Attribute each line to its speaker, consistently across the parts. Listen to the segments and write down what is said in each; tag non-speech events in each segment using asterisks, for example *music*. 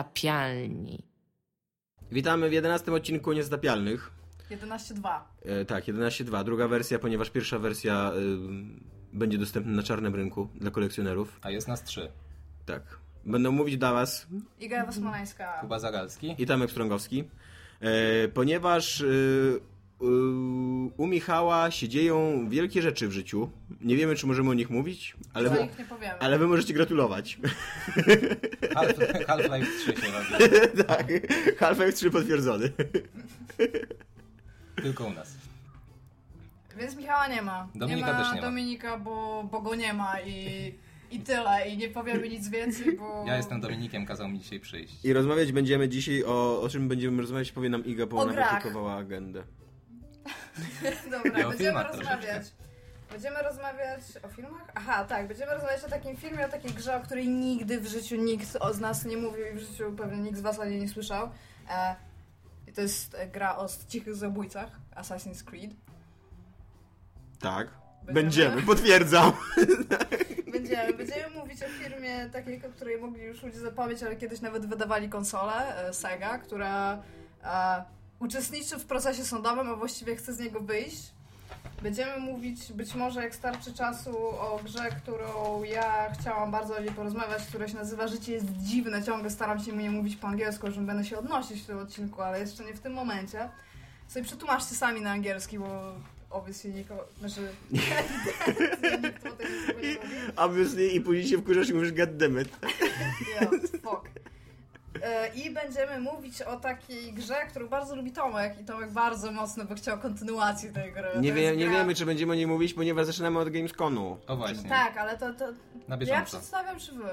Speaker 1: Niezatapialni.
Speaker 2: Witamy w 11 odcinku Niezatapialnych.
Speaker 3: 11.2.
Speaker 2: E, tak, 11.2, druga wersja, ponieważ pierwsza wersja y, będzie dostępna na czarnym rynku dla kolekcjonerów.
Speaker 4: A jest nas trzy.
Speaker 2: Tak. Będą mówić dla Was
Speaker 3: Iga Ewa Smoleńska.
Speaker 4: Kuba Zagalski.
Speaker 2: i Tamek Strągowski, e, ponieważ y, y, u Michała się dzieją wielkie rzeczy w życiu. Nie wiemy, czy możemy o nich mówić, ale
Speaker 3: Ale
Speaker 2: wy,
Speaker 3: ich nie powiemy.
Speaker 2: ale wy możecie gratulować. *laughs*
Speaker 4: Half- Half-Life 3 się robi.
Speaker 2: tak, Half-Life 3 potwierdzony.
Speaker 4: Tylko u nas.
Speaker 3: Więc Michała nie ma.
Speaker 4: Dominika
Speaker 3: nie ma
Speaker 4: też nie ma.
Speaker 3: Dominika, bo, bo go nie ma i, i tyle. I nie powiemy nic więcej, bo...
Speaker 4: Ja
Speaker 3: *laughs*
Speaker 4: jestem Dominikiem, kazał mi dzisiaj przyjść.
Speaker 2: I rozmawiać będziemy dzisiaj o, o czym będziemy rozmawiać, powie nam Iga, bo
Speaker 3: O
Speaker 2: ona
Speaker 3: grach.
Speaker 2: wyprodukowała agendę.
Speaker 3: Dobra,
Speaker 4: Ja o
Speaker 3: będziemy
Speaker 4: filmach
Speaker 3: rozmawiać. Będziemy rozmawiać o filmach? Aha, tak, będziemy rozmawiać o takim filmie, o takiej grze, o której nigdy w życiu nikt o- z nas nie mówił i w życiu pewnie nikt z was o niej nie słyszał. E, i to jest e, gra o cichych zabójcach, Assassin's Creed.
Speaker 2: Tak.
Speaker 3: Będziemy?
Speaker 2: Będziemy, potwierdzam.
Speaker 3: Będziemy, będziemy mówić o firmie takiej, o której mogli już ludzie zapomnieć, ale kiedyś nawet wydawali konsolę, e, Sega, która e, uczestniczy w procesie sądowym, a właściwie chce z niego wyjść. Będziemy mówić być może, jak starczy czasu, o grze, którą ja chciałam bardzo o niej porozmawiać, która się nazywa Życie jest dziwne. Ciągle staram się mu nie mówić po angielsku, że będę się odnosić w tym odcinku, ale jeszcze nie w tym momencie. Sobie przetłumaczcie sami na angielski, bo obecnie nikogo, znaczy *laughs* ewidentnie nikt o tym nie mówi.
Speaker 2: Obviously i później się wkurzasz i mówisz god damn it.
Speaker 3: Yeah, fuck. E, I będziemy mówić o takiej grze, którą bardzo lubi Tomek i Tomek bardzo mocno by chciał kontynuacji tej gry.
Speaker 2: Nie,
Speaker 3: To jest
Speaker 2: wie, nie
Speaker 3: gra-
Speaker 2: wiemy, czy będziemy o niej mówić, ponieważ zaczynamy od Gamesconu.
Speaker 4: O właśnie.
Speaker 3: Tak, ale to, to
Speaker 4: Na
Speaker 3: ja
Speaker 4: bieżąco.
Speaker 3: przedstawiam, czy wy?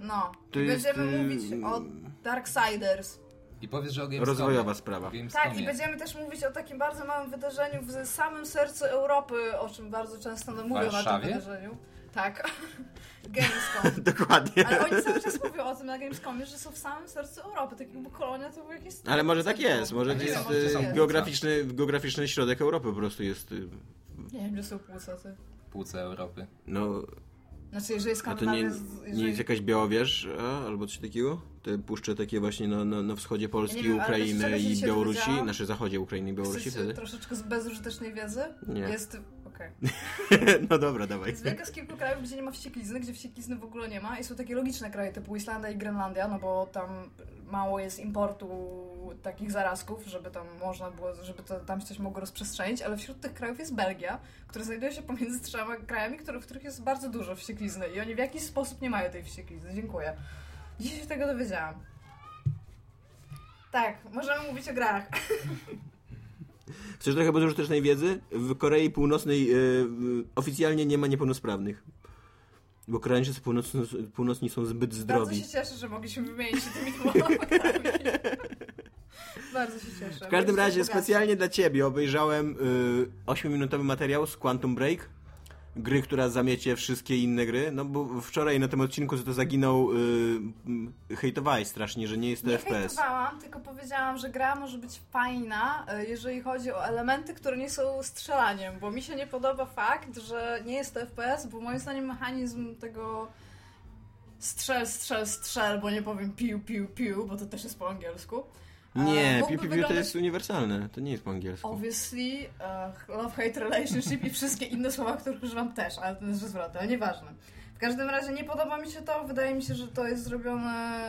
Speaker 3: No,
Speaker 2: To
Speaker 3: będziemy
Speaker 2: jest, y,
Speaker 3: mówić o Darksiders.
Speaker 4: I powiesz, że o Gamescomie.
Speaker 2: Rozwojowa sprawa.
Speaker 4: O Gamescomie.
Speaker 3: Tak, i będziemy też mówić o takim bardzo małym wydarzeniu w samym sercu Europy, o czym bardzo często nam mówią na tym
Speaker 4: Warszawie?
Speaker 3: wydarzeniu. Tak, *laughs* Gamescom.
Speaker 2: *laughs* Dokładnie.
Speaker 3: Ale oni cały czas mówią o tym na Gamescomie, że są w samym sercu Europy, tak jakby kolonia to był jakiś...
Speaker 2: Ale może tak jest, może to
Speaker 4: Ale
Speaker 2: jest
Speaker 4: są-
Speaker 2: y,
Speaker 4: są płuca.
Speaker 2: geograficzny, geograficzny środek Europy po prostu jest. y,
Speaker 3: Nie wiem, gdzie są płucaty.
Speaker 4: Półce Europy.
Speaker 2: No,
Speaker 3: Znaczy, jeżeli
Speaker 2: a to nie,
Speaker 3: Skandynawia... z- jeżeli...
Speaker 2: nie jest jakaś Białowież a, albo coś takiego? Te puszcze takie właśnie na, na, na wschodzie Polski,
Speaker 3: Ja nie wiem, ale wiecie,
Speaker 2: Ukrainy
Speaker 3: czego się
Speaker 2: i
Speaker 3: dzisiaj
Speaker 2: Białorusi,
Speaker 3: dowiedziałam?
Speaker 2: nasze zachodzie Ukrainy i Białorusi
Speaker 3: Jesteś
Speaker 2: wtedy.
Speaker 3: troszeczkę z bezużytecznej wiedzy?
Speaker 2: Nie.
Speaker 3: Jest... Okej.
Speaker 2: *laughs* No dobra, dawaj.
Speaker 3: Jest wielka z kilku krajów, gdzie nie ma wścieklizny, gdzie wścieklizny w ogóle nie ma i są takie logiczne kraje typu Islandia i Grenlandia, no bo tam mało jest importu takich zarazków, żeby tam można było, żeby to, tam się coś mogło rozprzestrzenić, ale wśród tych krajów jest Belgia, która znajduje się pomiędzy trzema krajami, które, w których jest bardzo dużo wścieklizny i oni w jakiś sposób nie mają tej wścieklizny. Dziękuję. Dzisiaj się tego dowiedziałam. Tak, możemy mówić o grach.
Speaker 2: Chcesz trochę bezużytecznej wiedzy? W Korei Północnej y, y, oficjalnie nie ma niepełnosprawnych. Bo Koreańczycy północni, północni są zbyt
Speaker 3: Bardzo
Speaker 2: zdrowi.
Speaker 3: się cieszę, że mogliśmy wymienić się tymi
Speaker 2: *laughs*
Speaker 3: momentami. Bardzo się cieszę.
Speaker 2: W każdym razie specjalnie dla ciebie obejrzałem y, 8-minutowy materiał z Quantum Break. Gry, która zamiecie wszystkie inne gry. No bo wczoraj na tym odcinku co to zaginął. Y, m, hejtowałeś strasznie, że nie jest to
Speaker 3: Nie
Speaker 2: FPS.
Speaker 3: hejtowałam, tylko powiedziałam, że gra może być fajna, e, jeżeli chodzi o elementy, które nie są strzelaniem, bo mi się nie podoba fakt, że nie jest to FPS, bo moim zdaniem mechanizm tego strzel, strzel, strzel, bo nie powiem piu, piu, piu, bo to też jest po angielsku. e,
Speaker 2: Nie, piu,
Speaker 3: mógłby
Speaker 2: piu, piu to
Speaker 3: wyglądać
Speaker 2: jest uniwersalne. To nie jest po angielsku.
Speaker 3: Obviously, uh, love, hate, relationship i wszystkie inne słowa, których używam też, ale to jest zwrot, ale nieważne. W każdym razie nie podoba mi się to, wydaje mi się, że to jest zrobione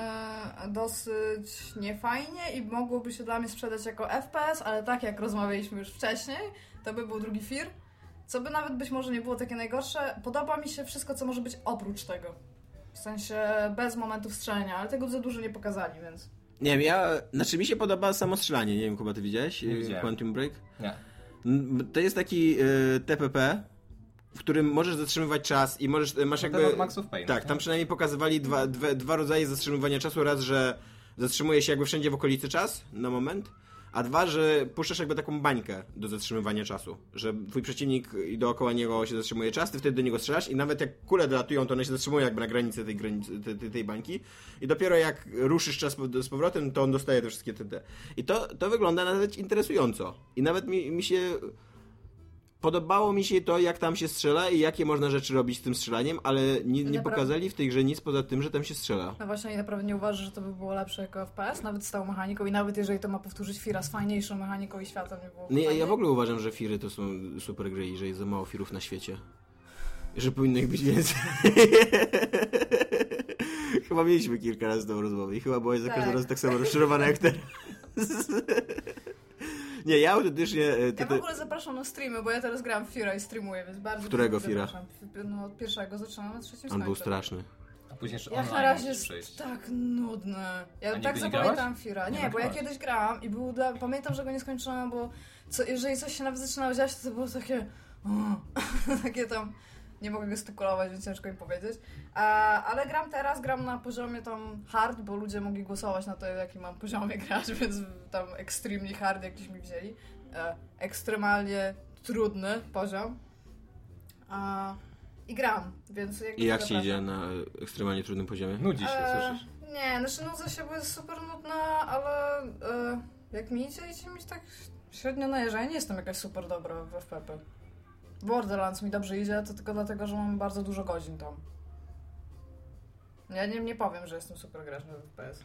Speaker 3: dosyć niefajnie i mogłoby się dla mnie sprzedać jako FPS, ale tak jak rozmawialiśmy już wcześniej, to by był drugi fir, co by nawet być może nie było takie najgorsze. Podoba mi się wszystko, co może być oprócz tego. W sensie bez momentów strzelania, ale tego za dużo nie pokazali, więc...
Speaker 2: Nie wiem, ja. Znaczy mi się podoba samo strzelanie. Nie wiem, Kuba, ty widziałeś?
Speaker 4: Nie
Speaker 2: y,
Speaker 4: widziałem.
Speaker 2: Quantum Break?
Speaker 4: Nie.
Speaker 2: Mm, To jest taki y, TPP, w którym możesz zatrzymywać czas i możesz, y, masz
Speaker 4: No ten
Speaker 2: jakby...
Speaker 4: od Max of Payne,
Speaker 2: tak,
Speaker 4: nie?
Speaker 2: tam przynajmniej pokazywali dwa, dwa, dwa rodzaje zatrzymywania czasu. Raz, że zatrzymuje się jakby wszędzie w okolicy czas na moment, a dwa, że puszczasz jakby taką bańkę do zatrzymywania czasu. Że twój przeciwnik i dookoła niego się zatrzymuje czas, ty wtedy do niego strzelasz i nawet jak kule dolatują, to one się zatrzymują jakby na granicy tej, granicy, tej, tej, tej bańki i dopiero jak ruszysz czas po- z powrotem, to on dostaje te wszystkie te... te. I to, to wygląda nawet interesująco. I nawet mi, mi się Podobało mi się to, jak tam się strzela i jakie można rzeczy robić z tym strzelaniem, ale nie, nie
Speaker 3: Naprawdę.
Speaker 2: pokazali w tej grze nic poza tym, że tam się strzela.
Speaker 3: No właśnie, i naprawdę nie uważasz, że to by było lepsze jako FPS, nawet z tą mechaniką i nawet jeżeli to ma powtórzyć Fira z fajniejszą mechaniką i światem, nie było
Speaker 2: No, ja, ja
Speaker 3: fajnie?
Speaker 2: w ogóle uważam, że firy to są super gry i że jest za mało firów na świecie. Że powinno ich być więcej. *laughs* chyba mieliśmy kilka razy tą rozmowę i chyba byłeś za każdym
Speaker 3: Tak.
Speaker 2: razem tak samo rozczarowana jak teraz. *laughs* nie, ja autentycznie... e, te-
Speaker 3: Ja w
Speaker 2: te-
Speaker 3: ogóle zapraszam na streamy, bo ja teraz gram w Fira i streamuję, więc bardzo...
Speaker 2: Którego
Speaker 3: bardzo
Speaker 2: Fira?
Speaker 3: zapraszam. F- No od pierwszego zaczynam, na trzecim
Speaker 2: On był
Speaker 3: skończę.
Speaker 2: straszny.
Speaker 4: A później jeszcze
Speaker 3: Jak
Speaker 4: online
Speaker 3: na razie jest
Speaker 4: musisz przejść.
Speaker 3: tak nudne.
Speaker 4: A
Speaker 3: Ja
Speaker 4: nigdy
Speaker 3: tak
Speaker 4: nie
Speaker 3: zapamiętam
Speaker 4: grałaś?
Speaker 3: Fira.
Speaker 4: Nie,
Speaker 3: Nie, bo ja
Speaker 4: grałaś.
Speaker 3: kiedyś grałam i był dla... pamiętam, że go nie skończyłam, bo co, jeżeli coś się nawet zaczynało dziać, to, to było takie... *laughs* takie tam... Nie mogę gestykulować, więc ciężko im powiedzieć. A, ale gram teraz, gram na poziomie tam hard, bo ludzie mogli głosować na to, jaki mam poziomie grać, *laughs* więc tam extremely hard jakiś mi wzięli. E, ekstremalnie trudny poziom. A, I gram, więc jakby tak
Speaker 2: I jak się
Speaker 3: zapraszam.
Speaker 2: idzie na e, ekstremalnie trudnym poziomie?
Speaker 4: Nudzi się,
Speaker 3: E,
Speaker 4: słyszysz? *laughs*
Speaker 3: Nie, znaczy nudzę się, bo jest super nudna, ale e, jak mi idzie, idzie mi tak średnio na jeżdżę. Ja nie jestem jakaś super dobra w FPP. Borderlands mi dobrze idzie, to tylko dlatego, że mam bardzo dużo godzin tam. Ja nie, nie powiem, że jestem super graczem w FPS.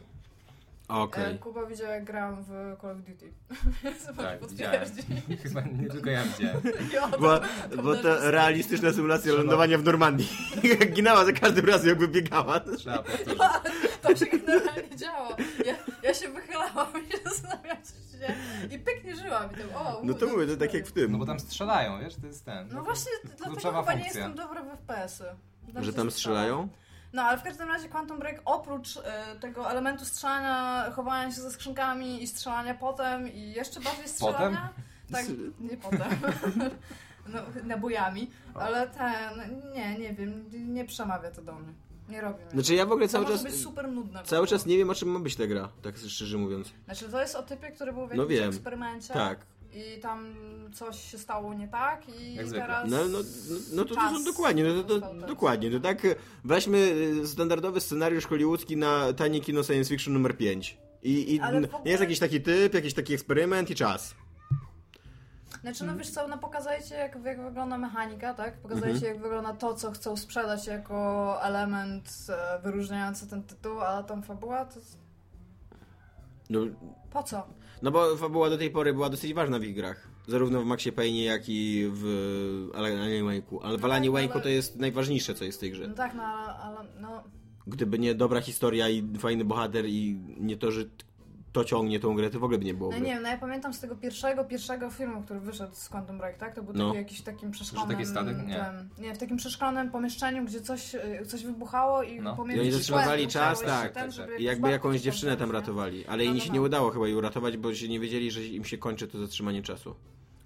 Speaker 2: Okej.
Speaker 3: E, Kuba widział, jak grałam w Call of Duty. *laughs* Więc może
Speaker 4: Tak,
Speaker 3: potwierdzi. *laughs*
Speaker 4: Chyba nie tylko ja widziałem.
Speaker 3: I on-
Speaker 2: Bo,
Speaker 3: to
Speaker 2: bo to
Speaker 3: też-
Speaker 2: realistyczna symulacja
Speaker 4: Trzeba.
Speaker 2: lądowania w Normandii. *laughs* Jak ginęła za każdym razem, jakby biegała.
Speaker 4: Trzeba
Speaker 3: *laughs*
Speaker 4: powtórzyć.
Speaker 3: To się generalnie działo. Ja, ja się wychylałam i *laughs* się zastanawiałam, co się dzieje. I pyknie żyłam. I tam, o,
Speaker 2: No to
Speaker 3: u,
Speaker 2: mówię, to tak jak w tym.
Speaker 4: No bo tam strzelają, wiesz, to jest ten.
Speaker 3: No właśnie, dlatego chyba
Speaker 4: Kluczowa
Speaker 3: nie
Speaker 4: funkcja.
Speaker 3: jestem dobra w FPS-y. Dobrze
Speaker 2: Że tam
Speaker 3: strzelam.
Speaker 2: strzelają?
Speaker 3: No, ale w każdym razie Quantum Break oprócz e, tego elementu strzelania, chowania się ze skrzynkami i strzelania potem i jeszcze bardziej strzelania...
Speaker 2: *laughs*
Speaker 3: Tak,
Speaker 2: Z-
Speaker 3: nie potem. *laughs* no, nabojami. Ale ten, nie, nie wiem, nie przemawia to do mnie. Nie robi mnie.
Speaker 2: Znaczy ja w ogóle
Speaker 3: To
Speaker 2: cały
Speaker 3: może
Speaker 2: czas,
Speaker 3: być super nudne. w
Speaker 2: cały
Speaker 3: ogóle.
Speaker 2: czas nie wiem o czym ma być ta gra, tak szczerze mówiąc.
Speaker 3: Znaczy, to jest o typie, który był w
Speaker 2: No
Speaker 3: jakimś
Speaker 2: wiem.
Speaker 3: eksperymencie.
Speaker 2: Tak.
Speaker 3: I tam coś się stało nie tak i
Speaker 4: Jak zwykle.
Speaker 3: teraz...
Speaker 2: No, no, no, no to, to są
Speaker 3: Czas
Speaker 2: dokładnie, no to, to,
Speaker 3: został tak.
Speaker 2: dokładnie. To tak e, weźmy e, standardowy scenariusz hollywoodzki na tanie kino science fiction numer 5. I, i
Speaker 3: Ale w
Speaker 2: n-
Speaker 3: ogóle-
Speaker 2: jest jakiś taki typ, jakiś taki eksperyment i czas.
Speaker 3: Znaczy,
Speaker 2: Mhm.
Speaker 3: no wiesz co, no pokazajcie jak, jak wygląda mechanika, tak? Pokazajcie
Speaker 2: Mhm.
Speaker 3: jak wygląda to, co chcą sprzedać jako element e, wyróżniający ten tytuł, a tam fabuła to...
Speaker 2: No,
Speaker 3: Po co?
Speaker 2: no bo fabuła do tej pory była dosyć ważna w ich grach. Zarówno w Maxie Payne, jak i w Alanie Wake'u. Ale w
Speaker 3: No tak,
Speaker 2: Alanie
Speaker 3: ale-
Speaker 2: Wake'u to jest najważniejsze, co jest w tej grze.
Speaker 3: No tak, no ale... ale no,
Speaker 2: Gdyby nie dobra historia i fajny bohater i nie to, że t- to ciągnie tą grę, to w ogóle by nie było
Speaker 3: no
Speaker 2: gry.
Speaker 3: nie wiem, no ja pamiętam z tego pierwszego, pierwszego filmu, który wyszedł z Quantum Break, tak? To był
Speaker 2: No.
Speaker 3: taki jakiś w takim przeszklonym...
Speaker 4: taki statek? Nie.
Speaker 3: Tym, nie, w takim przeszklonym pomieszczeniu, gdzie coś, e, coś wybuchało i
Speaker 4: No.
Speaker 3: pomiędzy...
Speaker 2: I oni zatrzymywali
Speaker 3: szkłem
Speaker 2: czas,
Speaker 3: musiałeś
Speaker 2: tak.
Speaker 3: ten, żeby
Speaker 2: I jakby
Speaker 3: babkę
Speaker 2: jakąś
Speaker 3: czy tam
Speaker 2: dziewczynę
Speaker 3: coś,
Speaker 2: tam
Speaker 3: nie?
Speaker 2: ratowali, ale
Speaker 3: No,
Speaker 2: im
Speaker 3: no,
Speaker 2: się
Speaker 3: no.
Speaker 2: nie udało chyba jej uratować, bo się nie wiedzieli, że im się kończy to zatrzymanie czasu.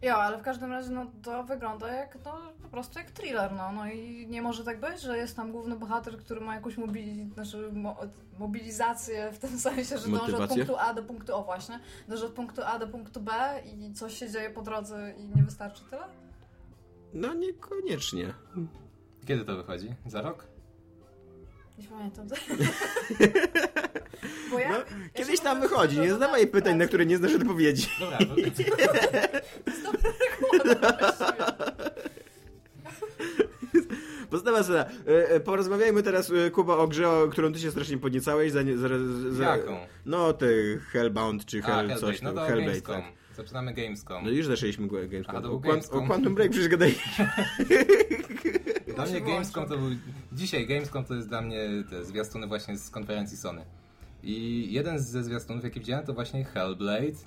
Speaker 3: Jo, ale w każdym razie no, to wygląda jak no, po prostu jak thriller, no. no i nie może tak być, że jest tam główny bohater, który ma jakąś mobili, znaczy, mo, mobilizację w tym *laughs* sensie, że dąży od
Speaker 2: Motywację?
Speaker 3: punktu A do punktu O właśnie, dąży od punktu A do punktu B i coś się dzieje po drodze i nie wystarczy tyle?
Speaker 2: No niekoniecznie.
Speaker 4: Kiedy to wychodzi? Za
Speaker 3: *laughs*
Speaker 4: rok?
Speaker 3: Nie
Speaker 2: *laughs*
Speaker 3: pamiętam. Bo ja-
Speaker 2: No,
Speaker 3: ja się
Speaker 2: Kiedyś
Speaker 3: po
Speaker 2: tam
Speaker 3: prostu
Speaker 2: wychodzi, nie
Speaker 3: zgodzę na
Speaker 2: zadawaj pytań, na
Speaker 3: pracę. *laughs*
Speaker 2: które nie znasz odpowiedzi.
Speaker 4: Dobra, to,
Speaker 2: Postawa sobie, e, porozmawiajmy teraz, e, Kuba, o grze, o którą ty się strasznie podniecałeś. Za, nie- za, za,
Speaker 4: jaką?
Speaker 2: No, ty Hellbound czy
Speaker 4: A,
Speaker 2: Hell,
Speaker 4: Hellblade.
Speaker 2: coś tam,
Speaker 4: no to
Speaker 2: Hellblade,
Speaker 4: Gamescom.
Speaker 2: tak.
Speaker 4: Zaczynamy Gamescom.
Speaker 2: No już zaczęliśmy g- Gamescom.
Speaker 4: A, to
Speaker 2: o,
Speaker 4: był
Speaker 2: Quan-
Speaker 4: Gamescom.
Speaker 2: o Quantum Break przecież gadaj.
Speaker 4: Dla mnie
Speaker 3: Się
Speaker 4: Gamescom
Speaker 3: włączę.
Speaker 4: to był... Dzisiaj Gamescom to jest dla mnie te zwiastuny właśnie z konferencji Sony. I jeden ze zwiastunów, jaki widziałem, to właśnie Hellblade.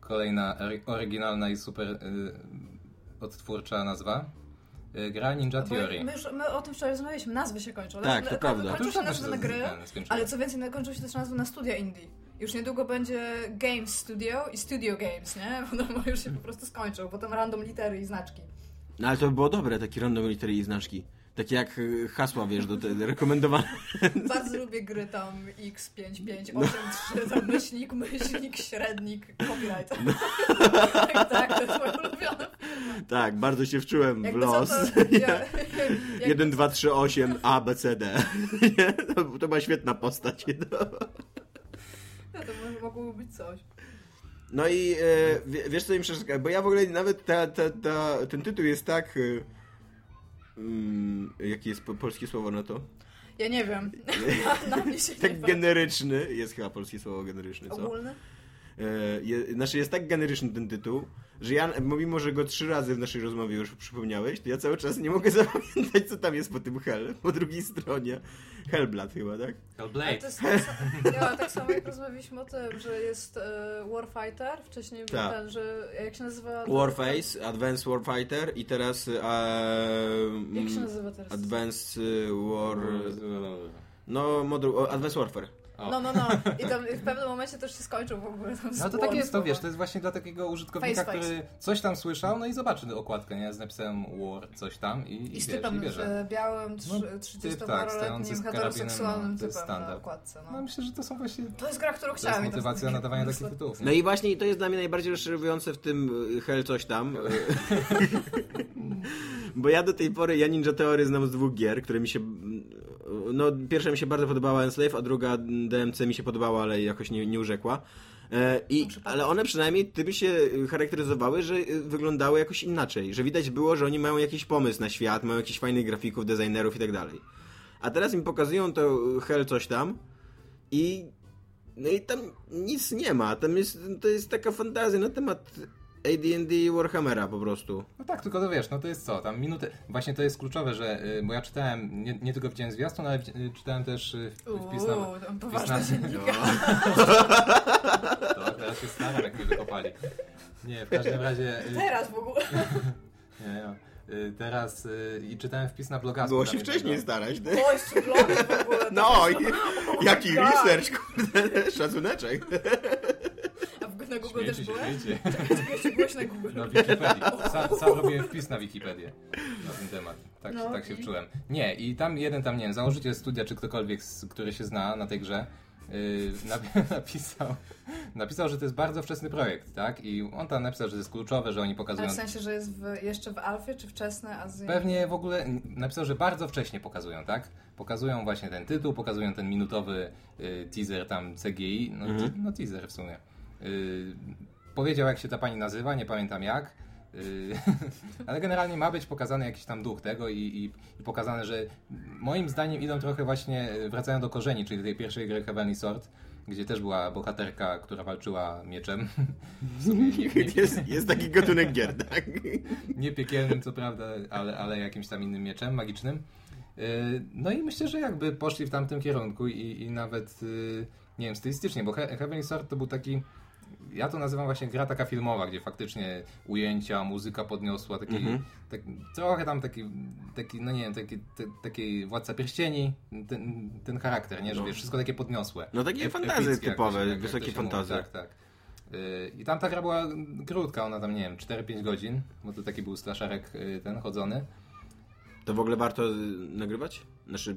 Speaker 4: Kolejna ory- oryginalna i super y, odtwórcza nazwa. Y, gra Ninja
Speaker 3: Bo
Speaker 4: Theory.
Speaker 3: My, już, my o tym wczoraj rozmawialiśmy, nazwy się kończą.
Speaker 2: Tak,
Speaker 3: Nazwy-
Speaker 2: to prawda.
Speaker 4: To
Speaker 3: Kończą
Speaker 4: już
Speaker 3: się
Speaker 4: tam
Speaker 3: nazwy
Speaker 4: się
Speaker 3: na gry,
Speaker 4: ten skończyło.
Speaker 3: ale co więcej, no, kończą się też nazwy na studia indie. Już niedługo będzie Games Studio i Studio Games, nie? *laughs* Bo no, już się po prostu skończą, bo tam random litery i znaczki.
Speaker 2: No ale to by było dobre, takie random litery i znaczki. Takie jak y, hasła, wiesz, do te rekomendowane.
Speaker 3: Bardzo lubię gry tam
Speaker 2: No.
Speaker 3: X5583, tam myślnik, *laughs* myślnik, średnik, copyright.
Speaker 2: No.
Speaker 3: tak, *laughs* tak, to jest moje ulubione.
Speaker 2: *laughs* Tak, bardzo się wczułem w
Speaker 3: Jakby co,
Speaker 2: los.
Speaker 3: to...
Speaker 2: *laughs*
Speaker 3: Ja, jak,
Speaker 2: 1, 2, 3, 8, A, B, C, D. *laughs* To, *laughs* to była świetna postać. No.
Speaker 3: no, to może mogłoby być coś.
Speaker 2: No i e, wie- wiesz co im przeszkadza? Bo ja w ogóle nawet ta, ta, ta, ten tytuł jest tak... E, mm, jakie jest po, polskie słowo na to?
Speaker 3: Ja
Speaker 2: *laughs*
Speaker 3: nie wiem. na, na mnie się nie
Speaker 2: Tak
Speaker 3: patrzy.
Speaker 2: generyczny, jest chyba polskie słowo generyczny, co?
Speaker 3: Ogólny?
Speaker 2: E, je, znaczy jest tak generyczny ten tytuł, że ja, mimo że go trzy razy w naszej rozmowie już przypomniałeś, to ja cały czas nie mogę *laughs* zapamiętać, co tam jest po tym Hell, po drugiej stronie. Hellblad chyba, tak?
Speaker 3: Ale
Speaker 4: Hellblade.
Speaker 3: to jest tak, samo- *laughs* ja, tak samo jak rozmawialiśmy o tym, że jest e, Warfighter, wcześniej był
Speaker 2: Tak.
Speaker 3: ten, że jak się nazywa...
Speaker 2: Warface, Advanced Warfighter i teraz... E, mm,
Speaker 3: Jak się nazywa teraz?
Speaker 2: Advanced e, War... No, modru, o, Advanced Warfare.
Speaker 4: O.
Speaker 3: No, no, no. I tam w pewnym momencie też się skończył w ogóle. Tam
Speaker 4: No to tak jest, to wiesz, to jest właśnie dla takiego użytkownika,
Speaker 3: Face, face.
Speaker 4: który coś tam słyszał, no i zobaczy okładkę, nie? Z napisem War, coś tam i, i,
Speaker 3: I z
Speaker 4: wiesz, i
Speaker 3: typem
Speaker 4: bierze.
Speaker 3: że białym,
Speaker 4: No,
Speaker 3: trzy-
Speaker 4: typ,
Speaker 3: 30-paroletnim,
Speaker 4: stojący z karabinem,
Speaker 3: heteroseksualnym
Speaker 4: no, to jest
Speaker 3: typem na
Speaker 4: standard.
Speaker 3: okładce.
Speaker 4: No
Speaker 3: No.
Speaker 4: myślę, że to są właśnie...
Speaker 3: To jest gra, którą
Speaker 4: To jest
Speaker 3: chciałam. i tak-
Speaker 4: motywacja nadawania takich tytułów. nie?
Speaker 2: No i właśnie to jest dla mnie najbardziej rozczarowujące w tym y, Hell coś tam. *laughs* Bo ja do tej pory, ja Ninja Theory znam z dwóch gier, które mi się... No pierwsza mi się bardzo podobała Enslave, a druga DMC mi się podobała, ale jakoś nie, nie urzekła. E, I, ale one przynajmniej tym się charakteryzowały, że y, wyglądały jakoś inaczej. Że widać było, że oni mają jakiś pomysł na świat, mają jakichś fajnych grafików, designerów i tak dalej. A teraz mi pokazują to y, Hell coś tam i no i tam nic nie ma. Tam jest, to jest taka fantazja na temat AD&D i Warhammera po prostu.
Speaker 4: No tak, tylko to wiesz, no to jest co, tam minuty. Właśnie to jest kluczowe, że. y, Bo ja czytałem, nie, nie tylko widziałem zwiastun, ale wdzi- y, czytałem też y, wpis na.
Speaker 3: Uuu, tam poważna
Speaker 4: wpis na-
Speaker 3: dziennika.
Speaker 2: No.
Speaker 4: To teraz się staram, jak mnie wykopali. Nie, w każdym razie. y,
Speaker 3: Teraz w ogóle. *laughs*
Speaker 4: Nie, nie. y, Teraz y, i czytałem wpis na bloga.
Speaker 2: Było się wcześniej tak. starać, nie?
Speaker 3: Oj, szczuplony w ogóle. to
Speaker 2: No i
Speaker 3: jest-
Speaker 2: *laughs* jaki
Speaker 3: tak.
Speaker 2: research, kurde, *laughs* szacuneczek.
Speaker 3: A w, na Google
Speaker 4: Śmiejcie
Speaker 3: też
Speaker 4: się,
Speaker 3: byłeś? *laughs*
Speaker 4: śmiejcie.
Speaker 3: Czekaj, czy byłeś na Google?
Speaker 2: No,
Speaker 4: Na Wikipedii. Sam, sam robiłem wpis na Wikipedię na ten temat. Tak,
Speaker 3: No
Speaker 4: tak się
Speaker 3: i-
Speaker 4: wczułem. Nie, i tam jeden tam, nie wiem, założyciel studia, czy ktokolwiek, z- który się zna na tej grze, yy, napi- *laughs* napisał, napisał, że to jest bardzo wczesny projekt, tak? I on tam napisał, że to jest kluczowe, że oni
Speaker 3: Ale
Speaker 4: pokazują...
Speaker 3: w sensie, że jest w, jeszcze w Alfie, czy wczesne Azji?
Speaker 4: Pewnie w ogóle napisał, że bardzo wcześnie pokazują, tak? Pokazują właśnie ten tytuł, pokazują ten minutowy y, teaser tam CGI, no, te, no teaser w sumie. Y, powiedział jak się ta pani nazywa, nie pamiętam jak. y, *laughs* ale generalnie ma być pokazany jakiś tam duch tego i, i, i pokazane, że moim zdaniem idą trochę właśnie, y, wracają do korzeni, czyli do tej pierwszej gry Heavenly Sword, gdzie też była bohaterka, która walczyła mieczem. *laughs* W sumie nie, nie,
Speaker 2: Jest, jest taki gatunek gier, tak?
Speaker 4: nie piekielnym, co prawda, ale, ale jakimś tam innym mieczem magicznym. Yy, No i myślę, że jakby poszli w tamtym kierunku i, i nawet, yy, nie wiem, stylistycznie, bo He- Heavenly Sword to był taki, ja to nazywam właśnie gra taka filmowa, gdzie faktycznie ujęcia, muzyka podniosła, taki, tak, trochę tam taki, taki, no nie wiem, taki, te, taki Władca Pierścieni, ten, ten charakter, nie, że
Speaker 2: No.
Speaker 4: wiesz, wszystko takie podniosłe.
Speaker 2: No takie
Speaker 4: Ep-
Speaker 2: fantazy
Speaker 4: epickie, jak
Speaker 2: typowe,
Speaker 4: to się- jak
Speaker 2: wysokie
Speaker 4: to się
Speaker 2: fantazy.
Speaker 4: Mówi, tak, tak. Yy, I tam ta gra była krótka, ona tam, nie wiem, 4-5 godzin, bo to taki był straszarek yy, ten chodzony.
Speaker 2: To w ogóle warto y, nagrywać? Znaczy,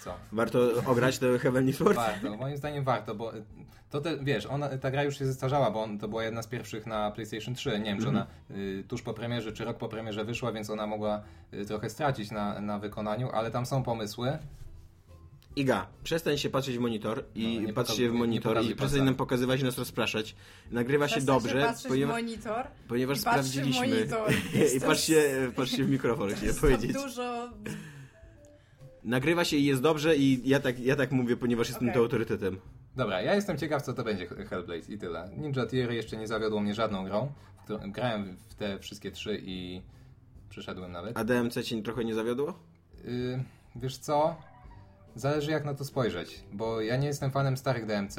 Speaker 4: Co?
Speaker 2: warto ograć to Heavenly Sword?
Speaker 4: Warto, moim zdaniem warto, bo y, to te, wiesz, ona, ta gra już się zestarzała, bo on, to była jedna z pierwszych na PlayStation 3. Nie wiem, czy ona
Speaker 2: Mhm.
Speaker 4: y, tuż po premierze, czy rok po premierze wyszła, więc ona mogła y, trochę stracić na, na wykonaniu, ale tam są pomysły.
Speaker 2: Iga, przestań się patrzeć w monitor i
Speaker 4: No, nie
Speaker 2: patrz
Speaker 4: pokazuj-
Speaker 2: się w
Speaker 4: nie
Speaker 2: monitor
Speaker 4: pokazuj
Speaker 2: i przestań
Speaker 4: palca.
Speaker 2: nam pokazywać i nas rozpraszać. Nagrywa się dobrze,
Speaker 3: patrzeć w
Speaker 2: ponieważ,
Speaker 3: monitor.
Speaker 2: ponieważ
Speaker 3: i patrz się w
Speaker 2: sprawdziliśmy.
Speaker 3: monitor.
Speaker 2: *laughs* I
Speaker 3: Jest to-
Speaker 2: patrz się, patrz się w mikrofon, chciałem
Speaker 3: Jest
Speaker 2: powiedzieć.
Speaker 3: tam dużo...
Speaker 2: Nagrywa się i jest dobrze i ja tak, ja tak mówię, ponieważ jestem
Speaker 3: Okej.
Speaker 2: tu autorytetem.
Speaker 4: Dobra, ja jestem ciekaw, co to będzie Hellblade i tyle. Ninja Theory jeszcze nie zawiodło mnie żadną grą. W którą, grałem w te wszystkie trzy i przeszedłem nawet.
Speaker 2: A DMC cię trochę nie zawiodło?
Speaker 4: Y, wiesz co? Zależy jak na to spojrzeć, bo ja nie jestem fanem starych DMC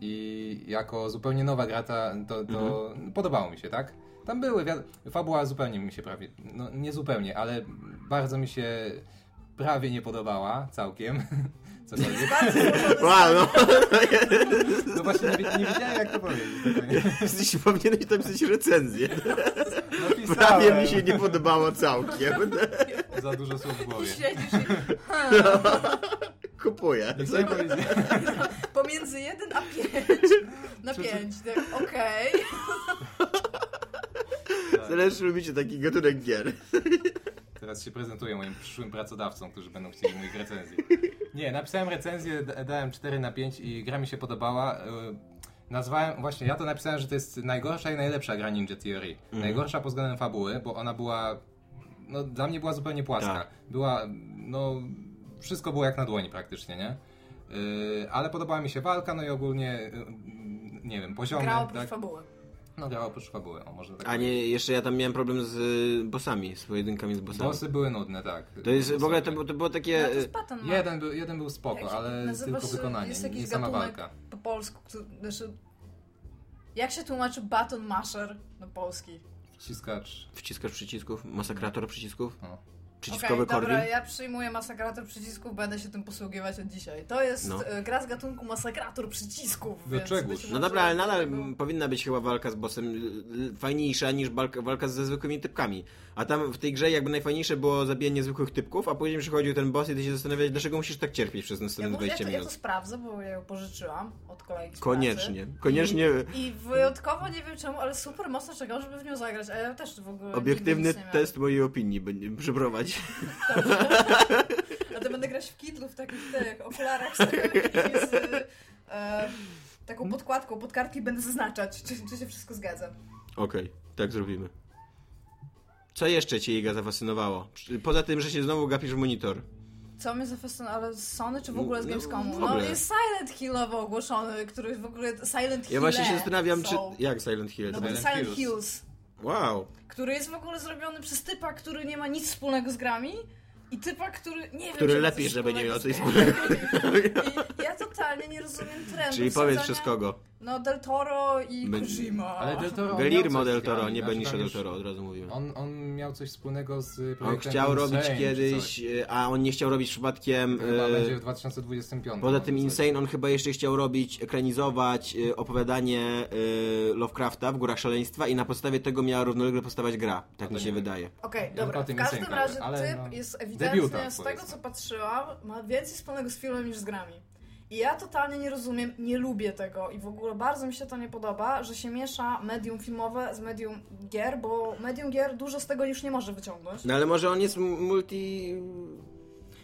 Speaker 4: i jako zupełnie nowa gra ta, to, to podobało mi się, tak? Tam były, wiad- fabuła zupełnie mi się prawie, no nie zupełnie, ale bardzo mi się prawie nie podobała, całkiem, *laughs* cokolwiek.
Speaker 2: Wow, no, *laughs*
Speaker 4: No właśnie nie, wi- nie wiedziałem jak to powiedzieć. dokładnie.
Speaker 2: jesteś, powinieneś napisać recenzję.
Speaker 4: Napisałem.
Speaker 2: Prawie mi się nie podobało całkiem. *laughs*
Speaker 4: Za dużo słów w
Speaker 3: I
Speaker 4: głowie.
Speaker 3: śledzisz i
Speaker 2: Kupuję.
Speaker 4: Nie chciałem powiedzieć-
Speaker 2: Tak.
Speaker 3: pomiędzy 1 a 5.
Speaker 2: *laughs*
Speaker 3: Na 5. Tak, okej.
Speaker 2: Zależy, lubicie taki gatunek gier.
Speaker 4: Teraz się prezentuję moim przyszłym pracodawcom, którzy będą chcieli moich recenzji. Nie, napisałem recenzję, d- dałem 4 na 5 i gra mi się podobała. Yy, Nazwałem, właśnie ja to napisałem, że to jest najgorsza i najlepsza gra Ninja Theory.
Speaker 2: Mhm.
Speaker 4: Najgorsza pod względem fabuły, bo ona była, no dla mnie była zupełnie płaska.
Speaker 2: Tak.
Speaker 4: Była, no wszystko było jak na dłoni praktycznie, nie? Yy, ale podobała mi się walka, no i ogólnie, yy, nie wiem, poziomy.
Speaker 3: Gra oprócz
Speaker 4: tak?
Speaker 3: fabuły.
Speaker 4: No gra oprócz fabuły, o, może tak.
Speaker 2: A nie, jeszcze ja tam miałem problem z y, bossami, z pojedynkami z bossami.
Speaker 4: Bossy były nudne, tak.
Speaker 2: To jest, w ogóle to,
Speaker 4: Bossy.
Speaker 2: było- to było takie...
Speaker 3: No, to
Speaker 2: y,
Speaker 3: jest Pattern Map.
Speaker 4: Jeden był, jeden był spoko,
Speaker 3: Jak się
Speaker 4: ale
Speaker 3: nazywa
Speaker 4: tylko
Speaker 3: się-
Speaker 4: wykonanie,
Speaker 3: jest jakiś
Speaker 4: nie sama
Speaker 3: gatunek
Speaker 4: walka.
Speaker 3: Po polsku, który, znaczy, jak się tłumaczy baton masher na polski?
Speaker 4: Wciskacz.
Speaker 2: Wciskasz przycisków, masakrator przycisków,
Speaker 4: No.
Speaker 2: przyciskowy kordon.
Speaker 3: dobra, ja przyjmuję masakrator przycisków, będę się tym posługiwać od dzisiaj. To jest
Speaker 2: No.
Speaker 3: e, gra z gatunku masakrator przycisków,
Speaker 4: Do
Speaker 3: więc
Speaker 4: czegóż?
Speaker 3: być
Speaker 2: No
Speaker 3: może
Speaker 2: dobra, ale nadal
Speaker 3: tego-
Speaker 2: m, powinna być chyba walka z bossem y, y, fajniejsza niż walka, walka ze zwykłymi typkami. A tam w tej grze jakby najfajniejsze było zabijanie zwykłych typków, a później przychodził ten boss i ty się zastanawiałeś, dlaczego musisz tak cierpieć przez
Speaker 3: Ja,
Speaker 2: następne
Speaker 3: może, ja,
Speaker 2: 20
Speaker 3: to, ja to
Speaker 2: minut.
Speaker 3: sprawdzę, bo ja ją pożyczyłam od kolegi z
Speaker 2: Koniecznie,
Speaker 3: pracy.
Speaker 2: koniecznie.
Speaker 3: I, I wyjątkowo, nie wiem czemu, ale super mocno czekał, żeby w nią zagrać, a ja też w ogóle nigdy
Speaker 2: Obiektywny
Speaker 3: nic nie miałam.
Speaker 2: test mojej opinii będzie przeprowadź.
Speaker 3: A to będę grać w kidlu, w takich tych okularach z, takimi z e, taką podkładką pod kartki będę zaznaczać, czy, czy się wszystko zgadza.
Speaker 2: Okej, tak zrobimy. Co jeszcze cię Iga zafascynowało? Przy- Poza tym, że się znowu gapisz w monitor.
Speaker 3: Co mnie zafascynowało, ale z Sony czy w ogóle z
Speaker 2: No, w
Speaker 3: Gamescomu? No
Speaker 2: ogóle.
Speaker 3: jest Silent Hillowo ogłoszony, który w ogóle Silent Hill.
Speaker 2: Ja właśnie się zastanawiam, czy...
Speaker 3: są.
Speaker 2: Jak Silent Hill?
Speaker 3: No bo
Speaker 4: Silent
Speaker 3: Silent
Speaker 4: Hills.
Speaker 3: Hills,
Speaker 2: Wow.
Speaker 3: który jest w ogóle zrobiony przez typa, który nie ma nic wspólnego z grami i typa, który nie wiem...
Speaker 2: Który
Speaker 3: czy ma
Speaker 2: lepiej,
Speaker 3: coś
Speaker 2: żeby nie miał coś
Speaker 3: wspólnego z grami. I Ja totalnie nie rozumiem trendu.
Speaker 2: Czyli powiedz przez kogo.
Speaker 3: No Del Toro i
Speaker 2: By-
Speaker 3: Kojima.
Speaker 4: Ale Del Toro. on miał
Speaker 2: Delirmo
Speaker 4: coś
Speaker 2: Del
Speaker 4: z grami,
Speaker 2: Toro, nie
Speaker 4: znaczy
Speaker 2: Benicio
Speaker 4: tam
Speaker 2: Del
Speaker 4: już-
Speaker 2: Toro, od razu mówiłem.
Speaker 4: On, on miał coś wspólnego z
Speaker 2: On
Speaker 4: projektem
Speaker 2: chciał
Speaker 4: Insane
Speaker 2: robić
Speaker 4: czy
Speaker 2: kiedyś,
Speaker 4: coś.
Speaker 2: y, a on nie chciał robić przypadkiem...
Speaker 4: Chyba
Speaker 2: y,
Speaker 4: będzie w 2025.
Speaker 2: Poza tym
Speaker 4: Coś.
Speaker 2: Insane, on chyba jeszcze chciał robić, ekranizować y, opowiadanie y, Lovecrafta w Górach Szaleństwa i na podstawie tego miała równolegle powstawać gra. Tak
Speaker 4: No to
Speaker 2: mi się
Speaker 4: nie wiem.
Speaker 2: wydaje.
Speaker 3: Okej, dobra.
Speaker 4: Ja tylko o
Speaker 3: W
Speaker 4: tym
Speaker 3: każdym
Speaker 4: nie
Speaker 3: razie
Speaker 4: sękam, ale
Speaker 3: typ
Speaker 4: no,
Speaker 3: jest
Speaker 4: debiutant,
Speaker 3: ewidentnie z tego,
Speaker 4: powiedzmy.
Speaker 3: co patrzyłam, ma więcej wspólnego z filmem niż z grami. I ja totalnie nie rozumiem, nie lubię tego i w ogóle bardzo mi się to nie podoba, że się miesza medium filmowe z medium gier, bo medium gier dużo z tego już nie może wyciągnąć.
Speaker 2: No ale może on jest m- multi...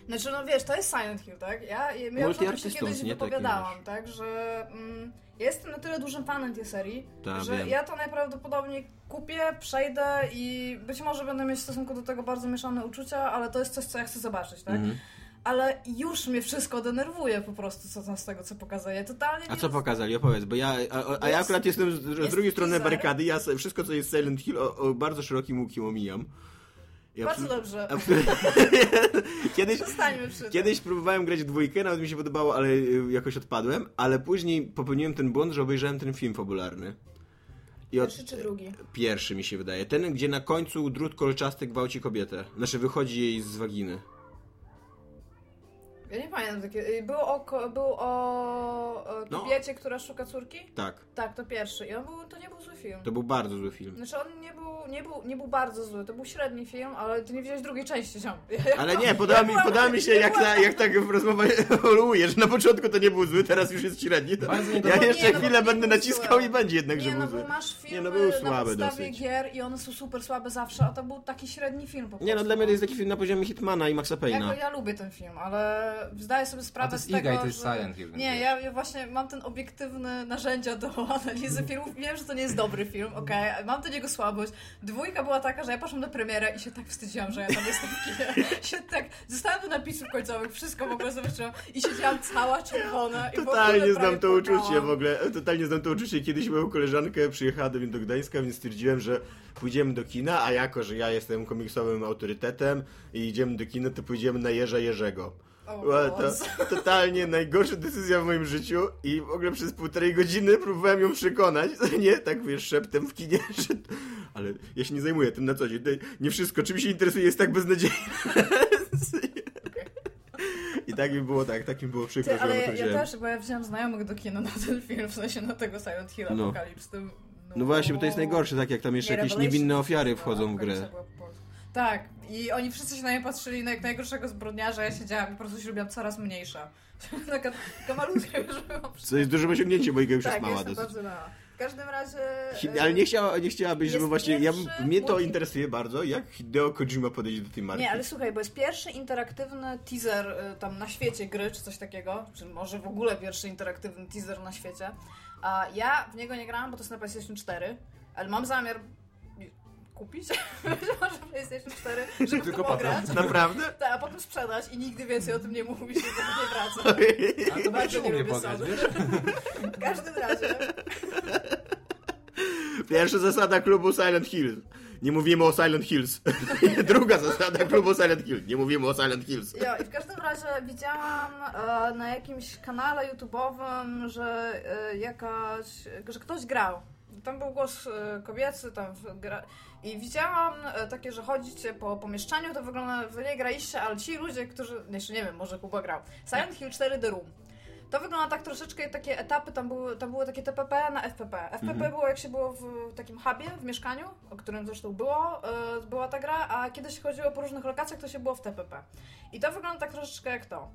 Speaker 3: Znaczy, no wiesz, to jest Silent Hill, tak? Ja, ja ja już o tym się
Speaker 2: Multiartystą,
Speaker 3: kiedyś
Speaker 2: nie? Takim
Speaker 3: wypowiadałam,
Speaker 2: już.
Speaker 3: tak? Że mm, ja jestem na tyle dużym fanem tej serii,
Speaker 2: Tak,
Speaker 3: że
Speaker 2: wiem.
Speaker 3: ja to najprawdopodobniej kupię, przejdę i być może będę mieć w stosunku do tego bardzo mieszane uczucia, ale to jest coś, co ja chcę zobaczyć, tak?
Speaker 2: Mhm.
Speaker 3: Ale już mnie wszystko denerwuje po prostu, co tam z tego, co pokazuje. Ja Totalnie
Speaker 2: A
Speaker 3: nie
Speaker 2: co pokazali? Opowiedz, bo ja, a, a- a ja
Speaker 3: Jest-
Speaker 2: akurat jestem z, z
Speaker 3: jest
Speaker 2: drugiej strony
Speaker 3: teaser.
Speaker 2: barykady, ja se- wszystko co jest Silent Hill o, o bardzo szerokim łukiem omijam. Ja
Speaker 3: Bardzo
Speaker 2: przy-
Speaker 3: dobrze.
Speaker 2: *laughs*
Speaker 3: *laughs*
Speaker 2: Kiedyś,
Speaker 3: Przestańmy przy tym.
Speaker 2: Kiedyś próbowałem grać w dwójkę, nawet mi się podobało, ale y, jakoś odpadłem, ale później popełniłem ten błąd, że obejrzałem ten film fabularny. I
Speaker 3: Pierwszy czy drugi?
Speaker 2: Pierwszy mi się wydaje. Ten, gdzie na końcu drut kolczasty gwałci kobietę. Znaczy wychodzi jej z waginy.
Speaker 3: Ja nie pamiętam. takie- y, Było o, ko- było o e,
Speaker 2: No.
Speaker 3: kobiecie, która szuka córki?
Speaker 2: Tak.
Speaker 3: Tak, to pierwszy. I on był, to nie był zły film.
Speaker 2: To był bardzo zły film.
Speaker 3: Znaczy on nie był, nie, był, nie był bardzo zły, to był średni film, ale ty nie widziałeś drugiej części, ziom.
Speaker 2: Ale nie, podoba mi, podoba mi się, jak, ta, jak tak rozmowa *laughs* ewoluuje, że na początku to nie był zły, teraz już jest średni. To
Speaker 4: Bardzo nie
Speaker 2: ja
Speaker 4: podoba-
Speaker 2: jeszcze
Speaker 3: Nie, *laughs* no bo
Speaker 2: chwilę
Speaker 3: nie
Speaker 2: będę
Speaker 3: był
Speaker 2: naciskał
Speaker 3: zły.
Speaker 2: i będzie jednak, że
Speaker 3: Nie,
Speaker 2: był
Speaker 3: no bo
Speaker 2: zły.
Speaker 3: masz filmy
Speaker 2: Nie, no był
Speaker 3: na
Speaker 2: słaby
Speaker 3: podstawie
Speaker 2: dosyć.
Speaker 3: gier i one są super słabe zawsze, a to był taki średni film po prostu.
Speaker 2: Nie no, dla mnie to jest taki film na poziomie Hitmana i Maxa
Speaker 3: ja,
Speaker 2: Payna.
Speaker 3: go- ja lubię ten film, ale zdaję sobie
Speaker 4: A
Speaker 3: sprawę
Speaker 4: to jest
Speaker 3: z tego,
Speaker 4: Iga i to jest
Speaker 3: że...
Speaker 4: Silent Hill.
Speaker 3: Nie, ja, ja właśnie mam ten obiektywny narzędzia do *laughs* analizy filmów. Wiem, że to nie jest dobry film, okej, mam do niego słabość. Dwójka była taka, że ja poszłam na premierę i się tak wstydziłam, że ja tam jestem w kinie.
Speaker 2: *laughs*
Speaker 3: Się tak, zostałam do napisów końcowych, wszystko w ogóle zobaczyłam i siedziałam cała czerwona i w
Speaker 2: Totalnie
Speaker 3: ogóle no.
Speaker 2: znam to
Speaker 3: prawie
Speaker 2: uczucie
Speaker 3: płakałam.
Speaker 2: w ogóle. Totalnie znam to uczucie. Kiedyś moją koleżankę przyjechała do mnie do Gdańska, więc stwierdziłem, że pójdziemy do kina, a jako, że ja jestem komiksowym autorytetem i idziemy do kina, to pójdziemy na Jerza Jerzego.
Speaker 3: O,
Speaker 2: Była to
Speaker 3: Boże.
Speaker 2: totalnie najgorsza decyzja w moim życiu i w ogóle przez półtorej godziny próbowałem ją przekonać, *laughs* nie, tak wiesz, szeptem w kinie, *laughs* że... Ale ja się nie zajmuję tym na co dzień. To Nie wszystko, czym się interesuje, jest tak beznadziejne. *laughs* I tak mi było, tak, tak mi było przykro,
Speaker 3: Ty,
Speaker 2: że
Speaker 3: ale
Speaker 2: ja to
Speaker 3: ja, ja
Speaker 2: wziąłem.
Speaker 3: też, bo ja wziąłam znajomych do kina na ten film, w sensie na tego Silent Hill
Speaker 2: No.
Speaker 3: Apocalypse. Tym,
Speaker 2: No właśnie, bo to jest najgorsze, tak jak tam jeszcze
Speaker 3: Nie, no
Speaker 2: jakieś
Speaker 3: Revelations
Speaker 2: niewinne
Speaker 3: to
Speaker 2: ofiary
Speaker 3: była,
Speaker 2: wchodzą w
Speaker 3: Apocalypse
Speaker 2: grę.
Speaker 3: była po polsku. Tak, i oni wszyscy się na mnie patrzyli na jak najgorszego zbrodniarza, ja siedziałam i po prostu się robiłam coraz mniejsza. *laughs* Taka taka malutka już byłam.
Speaker 2: Co jest dużym osiągnięciem, bo Iga już
Speaker 3: tak,
Speaker 2: jest
Speaker 3: ja
Speaker 2: mała
Speaker 3: jestem
Speaker 2: dosyć.
Speaker 3: bardzo mała. W każdym razie...
Speaker 2: Hi-
Speaker 3: e,
Speaker 2: Ale nie, chciała, nie chciałabyś, żeby
Speaker 3: jest
Speaker 2: właśnie. Ja, bym-
Speaker 3: pierwszy
Speaker 2: mnie to
Speaker 3: multi-
Speaker 2: interesuje bardzo, jak Hideo Kojima podejdzie do tej marki. *laughs*
Speaker 3: Nie, ale słuchaj, bo jest pierwszy interaktywny teaser y, tam na świecie gry, czy coś takiego, czy może w ogóle pierwszy interaktywny teaser na świecie. A ja w niego nie grałam, bo to jest na PlayStation 4, ale mam zamiar kupić *laughs* być może PlayStation 4, żeby w to
Speaker 4: Tylko
Speaker 3: pograć.
Speaker 4: potem.
Speaker 2: Naprawdę? *laughs*
Speaker 3: Tak, a potem sprzedać i nigdy więcej o tym nie mówić i do tego nie wraca.
Speaker 4: A
Speaker 3: Bardzo
Speaker 4: to bardzo
Speaker 3: nie
Speaker 4: umie
Speaker 3: lubię
Speaker 4: pograć,
Speaker 3: sody.
Speaker 4: wiesz?
Speaker 3: W każdym razie,
Speaker 2: Pierwsza zasada klubu Silent Hill. Nie mówimy o Silent Hills. *laughs* Druga zasada klubu Silent Hill. Nie mówimy o Silent Hills.
Speaker 3: jo, i w każdym razie widziałam e, na jakimś kanale YouTube'owym, że e, jakaś, że ktoś grał. Tam był głos e, kobiecy, tam w- gra... I widziałam e, takie, że chodzicie po pomieszczeniu, to wygląda, wy nie graliście, ale ci ludzie, którzy, no jeszcze nie wiem, może Kuba grał, Silent Hill 4 The Room. To wygląda tak troszeczkę, jak takie etapy, tam były, tam były takie TPP na FPP. FPP
Speaker 2: Mhm.
Speaker 3: było jak się było w takim hubie, w mieszkaniu, o którym zresztą było, e, była ta gra, a kiedy się chodziło po różnych lokacjach, to się było w TPP. I to wygląda tak troszeczkę jak to.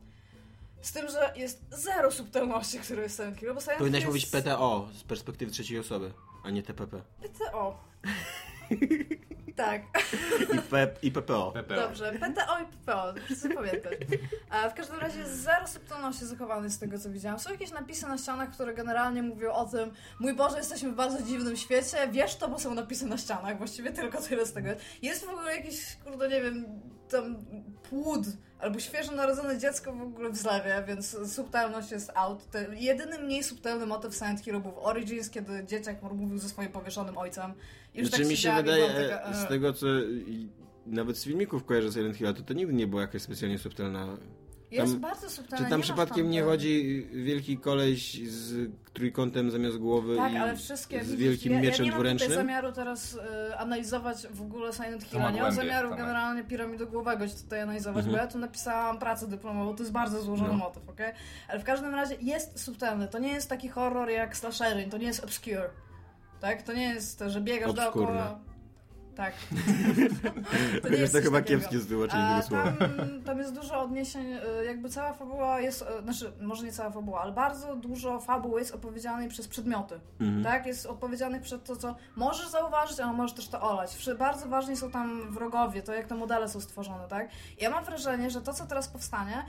Speaker 3: Z tym, że jest zero subtelności, które jest w Silent Hill, bo Silent Hill
Speaker 2: Powinnaś
Speaker 3: jest...
Speaker 2: mówić PTO z perspektywy trzeciej osoby, a nie TPP.
Speaker 3: PTO. tak.
Speaker 2: I, P- i PPO.
Speaker 4: PPO.
Speaker 3: Dobrze, PTO i PPO, wszyscy pamiętać. A w każdym razie zero subtelności zachowanej z tego, co widziałam. Są jakieś napisy na ścianach, które generalnie mówią o tym, mój Boże, jesteśmy w bardzo dziwnym świecie, wiesz to, bo są napisy na ścianach, właściwie tylko tyle z tego. Jest w ogóle jakiś, kurde, nie wiem, tam płód albo świeżo narodzone dziecko w ogóle w zlewie, więc subtelność jest out. Te- Jedyny mniej subtelny motyw Silent Hero był w Origins, kiedy dzieciak mówił ze swoim powieszonym ojcem. I już
Speaker 2: Znaczy
Speaker 3: tak
Speaker 2: mi się
Speaker 3: siedziałam i
Speaker 2: wydaje,
Speaker 3: byłam taka,
Speaker 2: e,
Speaker 3: e,
Speaker 2: z tego co i, nawet z filmików kojarzę Silent Hill, to to nigdy nie była jakaś specjalnie subtelna.
Speaker 3: Jest
Speaker 2: tam-
Speaker 3: bardzo subtelny.
Speaker 2: Czy
Speaker 3: nie
Speaker 2: tam
Speaker 3: ma
Speaker 2: przypadkiem nie
Speaker 3: fantom.
Speaker 2: chodzi wielki koleś z trójkątem zamiast głowy
Speaker 3: Tak,
Speaker 2: i
Speaker 3: ale wszystkie.
Speaker 2: z
Speaker 3: widzisz,
Speaker 2: wielkim
Speaker 3: ja,
Speaker 2: mieczem
Speaker 3: ja nie mam
Speaker 2: dwuręcznym?
Speaker 3: tutaj zamiaru teraz y, analizować w ogóle Silent
Speaker 4: To
Speaker 3: Hill.
Speaker 4: ma
Speaker 3: Nie mam
Speaker 4: głębiej,
Speaker 3: zamiaru
Speaker 4: to ma.
Speaker 3: generalnie piramidogłowego się tutaj analizować,
Speaker 2: Mhm.
Speaker 3: bo ja tu napisałam pracę dyplomową, to jest bardzo złożony
Speaker 2: No.
Speaker 3: motyw, okej? Ale w każdym razie jest subtelny. To nie jest taki horror jak Slasherin, to nie jest obscure. Tak? To nie jest, że biegasz
Speaker 2: Obskurne.
Speaker 3: dookoła. Tak.
Speaker 2: *laughs* To,
Speaker 3: nie jest
Speaker 2: to
Speaker 3: coś
Speaker 2: chyba
Speaker 3: takiego. E, tak,
Speaker 2: kiepskie wytłumaczenie
Speaker 3: A
Speaker 2: tego słowa.
Speaker 3: tam, *laughs* tam jest dużo odniesień, y, jakby cała fabuła jest, y, znaczy może nie cała fabuła, ale bardzo dużo fabuł jest opowiedzianej przez przedmioty,
Speaker 2: Mhm.
Speaker 3: tak? Jest odpowiedzialnych przez to, co możesz zauważyć, ale możesz też to olać. Wszy- Bardzo ważni są tam wrogowie, to jak te modele są stworzone, tak? Ja mam wrażenie, że to, co teraz powstanie,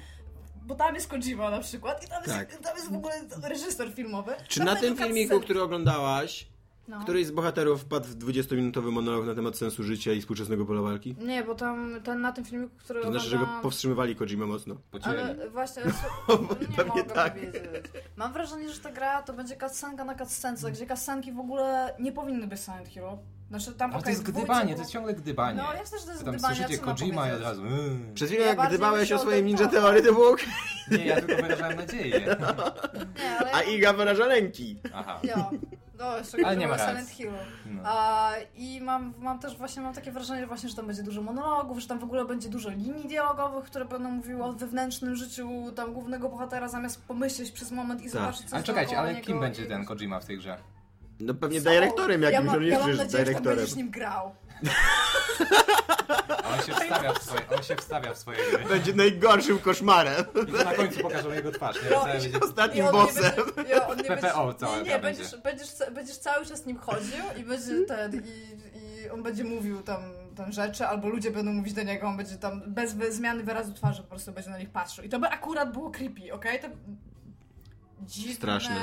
Speaker 3: bo tam jest Kojima na przykład i tam jest,
Speaker 2: Tak.
Speaker 3: tam jest w ogóle reżyser filmowy.
Speaker 2: Czy
Speaker 3: tam
Speaker 2: na
Speaker 3: będzie
Speaker 2: tym filmiku,
Speaker 3: cutscene.
Speaker 2: który oglądałaś,
Speaker 3: No.
Speaker 2: któryś z bohaterów wpadł w 20-minutowy monolog na temat sensu życia i współczesnego pola walki?
Speaker 3: Nie, bo tam ten, na tym filmiku, który
Speaker 2: To znaczy, że go
Speaker 3: oglądałam-
Speaker 2: powstrzymywali Kojima mocno.
Speaker 4: Pocieli.
Speaker 3: Ale
Speaker 2: *laughs*
Speaker 3: właśnie, su- nie
Speaker 2: pewnie
Speaker 3: mogę
Speaker 2: tak.
Speaker 3: powiedzieć. Mam wrażenie, że ta gra to będzie cutscenka na cutscence, gdzie cutscenki w ogóle nie powinny być Silent Hero. Znaczy tam
Speaker 4: Ale to
Speaker 3: okej,
Speaker 4: jest
Speaker 3: w dwójce
Speaker 4: gdybanie, to
Speaker 3: było-
Speaker 4: jest ciągle gdybanie.
Speaker 3: No, jasne, że to jest
Speaker 4: Tam
Speaker 3: gdybanie,
Speaker 4: słyszycie
Speaker 3: co mam
Speaker 4: Kojima i od
Speaker 3: powiedzieć?
Speaker 4: razu... "Mm".
Speaker 2: Przez chwilę,
Speaker 3: Ja
Speaker 2: jak
Speaker 3: bardziej
Speaker 2: gdybałeś o
Speaker 3: myślę o
Speaker 2: swojej
Speaker 3: tym
Speaker 2: Ninja
Speaker 3: tak.
Speaker 2: Theory The Book,
Speaker 4: Nie, ja tylko wyrażałem
Speaker 2: *laughs*
Speaker 4: nadzieję.
Speaker 3: Nie, ale...
Speaker 2: a Iga wyraża lęki.
Speaker 4: Aha.
Speaker 3: Jo,
Speaker 4: *laughs*
Speaker 3: no, jeszcze
Speaker 4: Ale nie ma
Speaker 3: było Silent
Speaker 4: racji.
Speaker 3: Hero.
Speaker 4: No.
Speaker 3: A, I mam, mam też właśnie mam takie wrażenie, właśnie, że tam będzie dużo monologów, że tam w ogóle będzie dużo linii dialogowych, które będą mówiły o wewnętrznym życiu tam głównego bohatera, zamiast pomyśleć przez moment i zobaczyć, co
Speaker 4: Tak. Ale
Speaker 3: jest
Speaker 4: czekajcie,
Speaker 3: dookoła
Speaker 4: ale kim
Speaker 3: niego
Speaker 4: będzie
Speaker 3: i-
Speaker 4: ten Kojima w tej grze?
Speaker 2: No pewnie
Speaker 3: Są.
Speaker 2: dyrektorem
Speaker 3: ja
Speaker 2: jakimś,
Speaker 3: mam,
Speaker 2: on
Speaker 3: ja
Speaker 2: jest
Speaker 3: mam
Speaker 2: przecież
Speaker 3: nadzieję, że tam
Speaker 2: dyrektorem.
Speaker 3: będziesz nim grał. No,
Speaker 4: A On się wstawia w swoje, on się wstawia w swoje gry.
Speaker 2: Będzie najgorszym
Speaker 3: *laughs*
Speaker 2: koszmarem.
Speaker 4: I to na końcu pokażą jego twarz, nie?
Speaker 3: No,
Speaker 4: Cały
Speaker 3: i-
Speaker 4: będzie-
Speaker 3: I
Speaker 2: Ostatnim
Speaker 3: on nie
Speaker 2: bossem.
Speaker 3: będzie, ja, on nie będzie,
Speaker 4: PPO cała
Speaker 3: nie, nie,
Speaker 4: gra
Speaker 3: będziesz,
Speaker 4: będzie.
Speaker 3: Będziesz, ca- będziesz cały czas nim chodził i będzie ten, i, i on będzie mówił tam, tam rzeczy, albo ludzie będą mówić do niego, on będzie tam bez wy- zmiany wyrazu twarzy po prostu będzie na nich patrzył. I to by akurat było creepy, okej? To dziwne,
Speaker 2: Straszne.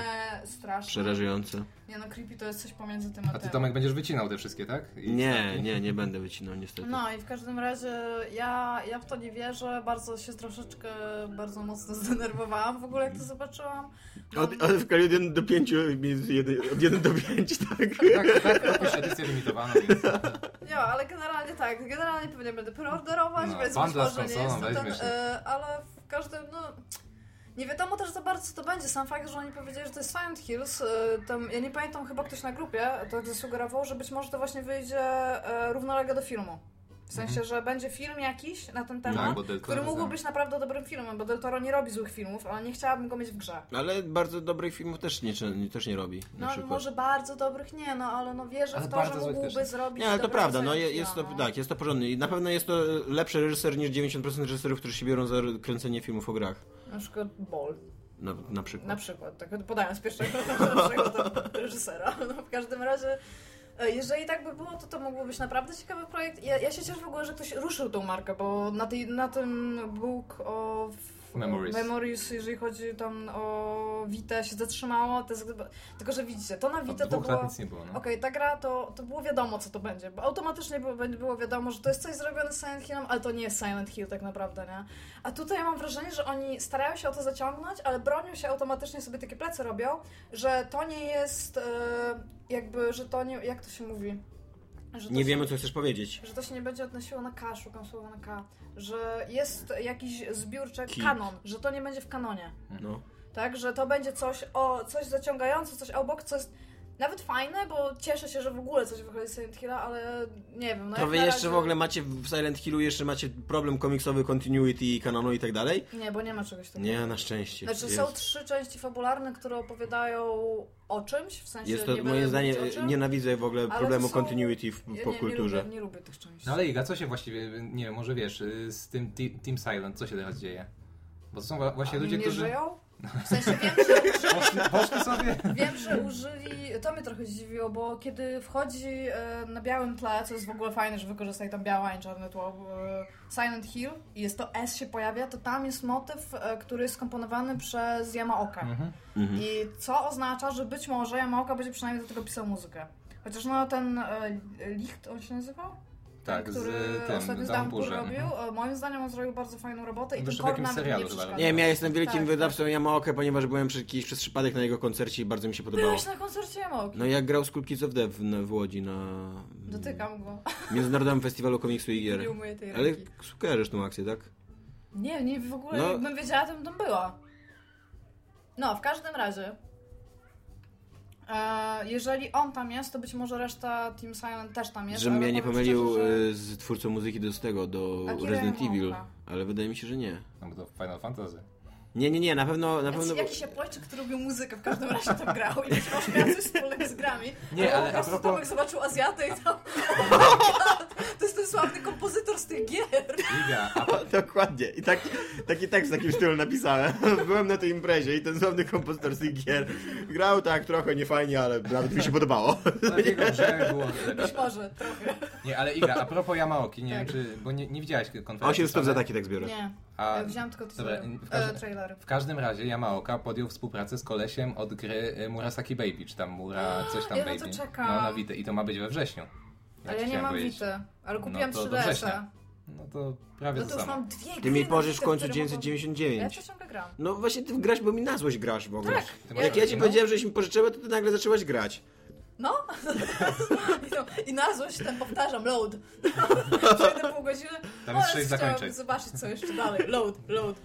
Speaker 3: straszne.
Speaker 2: Przerażające.
Speaker 3: Nie no, creepy to jest coś pomiędzy tym a,
Speaker 4: A ty
Speaker 3: tym.
Speaker 4: Tomek będziesz wycinał te wszystkie, tak? I
Speaker 2: Nie, nie, nie będę wycinał niestety.
Speaker 3: No i w każdym razie ja, ja w to nie wierzę, bardzo się troszeczkę, bardzo mocno zdenerwowałam w ogóle jak to zobaczyłam.
Speaker 2: Od, od, od 1 do 5, między jeden- od 1 do 5, *laughs* tak?
Speaker 4: Tak, tak, jakoś edycję limitowano, więc...
Speaker 3: Nie, ale generalnie tak, generalnie pewnie będę preorderować,
Speaker 4: No,
Speaker 3: więc być
Speaker 4: bundla z
Speaker 3: może nie
Speaker 4: konsolą,
Speaker 3: jest to ten,
Speaker 4: weźmiesz.
Speaker 3: e, ale w każdym, no... Nie wiadomo też za bardzo co to będzie. Sam fakt, że oni powiedzieli, że to jest Silent Hills, e, tam, ja nie pamiętam, chyba ktoś na grupie to zasugerował, że być może to właśnie wyjdzie e, równolegle do filmu. W sensie, że będzie film jakiś na ten temat,
Speaker 4: Mhm. Tak, bo Del Toro
Speaker 3: który mógłby
Speaker 4: znam.
Speaker 3: być naprawdę dobrym filmem, bo Del Toro nie robi złych filmów, ale nie chciałabym go mieć w grze.
Speaker 2: No Ale bardzo dobrych filmów też nie, też nie robi.
Speaker 3: No może bardzo dobrych nie, no ale no wierzę
Speaker 4: Ale
Speaker 3: w to, że
Speaker 4: bardzo złych
Speaker 3: mógłby
Speaker 4: też.
Speaker 3: zrobić
Speaker 2: Nie, ale to
Speaker 3: dobrego
Speaker 2: prawda, no je-
Speaker 3: Silent
Speaker 2: jest to,
Speaker 3: Hilla, no.
Speaker 2: tak, jest to porządny i na pewno jest to lepszy reżyser niż 90% reżyserów, którzy się biorą za kręcenie filmów o grach.
Speaker 3: Na przykład Ball.
Speaker 2: Na, na przykład.
Speaker 3: Na przykład, tak podając pierwszego *laughs* pierwszego reżysera. No, w każdym razie, e, jeżeli tak by było, to to mógłby być naprawdę ciekawy projekt. Ja, ja się cieszę w ogóle, że ktoś ruszył tą markę, bo na, tej, na tym Book of
Speaker 4: Memories.
Speaker 3: Memories, jeżeli chodzi tam o Vita, się zatrzymało. To jest, chyba- tylko, że widzicie, to na
Speaker 4: Od
Speaker 3: Vita to
Speaker 4: dwóch
Speaker 3: było...
Speaker 4: lat nic nie było, no.
Speaker 3: Okej, ta gra to, to było wiadomo, co to będzie, bo automatycznie było, było wiadomo, że to jest coś zrobione z Silent Hillem, ale to nie jest Silent Hill tak naprawdę, nie? A tutaj mam wrażenie, że oni starają się o to zaciągnąć, ale bronią się automatycznie, sobie takie plecy robią, że to nie jest e, jakby, że to nie, jak to się mówi? Że to
Speaker 2: Nie
Speaker 3: się-
Speaker 2: wiemy, co chcesz powiedzieć.
Speaker 3: Że to się nie będzie odnosiło na K, szukam słowa na K, że jest jakiś zbiórczek,
Speaker 2: Kit.
Speaker 3: kanon, że to nie będzie w kanonie.
Speaker 2: No.
Speaker 3: Tak, że to będzie coś, o, coś zaciągające, coś obok, co jest nawet fajne, bo cieszę się, że w ogóle coś wychodzi z Silent Hilla, ale nie wiem. No
Speaker 2: To
Speaker 3: jak
Speaker 2: wy
Speaker 3: na
Speaker 2: jeszcze
Speaker 3: razie-
Speaker 2: w ogóle macie w Silent Hillu jeszcze macie problem komiksowy, continuity, kanonu i tak dalej?
Speaker 3: Nie, bo nie ma czegoś takiego.
Speaker 2: Nie, na szczęście.
Speaker 3: Znaczy
Speaker 2: jest,
Speaker 3: są trzy części fabularne, które opowiadają o czymś, w sensie
Speaker 2: jest to
Speaker 3: nie będę
Speaker 2: moim zdaniem,
Speaker 3: mówić o czym.
Speaker 2: nienawidzę w ogóle
Speaker 3: ale to
Speaker 2: problemu
Speaker 3: są-
Speaker 2: continuity w,
Speaker 3: Ja
Speaker 2: po
Speaker 3: nie,
Speaker 2: kulturze.
Speaker 3: Nie lubię, nie lubię tych części.
Speaker 4: No ale Iga, co się właściwie, nie wiem, może wiesz, y, z tym Ti- Team Silent, co się teraz dzieje? Bo to są wa- właśnie
Speaker 3: Oni
Speaker 4: ludzie,
Speaker 3: nie
Speaker 4: którzy *laughs*
Speaker 3: żyją? W sensie wiem, że
Speaker 4: poszli, poszli sobie.
Speaker 3: Wiem, że użyli, to mnie trochę zdziwiło, bo kiedy wchodzi e, na białym tle, co jest w ogóle fajne, że wykorzystali tam białe, a nie czarne tło, e, Silent Hill i jest to S się pojawia, to tam jest motyw, e, który jest skomponowany przez Yamaoka.
Speaker 4: Mhm.
Speaker 2: Mhm.
Speaker 3: I co oznacza, że być może Yamaoka będzie przynajmniej do tego pisał muzykę. Chociaż no ten e, Licht, on się nazywał?
Speaker 4: Tak,
Speaker 3: ten,
Speaker 4: z
Speaker 3: który
Speaker 4: y, tym,
Speaker 3: ostatnio z Downpour robił. e, Moim zdaniem on zrobił bardzo fajną robotę i ten
Speaker 4: Zresztą w
Speaker 3: kor
Speaker 4: jakimś
Speaker 3: nawet
Speaker 4: serialu
Speaker 3: nie
Speaker 4: chyba
Speaker 3: przeszkadza.
Speaker 2: Nie wiem, ja jestem wielkim
Speaker 3: Tak.
Speaker 2: wydawcą Yamaoka, ponieważ byłem przez, jakiś, przez przypadek na jego koncercie i bardzo mi się podobało.
Speaker 3: Byłeś na koncercie Yamaoki.
Speaker 2: No jak grał z Cool Kids of Dev w, w Łodzi na
Speaker 3: Dotykam go.
Speaker 2: Międzynarodowym Festiwalu Komiksu i
Speaker 3: Nie
Speaker 2: Gier.
Speaker 3: umyję tej
Speaker 2: Ale
Speaker 3: ręki.
Speaker 2: kojarzysz tą akcję, tak?
Speaker 3: Nie, nie, w ogóle
Speaker 2: No.
Speaker 3: jakbym wiedziała, to bym tam była. No, w każdym razie. E, jeżeli on tam jest, to być może reszta Team Silent też tam jest.
Speaker 2: Żebym
Speaker 3: ale
Speaker 2: ja nie
Speaker 3: powiem
Speaker 2: pomylił
Speaker 3: szczerze, że-
Speaker 2: y, z twórcą muzyki do z tego, do
Speaker 3: Akira
Speaker 2: Resident Evil,
Speaker 3: Yamaoka.
Speaker 2: ale wydaje mi się, że nie.
Speaker 4: No bo to Final Fantasy.
Speaker 2: Nie, nie, nie, na pewno, na
Speaker 3: Jakiś-
Speaker 2: pewno...
Speaker 3: Jakiś Japończyk, który robił muzykę, w każdym razie tam grał i być może miał coś wspólnego z grami.
Speaker 4: Nie,
Speaker 3: Bo
Speaker 4: ale
Speaker 3: po
Speaker 4: a
Speaker 3: prostu
Speaker 4: propos-
Speaker 3: Tomek zobaczył Azjatę i
Speaker 2: *laughs*
Speaker 3: tam... to jest ten sławny kompozytor z tych gier.
Speaker 4: Iga, a po,
Speaker 2: No, Dokładnie. I tak, taki tekst w takim stylu napisałem. *laughs* Byłem na tej imprezie i ten sławny kompozytor z tych gier grał tak trochę niefajnie, ale nawet mi się *laughs* podobało.
Speaker 4: na jego grze było lepiej.
Speaker 3: Być może, trochę.
Speaker 4: Nie, ale Iga, a propos Yamaoki, nie
Speaker 3: Tak.
Speaker 4: wiem czy, bo nie, nie widziałaś konferencji.
Speaker 2: 8 stów za
Speaker 4: ale-
Speaker 2: taki tekst biorę.
Speaker 3: Nie,
Speaker 4: A,
Speaker 3: ja wziąłam tylko
Speaker 4: dobra,
Speaker 3: tytuły,
Speaker 4: w
Speaker 3: e,
Speaker 4: każdym-
Speaker 3: trailery.
Speaker 4: W każdym razie Yamaoka podjął współpracę z kolesiem od gry y, Murasaki Baby, czy tam Mura coś tam
Speaker 3: ja na
Speaker 4: Baby.
Speaker 3: to czekam.
Speaker 4: No na Wite i to ma być we wrześniu.
Speaker 3: Ale
Speaker 4: ci
Speaker 3: ja nie
Speaker 4: chciałem
Speaker 3: mam
Speaker 4: powiedzieć.
Speaker 3: Wity, ale
Speaker 4: No
Speaker 3: kupiłam
Speaker 4: to do
Speaker 3: 3DS-a.
Speaker 4: września. No to prawie
Speaker 3: No
Speaker 4: to,
Speaker 3: to już
Speaker 4: samo.
Speaker 3: mam dwie
Speaker 2: Ty
Speaker 3: gry
Speaker 2: mi
Speaker 3: na
Speaker 2: pożysz w
Speaker 3: listę,
Speaker 2: końcu
Speaker 3: które mogą- Ja
Speaker 2: 999.
Speaker 3: też Tak, ciągle gram.
Speaker 2: No właśnie ty grasz, bo mi na złość grasz w ogóle.
Speaker 4: Ty masz no.
Speaker 2: Jak ja ci
Speaker 4: rodzinę?
Speaker 2: powiedziałem, żeś mi pożyczyła, to ty nagle zaczęłaś grać.
Speaker 3: No, *laughs* I to- i na złość ten powtarzam, load. *laughs* Przejdę pół godziny,
Speaker 4: Tam jest
Speaker 3: o, chciałabym
Speaker 4: sześć zakończeń.
Speaker 3: zobaczyć co jeszcze dalej, load, load.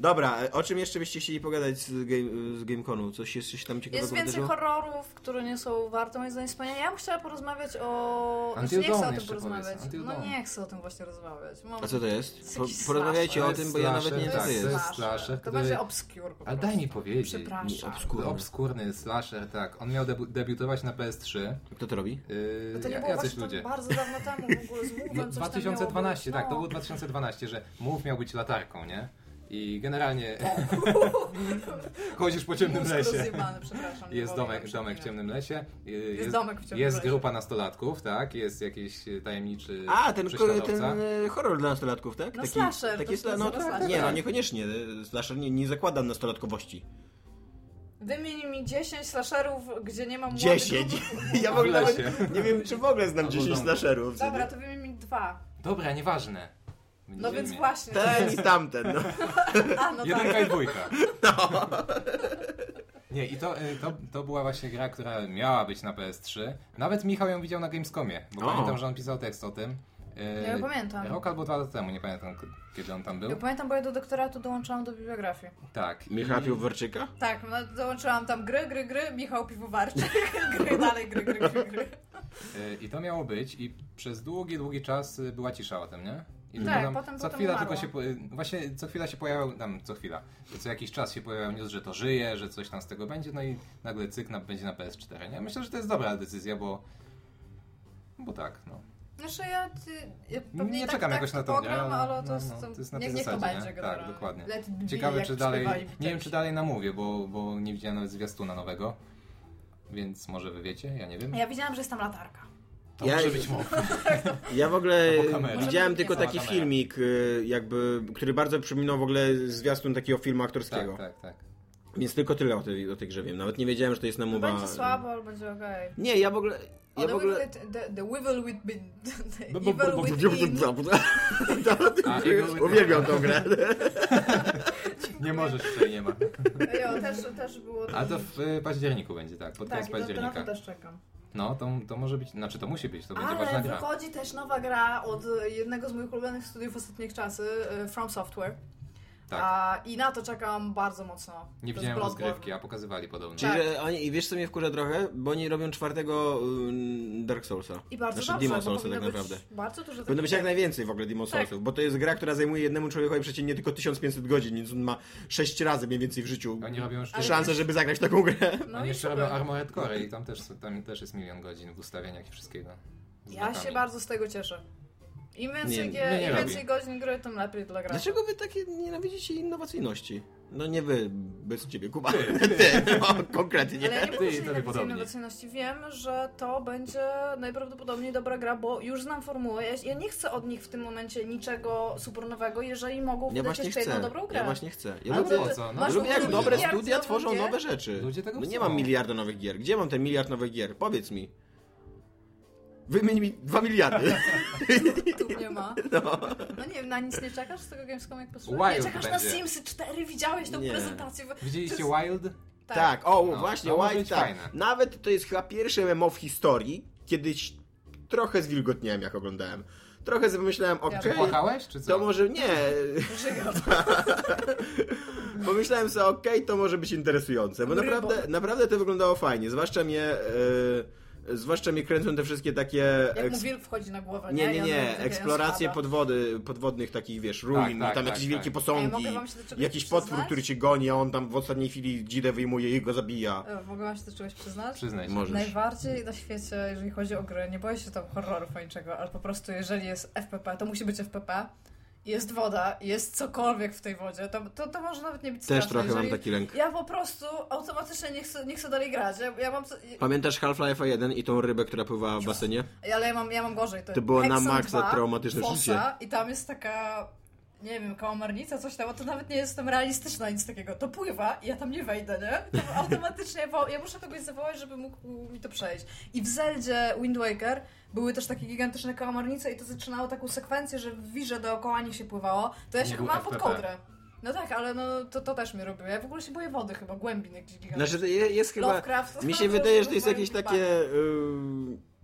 Speaker 2: Dobra, e, o czym jeszcze byście chcieli pogadać z, game, z GameConu? Coś jeszcze się tam ciekawego
Speaker 3: Jest więcej
Speaker 2: wydarzyło?
Speaker 3: horrorów, które nie są warte moim zdaniem wspomnienia. Ja bym chciała porozmawiać o... Znaczy,
Speaker 4: Until
Speaker 3: nie chcę o
Speaker 4: Dawn
Speaker 3: tym
Speaker 4: jeszcze
Speaker 3: porozmawiać.
Speaker 4: powiedz, Until
Speaker 3: No
Speaker 4: Dawn.
Speaker 3: nie chcę o tym właśnie rozmawiać. Mam...
Speaker 2: A co to jest?
Speaker 3: jest
Speaker 2: Po,
Speaker 3: jakiś
Speaker 2: porozmawiajcie
Speaker 4: slasher.
Speaker 2: o tym, bo ja
Speaker 4: To jest
Speaker 2: nawet nie wiem, co
Speaker 4: slasher,
Speaker 2: to jest.
Speaker 4: jest slasher,
Speaker 3: To
Speaker 4: który-
Speaker 3: będzie obscure po
Speaker 4: Ale
Speaker 3: prostu.
Speaker 4: daj mi powiedzieć.
Speaker 3: Przepraszam.
Speaker 2: Nie, obscure.
Speaker 4: To Obskurny slasher, tak. On miał debu- debiutować na PS3.
Speaker 2: Kto to robi?
Speaker 4: Yy,
Speaker 3: No to nie
Speaker 4: ja-
Speaker 3: było
Speaker 4: jacyś
Speaker 3: właśnie
Speaker 4: ludzie.
Speaker 3: tak bardzo dawno temu w
Speaker 4: *laughs*
Speaker 3: ogóle z Move'em
Speaker 4: No,
Speaker 3: coś tam
Speaker 4: 2012,
Speaker 3: miało
Speaker 4: tak,
Speaker 3: być. No.
Speaker 4: to było 2012, że mów miał być latarką, nie? I generalnie *laughs* chodzisz po ciemnym
Speaker 3: Mózg
Speaker 4: lesie.
Speaker 3: rozjebany, przepraszam. nie
Speaker 4: Jest
Speaker 3: wolno tak
Speaker 4: domek, domek w
Speaker 3: przypominać.
Speaker 4: ciemnym lesie. y, Jest,
Speaker 3: domek w ciemnym
Speaker 4: Jest
Speaker 3: lesie.
Speaker 4: grupa nastolatków, tak? Jest jakiś y, tajemniczy
Speaker 2: A, ten, ko-
Speaker 4: prześladowca.
Speaker 2: ten e, horror dla nastolatków, tak?
Speaker 3: No slasher,
Speaker 2: Taki
Speaker 3: to
Speaker 2: sla- no,
Speaker 3: nazywa
Speaker 2: tak,
Speaker 3: slasher.
Speaker 2: Nie, no niekoniecznie. e, Slasher nie, nie zakłada nastolatkowości.
Speaker 3: Wymień mi 10 slasherów, gdzie nie ma młodych.
Speaker 2: 10! *laughs* Ja w ogóle
Speaker 4: W lesie.
Speaker 2: nawet nie wiem, czy w ogóle znam
Speaker 4: Albo
Speaker 2: 10
Speaker 4: w domu.
Speaker 2: slasherów.
Speaker 3: Dobra, to wymień mi dwa.
Speaker 4: Dobra, nieważne.
Speaker 3: No
Speaker 4: Będziemy
Speaker 3: więc
Speaker 4: mieli.
Speaker 3: właśnie.
Speaker 2: Ten i tamten.
Speaker 4: *laughs*
Speaker 2: No.
Speaker 3: A, no tak.
Speaker 4: Jedynka i
Speaker 3: *laughs*
Speaker 4: dwójka. Nie, i to, y, to, to była właśnie gra, która miała być na PS3. Nawet Michał ją widział na Gamescomie, bo
Speaker 2: O.
Speaker 4: pamiętam, że on pisał tekst o tym. Y,
Speaker 3: Ja pamiętam.
Speaker 4: Rok albo dwa lata temu, nie pamiętam k- kiedy on tam był.
Speaker 3: Ja pamiętam, bo ja do doktoratu dołączyłam do bibliografii.
Speaker 4: Tak. i-
Speaker 2: Michał Piłwarczyka?
Speaker 3: Tak, no, dołączyłam tam gry, gry, gry, Michał Piwowarczyk, *laughs* gry, dalej gry, gry, gry, gry.
Speaker 4: Y, I to miało być i przez długi, długi czas y, była cisza o tym, nie? I
Speaker 3: Tak, potem-
Speaker 4: co
Speaker 3: potem
Speaker 4: chwila
Speaker 3: umarło.
Speaker 4: tylko się, po- y, właśnie co chwila się pojawiał, tam co chwila, co jakiś czas się pojawiał news, że to żyje, że coś tam z tego będzie, no i nagle cyk na, będzie na PS4, nie? Myślę, że to jest dobra decyzja, bo, bo tak, no.
Speaker 3: Znaczy ja, ty, ja pewnie
Speaker 4: nie
Speaker 3: i tak,
Speaker 4: czekam
Speaker 3: tak
Speaker 4: jakoś na tą
Speaker 3: to
Speaker 4: grę,
Speaker 3: ogram,
Speaker 4: ale-
Speaker 3: ale to,
Speaker 4: no,
Speaker 3: jest,
Speaker 4: no, to jest na tej
Speaker 3: niech, niech to
Speaker 4: zasadzie, nie?
Speaker 3: będzie
Speaker 4: Tak,
Speaker 3: generalnie.
Speaker 4: dokładnie.
Speaker 3: Let it be,
Speaker 4: Ciekawe,
Speaker 3: jak
Speaker 4: czy dalej.
Speaker 3: śpiewali
Speaker 4: Nie wiem,
Speaker 3: wcześniej.
Speaker 4: czy dalej namówię, bo, bo nie widziałem nawet zwiastuna nowego. Więc może wy wiecie, ja nie wiem.
Speaker 3: Ja widziałam, że jest tam latarka.
Speaker 1: To
Speaker 2: Ja-
Speaker 1: może być mowa.
Speaker 2: Ja w ogóle
Speaker 4: Albo kamera.
Speaker 2: widziałem tylko
Speaker 4: Sama
Speaker 2: taki
Speaker 4: kamera.
Speaker 2: filmik, y, jakby, który bardzo przypominał w ogóle zwiastun takiego filmu aktorskiego.
Speaker 4: Tak, tak, tak.
Speaker 2: Więc tylko tyle o tej, o tej grze wiem. Nawet nie wiedziałem, że to jest
Speaker 3: To
Speaker 2: namowa.
Speaker 3: będzie słabo, ale będzie okej.
Speaker 2: Nie, ja w ogóle... Ja
Speaker 3: Oh,
Speaker 2: w
Speaker 3: the,
Speaker 2: ogóle...
Speaker 3: wicked- the, the Weevil with bin. The
Speaker 1: Bo- bo- bo-
Speaker 3: evil
Speaker 1: bo-
Speaker 3: within.
Speaker 2: no. *laughs*
Speaker 4: A, jego-
Speaker 2: Uwielbiam tą grę.
Speaker 4: Nie możesz, tutaj nie ma.
Speaker 3: Jo, też, też było...
Speaker 4: A to w y, październiku będzie, tak, pod koniec
Speaker 3: tak, i to, to na to
Speaker 4: października.
Speaker 3: też czekam.
Speaker 4: No, to, to może być, znaczy to musi być, to będzie ważna
Speaker 3: Ale
Speaker 4: gra.
Speaker 3: wychodzi też nowa gra od e, jednego z moich ulubionych studiów ostatnich czasy, e, From Software.
Speaker 4: Tak.
Speaker 3: A, I na to czekam bardzo mocno. To
Speaker 4: Nie
Speaker 3: jest
Speaker 4: widziałem
Speaker 3: Bloodborne.
Speaker 4: rozgrywki, a pokazywali podobno.
Speaker 2: *laughs* Czyli, że
Speaker 3: Tak.
Speaker 2: oni, i wiesz co mnie wkurza trochę? Bo oni robią czwartego ym, Dark Soulsa.
Speaker 3: I bardzo
Speaker 2: Znaczy
Speaker 3: dobrze,
Speaker 2: Demon
Speaker 3: bo
Speaker 2: Soulsa tak
Speaker 3: powinno być
Speaker 2: naprawdę.
Speaker 3: Bardzo dużo takich
Speaker 2: Powinno być jak
Speaker 3: gier.
Speaker 2: najwięcej w ogóle Demon
Speaker 3: Tak.
Speaker 2: Soulsów, bo to jest gra, która zajmuje jednemu człowiekowi przeciętnie tylko 1500 godzin, więc on ma 6 razy mniej więcej w życiu
Speaker 4: Oni robią jeszcze,
Speaker 3: Ale-
Speaker 2: szansę, żeby zagrać w taką grę.
Speaker 3: No
Speaker 4: oni
Speaker 3: i
Speaker 4: jeszcze
Speaker 3: super.
Speaker 4: robią Armored Core i tam też, tam też jest milion godzin w ustawieniach i wszystkiego. Z
Speaker 3: Ja się
Speaker 4: znakami.
Speaker 3: bardzo z tego cieszę. Im
Speaker 2: Nie, Znaczy,
Speaker 3: więcej,
Speaker 4: mnie
Speaker 3: gier,
Speaker 4: nie
Speaker 3: im
Speaker 4: robi.
Speaker 3: więcej godzin gry, tym lepiej dla gracza.
Speaker 2: Dlaczego wy takie nienawidzicie innowacyjności? No nie wy, bez ciebie, Kuba. *laughs* Ty, no, konkretnie.
Speaker 3: Ale ja nie
Speaker 4: Ty
Speaker 3: mówię,
Speaker 4: i
Speaker 3: że
Speaker 4: tobie
Speaker 3: nienawidzę
Speaker 4: podobnie.
Speaker 3: innowacyjności. Wiem, że to będzie najprawdopodobniej dobra gra, bo już znam formułę. Ja, ja nie chcę od nich w tym momencie niczego super nowego, jeżeli mogą
Speaker 2: Ja
Speaker 3: wydać
Speaker 2: właśnie
Speaker 3: jeszcze jedną
Speaker 2: chcę.
Speaker 3: dobrą grę.
Speaker 2: Ja właśnie chcę. Ja
Speaker 4: Ale
Speaker 2: lubię,
Speaker 4: po co? No
Speaker 2: ja
Speaker 4: Masz
Speaker 2: lubię jak
Speaker 4: ludzie.
Speaker 2: dobre
Speaker 4: Miliard
Speaker 2: studia tworzą nowe rzeczy.
Speaker 4: Ludzie tego
Speaker 2: no nie
Speaker 4: chcą.
Speaker 2: mam miliarda nowych gier. Gdzie mam ten miliard nowych gier? Powiedz mi. Wymień mi dwa
Speaker 3: *laughs*
Speaker 2: miliardy.
Speaker 3: Tu nie ma.
Speaker 2: No.
Speaker 3: No nie wiem, na nic nie czekasz z tego Gamescom jak
Speaker 4: Wild
Speaker 3: posłuchaj? Nie czekasz na
Speaker 4: będzie.
Speaker 3: Simsy 4, widziałeś tą
Speaker 2: Nie.
Speaker 3: prezentację. w-
Speaker 4: Widzieliście
Speaker 3: To
Speaker 4: Wild?
Speaker 3: jest-
Speaker 2: Tak. o
Speaker 4: No,
Speaker 2: właśnie,
Speaker 4: to może
Speaker 2: White
Speaker 4: być
Speaker 2: tak.
Speaker 4: fajne.
Speaker 2: Nawet to jest chyba pierwsze MMO w historii, kiedyś trochę zwilgotniałem jak oglądałem. Trochę sobie myślałem,
Speaker 3: Ja
Speaker 2: okej,
Speaker 4: Płakałeś, czy co?
Speaker 2: to może nie. Pomyślałem sobie, okej, to może być interesujące, bo
Speaker 3: Rybo.
Speaker 2: naprawdę, naprawdę to wyglądało fajnie, zwłaszcza mnie... e, Zwłaszcza mnie kręcą te wszystkie takie
Speaker 3: Jak mu
Speaker 2: eks-
Speaker 3: wilk wchodzi na głowę, nie?
Speaker 2: Nie,
Speaker 3: I
Speaker 2: nie,
Speaker 3: on
Speaker 2: nie.
Speaker 3: mówi, że
Speaker 2: Eksploracje
Speaker 3: spada.
Speaker 2: podwody, podwodnych takich, wiesz, ruin,
Speaker 4: tak,
Speaker 2: tam
Speaker 4: tak,
Speaker 2: jakieś
Speaker 4: tak.
Speaker 2: wielkie
Speaker 3: Ej,
Speaker 2: posągi,
Speaker 3: mogę wam się do czegoś
Speaker 2: jakiś
Speaker 3: przyznać?
Speaker 2: potwór, który cię goni, a on tam w ostatniej chwili dzidę wyjmuje i go zabija.
Speaker 3: E, Mogę wam się do czegoś przyznać?
Speaker 4: Przyznaj się.
Speaker 2: Może. Możesz.
Speaker 3: Najbardziej na świecie, jeżeli chodzi o gry, nie boję się tam horrorów ani czego, ale po prostu jeżeli jest FPP, to musi być FPP. Jest woda, jest cokolwiek w tej wodzie, to, to, to może nawet nie być straszne. jeżeli...
Speaker 2: lęk.
Speaker 3: Ja po prostu automatycznie nie chcę, nie chcę dalej grać. Ja, ja mam, co-
Speaker 2: Pamiętasz Half-Life 1 i tą rybę, która pływała w basenie?
Speaker 3: ale ja mam, ja mam gorzej. To,
Speaker 2: To było na
Speaker 3: Hexen
Speaker 2: maksa
Speaker 3: 2,
Speaker 2: traumatyczne
Speaker 3: fosa,
Speaker 2: przeżycie.
Speaker 3: I tam jest taka, nie wiem, kałamarnica, coś tam, a to nawet nie jestem realistyczna, nic takiego. To pływa i ja tam nie wejdę, nie?
Speaker 2: *laughs*
Speaker 3: To automatycznie, wo- ja muszę kogoś zawołać, żeby mógł mi to przejść. I w Zeldzie Wind Waker były też takie gigantyczne kałamarnice i to zaczynało taką sekwencję, że w wirze dookoła nich się pływało. To ja
Speaker 4: Nie
Speaker 3: się
Speaker 4: był
Speaker 3: chowałam pod
Speaker 4: FPP.
Speaker 3: kołdrę. No tak, ale no to, to też mi robiło. Ja w ogóle się boję wody chyba, głębin jakichś gigantycznych.
Speaker 2: Znaczy, to je- jest chyba...
Speaker 3: Lovecraft.
Speaker 2: Mi
Speaker 3: to
Speaker 2: się
Speaker 3: już
Speaker 2: wydaje, że
Speaker 3: był
Speaker 2: to jest
Speaker 3: moim *laughs*
Speaker 2: jakieś
Speaker 3: wypadkiem.
Speaker 2: takie... Yy...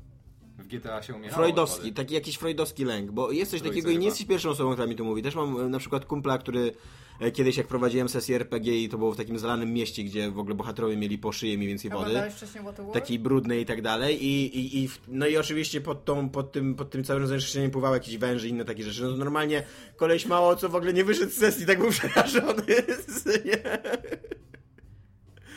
Speaker 4: W GTA się umierało.
Speaker 2: Freudowski, tak. taki jakiś freudowski lęk, bo jest coś
Speaker 4: no, Trójce
Speaker 2: takiego i nie
Speaker 4: chyba.
Speaker 2: jesteś pierwszą osobą, która mi to mówi. Też mam e, na przykład kumpla, który e, kiedyś jak prowadziłem sesję RPG i to było w takim zalanym mieście, gdzie w ogóle bohaterowie mieli po szyję mniej więcej wody.
Speaker 3: Oglądałeś wcześniej What the World?
Speaker 2: Takiej brudnej i tak dalej. I, i, i w, no i oczywiście pod, tą, pod, tym, pod tym całym zęszczeniem pływały jakieś węże i inne takie rzeczy. No to normalnie koleś mało co w ogóle nie wyszedł z sesji, tak był przerażony. *laughs* Nie.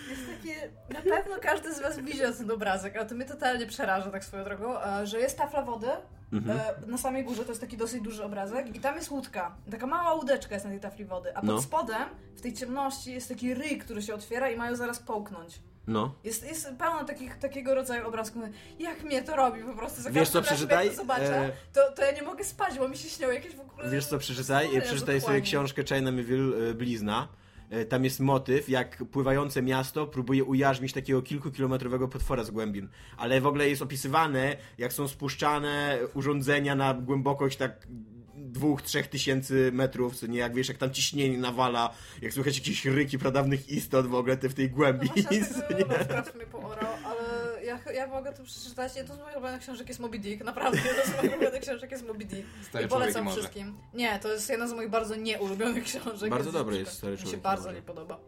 Speaker 3: Jest takie, na pewno każdy z was widział ten obrazek, ale to mnie totalnie przeraża tak swoją drogą, e, że jest tafla wody
Speaker 2: Mhm.
Speaker 3: e, na samej górze, to jest taki dosyć duży obrazek i tam jest łódka, taka mała łódeczka jest na tej tafli wody, a pod
Speaker 2: No.
Speaker 3: spodem w tej ciemności jest taki ryj, który się otwiera i mają zaraz połknąć.
Speaker 2: No.
Speaker 3: Jest, jest pełno takich, takiego rodzaju obrazków. Mówię, Jak mnie to robi po prostu? Za
Speaker 2: Wiesz co,
Speaker 3: każdym razem,
Speaker 2: przeczytaj,
Speaker 3: jak to zobaczę,
Speaker 2: e,
Speaker 3: to, to ja nie mogę spać, bo mi się śnią jakieś w ogóle...
Speaker 2: Wiesz co, przeczytaj,
Speaker 3: historie
Speaker 2: przeczytaj sobie
Speaker 3: dokładnie.
Speaker 2: książkę Chainamiville e, Blizna. E, Tam jest motyw, jak pływające miasto próbuje ujarzmić takiego kilkukilometrowego potwora z głębin. Ale w ogóle jest opisywane, jak są spuszczane urządzenia na głębokość tak dwóch, trzech tysięcy metrów, co nie jak wiesz, jak tam ciśnienie nawala, jak słychać jakieś ryki pradawnych istot w ogóle te w tej
Speaker 3: No
Speaker 2: głębi. *laughs*
Speaker 3: właśnie,
Speaker 2: co
Speaker 3: dlatego
Speaker 2: nie?
Speaker 3: Lovecraft mnie poorał, ale ja, ja mogę to przeczytać. Ja to z moich ulubionych książek jest Moby Dick, naprawdę. To z moich ulubionych książek jest Moby Dick.
Speaker 4: Stary
Speaker 3: I
Speaker 4: człowiek i
Speaker 3: polecam
Speaker 4: morze.
Speaker 3: wszystkim. Nie, to jest jedna z moich bardzo nieulubionych książek.
Speaker 2: Bardzo
Speaker 3: Więc
Speaker 2: dobry
Speaker 3: na
Speaker 2: jest
Speaker 3: przykład
Speaker 2: Stary
Speaker 3: Mi się
Speaker 2: człowiek i
Speaker 3: bardzo
Speaker 2: morze.
Speaker 3: nie podoba.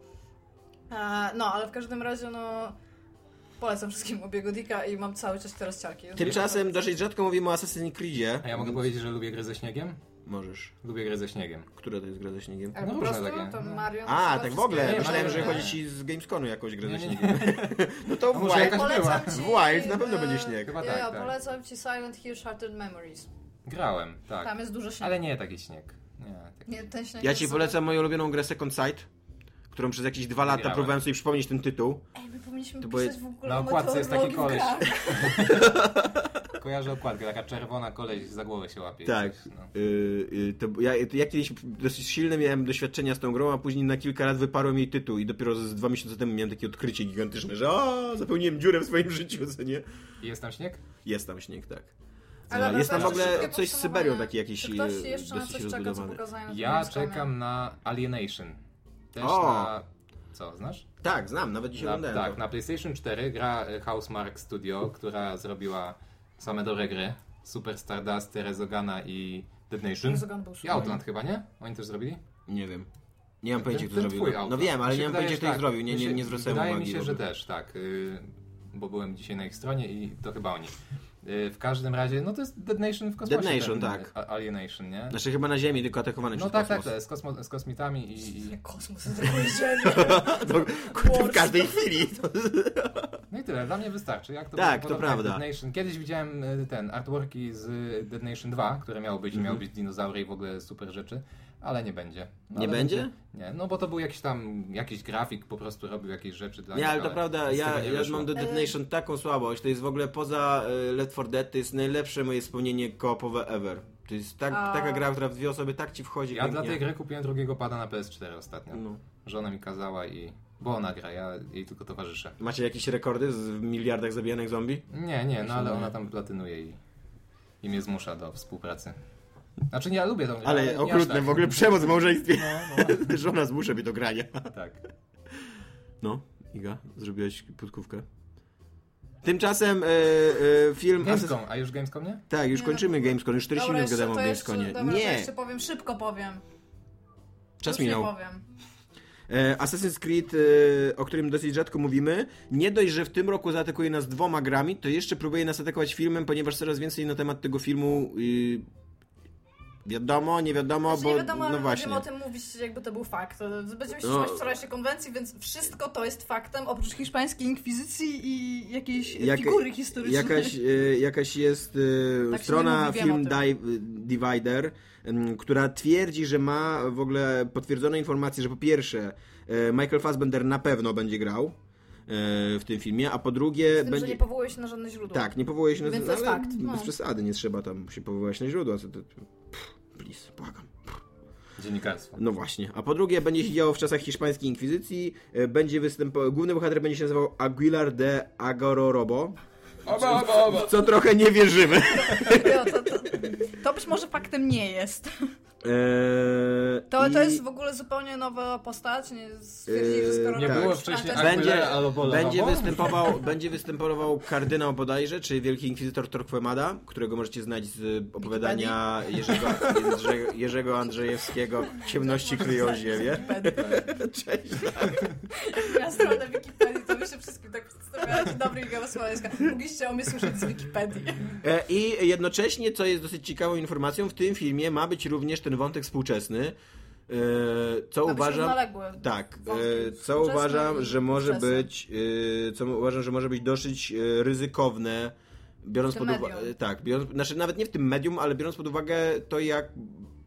Speaker 3: A, no, ale w każdym razie, no... Polecam wszystkim Moby'ego Dicka i mam cały czas teraz ciarki.
Speaker 2: Tymczasem dosyć rzadko mówimy o Assassin's Creedzie.
Speaker 4: A ja mogę powiedzieć, że lubię gry ze śniegiem?
Speaker 2: Możesz.
Speaker 4: Lubię grę ze śniegiem.
Speaker 2: Która to jest gra ze śniegiem?
Speaker 3: Ale
Speaker 4: No
Speaker 3: po
Speaker 4: różne
Speaker 3: prostu
Speaker 4: takie.
Speaker 3: to
Speaker 4: No.
Speaker 3: Marion...
Speaker 2: A,
Speaker 3: nazywa
Speaker 2: tak w
Speaker 3: wszystkie
Speaker 2: ogóle.
Speaker 3: gry.
Speaker 4: Nie,
Speaker 2: Myślałem, że
Speaker 4: nie.
Speaker 2: chodzi ci z Gamesconu jakąś grę
Speaker 4: Nie,
Speaker 2: ze
Speaker 4: nie, nie.
Speaker 2: śniegiem. No to w
Speaker 4: może
Speaker 2: Wild,
Speaker 4: jakaś-
Speaker 3: Polecam
Speaker 4: była.
Speaker 3: ci...
Speaker 2: w Wild na pewno
Speaker 3: e,
Speaker 2: będzie śnieg.
Speaker 4: Chyba
Speaker 3: nie,
Speaker 4: tak,
Speaker 3: ja
Speaker 4: tak.
Speaker 3: polecam ci Silent Hill Shattered Memories.
Speaker 4: *laughs* Grałem, tak.
Speaker 3: Tam jest dużo śniegu.
Speaker 4: Ale nie taki śnieg. Nie, taki...
Speaker 3: Nie, ten śnieg
Speaker 2: Ja
Speaker 3: jest
Speaker 2: ci
Speaker 3: super.
Speaker 2: polecam moją ulubioną grę Second Sight, którą przez jakieś dwa lata
Speaker 4: Grałem.
Speaker 2: próbowałem sobie przypomnieć ten tytuł.
Speaker 3: Ej, my powinniśmy
Speaker 2: To
Speaker 3: pisać
Speaker 2: były-
Speaker 3: w ogóle
Speaker 4: Na
Speaker 3: o
Speaker 4: okładce jest taki
Speaker 3: meteorologii w
Speaker 4: koleś.
Speaker 3: grach.
Speaker 4: tak. Kojarzę okładkę, taka czerwona koleś za głowę się łapie. i
Speaker 2: Tak.
Speaker 4: coś,
Speaker 2: Yy,
Speaker 4: no.
Speaker 2: yy, to, ja, to ja kiedyś dosyć silne miałem doświadczenia z tą grą, a później na kilka lat wyparłem jej tytuł i dopiero z dwa miesiące temu miałem takie odkrycie gigantyczne, że o, zapełniłem dziurę w swoim *laughs* życiu, co nie?
Speaker 4: I jest tam śnieg?
Speaker 2: Jest tam śnieg, tak.
Speaker 3: Ale
Speaker 2: jest tam w
Speaker 3: wracając do
Speaker 2: ogóle
Speaker 3: szybkiego
Speaker 2: coś z
Speaker 3: podsumowania.
Speaker 2: Syberią taki jakiś
Speaker 3: Czy ktoś
Speaker 2: yy,
Speaker 3: jeszcze na
Speaker 2: dosyć
Speaker 3: coś czeka, co
Speaker 2: rozbudowany.
Speaker 3: pokazałem na tym
Speaker 4: Ja
Speaker 3: Gamescomie?
Speaker 4: czekam na Alienation. Też
Speaker 2: O!
Speaker 4: na... Co, znasz?
Speaker 2: Tak, znam, nawet dzisiaj
Speaker 4: Na,
Speaker 2: oglądałem
Speaker 4: tak,
Speaker 2: to.
Speaker 4: na PlayStation 4 gra y, Housemark Studio, która zrobiła same dobre gry. Super Stardust, Rezogana i Dead Nation.
Speaker 3: Resogun był
Speaker 4: I
Speaker 3: super.
Speaker 4: Outland chyba, nie? Oni też zrobili?
Speaker 2: Nie wiem. Nie mam pojęcia,
Speaker 4: Ten-
Speaker 2: kto
Speaker 4: ten
Speaker 2: zrobił.
Speaker 4: twój
Speaker 2: No
Speaker 4: Outland.
Speaker 2: wiem, ale
Speaker 4: Mi się
Speaker 2: nie mam
Speaker 4: wydaje,
Speaker 2: pojęcia,
Speaker 4: że
Speaker 2: kto ich
Speaker 4: tak.
Speaker 2: zrobił. Nie,
Speaker 4: Mi się-
Speaker 2: nie, nie zwracałem
Speaker 4: Wydaje
Speaker 2: uwagi.
Speaker 4: mi się,
Speaker 2: w
Speaker 4: że
Speaker 2: ogóle.
Speaker 4: też, tak. y, Bo byłem dzisiaj na ich stronie i to chyba oni. Y, W każdym razie, no to jest Dead Nation w kosmosie.
Speaker 2: Dead Nation,
Speaker 4: ten,
Speaker 2: tak.
Speaker 4: a- Alienation, nie?
Speaker 2: Znaczy chyba na Ziemi, tylko atakowany
Speaker 4: No
Speaker 2: przez
Speaker 4: tak, tak,
Speaker 2: kosmos.
Speaker 4: tak, z, kosmo, z kosmitami i, i...
Speaker 3: Jak Kosmos jest ogólnie
Speaker 2: *laughs*
Speaker 4: tak,
Speaker 2: To, kurde, w każdej
Speaker 4: *laughs*
Speaker 2: chwili. To...
Speaker 4: No i tyle, dla mnie wystarczy. Jak to
Speaker 2: Tak,
Speaker 4: będzie
Speaker 2: to
Speaker 4: podobne jak
Speaker 2: prawda.
Speaker 4: Dead Nation. Kiedyś widziałem y, ten artworki z y, Dead Nation 2, które miało być,
Speaker 2: Mhm.
Speaker 4: miało być dinozaury i w ogóle super rzeczy, ale nie będzie. No,
Speaker 2: Nie
Speaker 4: ale
Speaker 2: będzie?
Speaker 4: Nie, no bo to był jakiś tam, jakiś grafik po prostu robił jakieś rzeczy dla
Speaker 2: Nie,
Speaker 4: nich,
Speaker 2: ale to prawda,
Speaker 4: Tak. z
Speaker 2: ja,
Speaker 4: tego nie
Speaker 2: ja
Speaker 4: wyszło.
Speaker 2: mam do Dead Nation taką słabość. To jest w ogóle poza y, Left 4 Dead, to jest najlepsze moje wspomnienie koopowe ever. To jest tak,
Speaker 3: A-
Speaker 2: taka gra, która w dwie osoby tak ci wchodzi.
Speaker 4: Ja dla
Speaker 2: pięknie.
Speaker 4: tej gry kupiłem drugiego pada na PS4 ostatnio.
Speaker 2: No.
Speaker 4: Żona mi kazała i... bo ona gra, ja jej tylko towarzyszę.
Speaker 2: Macie jakieś rekordy z, w miliardach zabijanych zombie?
Speaker 4: Nie, nie, no ale ona tam platynuje i, i mnie zmusza do współpracy. Znaczy nie, ja lubię tą grę.
Speaker 2: Ale
Speaker 4: nie aż
Speaker 2: okrutne,
Speaker 4: tak.
Speaker 2: w ogóle przemoc w małżeństwie.
Speaker 4: *laughs* No, no,
Speaker 2: *laughs* Żona zmusza mnie do grania. *laughs*
Speaker 4: tak.
Speaker 2: No, Iga, zrobiłeś podkówkę. Tymczasem e, e, film...
Speaker 4: Gamescom, a już Gamescom nie?
Speaker 2: Tak, już
Speaker 3: Nie, no
Speaker 2: kończymy Gamescon, już 40
Speaker 3: Dobra,
Speaker 2: minut
Speaker 3: jeszcze,
Speaker 2: gadamy o
Speaker 3: to jeszcze,
Speaker 2: Gamesconie.
Speaker 3: dobra, to
Speaker 2: Nie,
Speaker 3: jeszcze powiem, szybko powiem.
Speaker 2: czas
Speaker 3: Już nie
Speaker 2: minął. No
Speaker 3: powiem.
Speaker 2: E, Assassin's Creed, e, o którym dosyć rzadko mówimy, nie dość, że w tym roku zaatakuje nas dwoma grami, to jeszcze próbuje nas atakować filmem, ponieważ coraz więcej na temat tego filmu y, wiadomo, nie wiadomo,
Speaker 3: Znaczy,
Speaker 2: bo
Speaker 3: nie wiadomo, ale
Speaker 2: no właśnie.
Speaker 3: będziemy o tym mówić, jakby to był fakt. Będziemy się
Speaker 2: No.
Speaker 3: trzymać wczorajszej konwencji, więc wszystko to jest faktem, oprócz hiszpańskiej inkwizycji i jakiejś
Speaker 2: Jaka-
Speaker 3: figury historycznej. *laughs*
Speaker 2: Jakaś, e, jakaś jest e,
Speaker 3: Tak się nie
Speaker 2: strona
Speaker 3: mówi, wiem
Speaker 2: Film
Speaker 3: o tym.
Speaker 2: Dive- Divider, m, która twierdzi, że ma w ogóle potwierdzone informacje, że po pierwsze e, Michael Fassbender na pewno będzie grał e, w tym filmie, a po drugie
Speaker 3: Z tym,
Speaker 2: będzie...
Speaker 3: że nie powołuje się na żadne źródło.
Speaker 2: Tak, nie powołuje się na
Speaker 3: Więc to
Speaker 2: źródła,
Speaker 3: jest
Speaker 2: ale
Speaker 3: fakt, no.
Speaker 2: bez przesady, nie trzeba tam się powoływać na źródła. Co to, pff, please, błagam.
Speaker 4: Dziennikarstwo.
Speaker 2: No właśnie. A po drugie, będzie się działo w czasach hiszpańskiej inkwizycji. e, Będzie występował... Główny bohater będzie się nazywał Aguilar de Agororobo,
Speaker 4: Oba, oba, oba!
Speaker 2: w co trochę nie wierzymy.
Speaker 3: No, to, to, to być może faktem nie jest.
Speaker 2: Eee,
Speaker 3: To, to
Speaker 2: i
Speaker 3: jest w ogóle zupełnie nowa postać. Nie stwierdzili, że skoro
Speaker 4: Nie
Speaker 2: Tak.
Speaker 4: było wcześniej
Speaker 3: A to jest-
Speaker 2: Będzie-
Speaker 4: Aguilera Alobola.
Speaker 2: Będzie
Speaker 4: Obo?
Speaker 2: występował, będzie występował kardynał bodajże, czy wielki inkwizytor Torquemada, którego możecie znać z opowiadania Jerzego, Jerzego, Jerzego Andrzejewskiego Ciemności kryją
Speaker 3: *laughs*
Speaker 2: ziemię. *laughs* Cześć.
Speaker 3: Ja stronę Wikipedii, to by się wszystkim tak przedstawiałaś. Dobry Igor Słowacka. Mogliście o mnie słyszeć z Wikipedii.
Speaker 2: E, I jednocześnie, co jest dosyć ciekawą informacją, w tym filmie ma być również ten wątek współczesny, e, co
Speaker 3: Aby się
Speaker 2: uważam...
Speaker 3: Równoległy.
Speaker 2: Tak,
Speaker 3: Wątki
Speaker 2: e, co
Speaker 3: współczesne
Speaker 2: uważam,
Speaker 3: i
Speaker 2: że może
Speaker 3: współczesne.
Speaker 2: być, e, co uważam, że może być dosyć e, ryzykowne, biorąc
Speaker 3: W
Speaker 2: pod
Speaker 3: tym
Speaker 2: uwagę,
Speaker 3: medium.
Speaker 2: tak, biorąc, znaczy nawet nie w tym medium, ale biorąc pod uwagę to, jak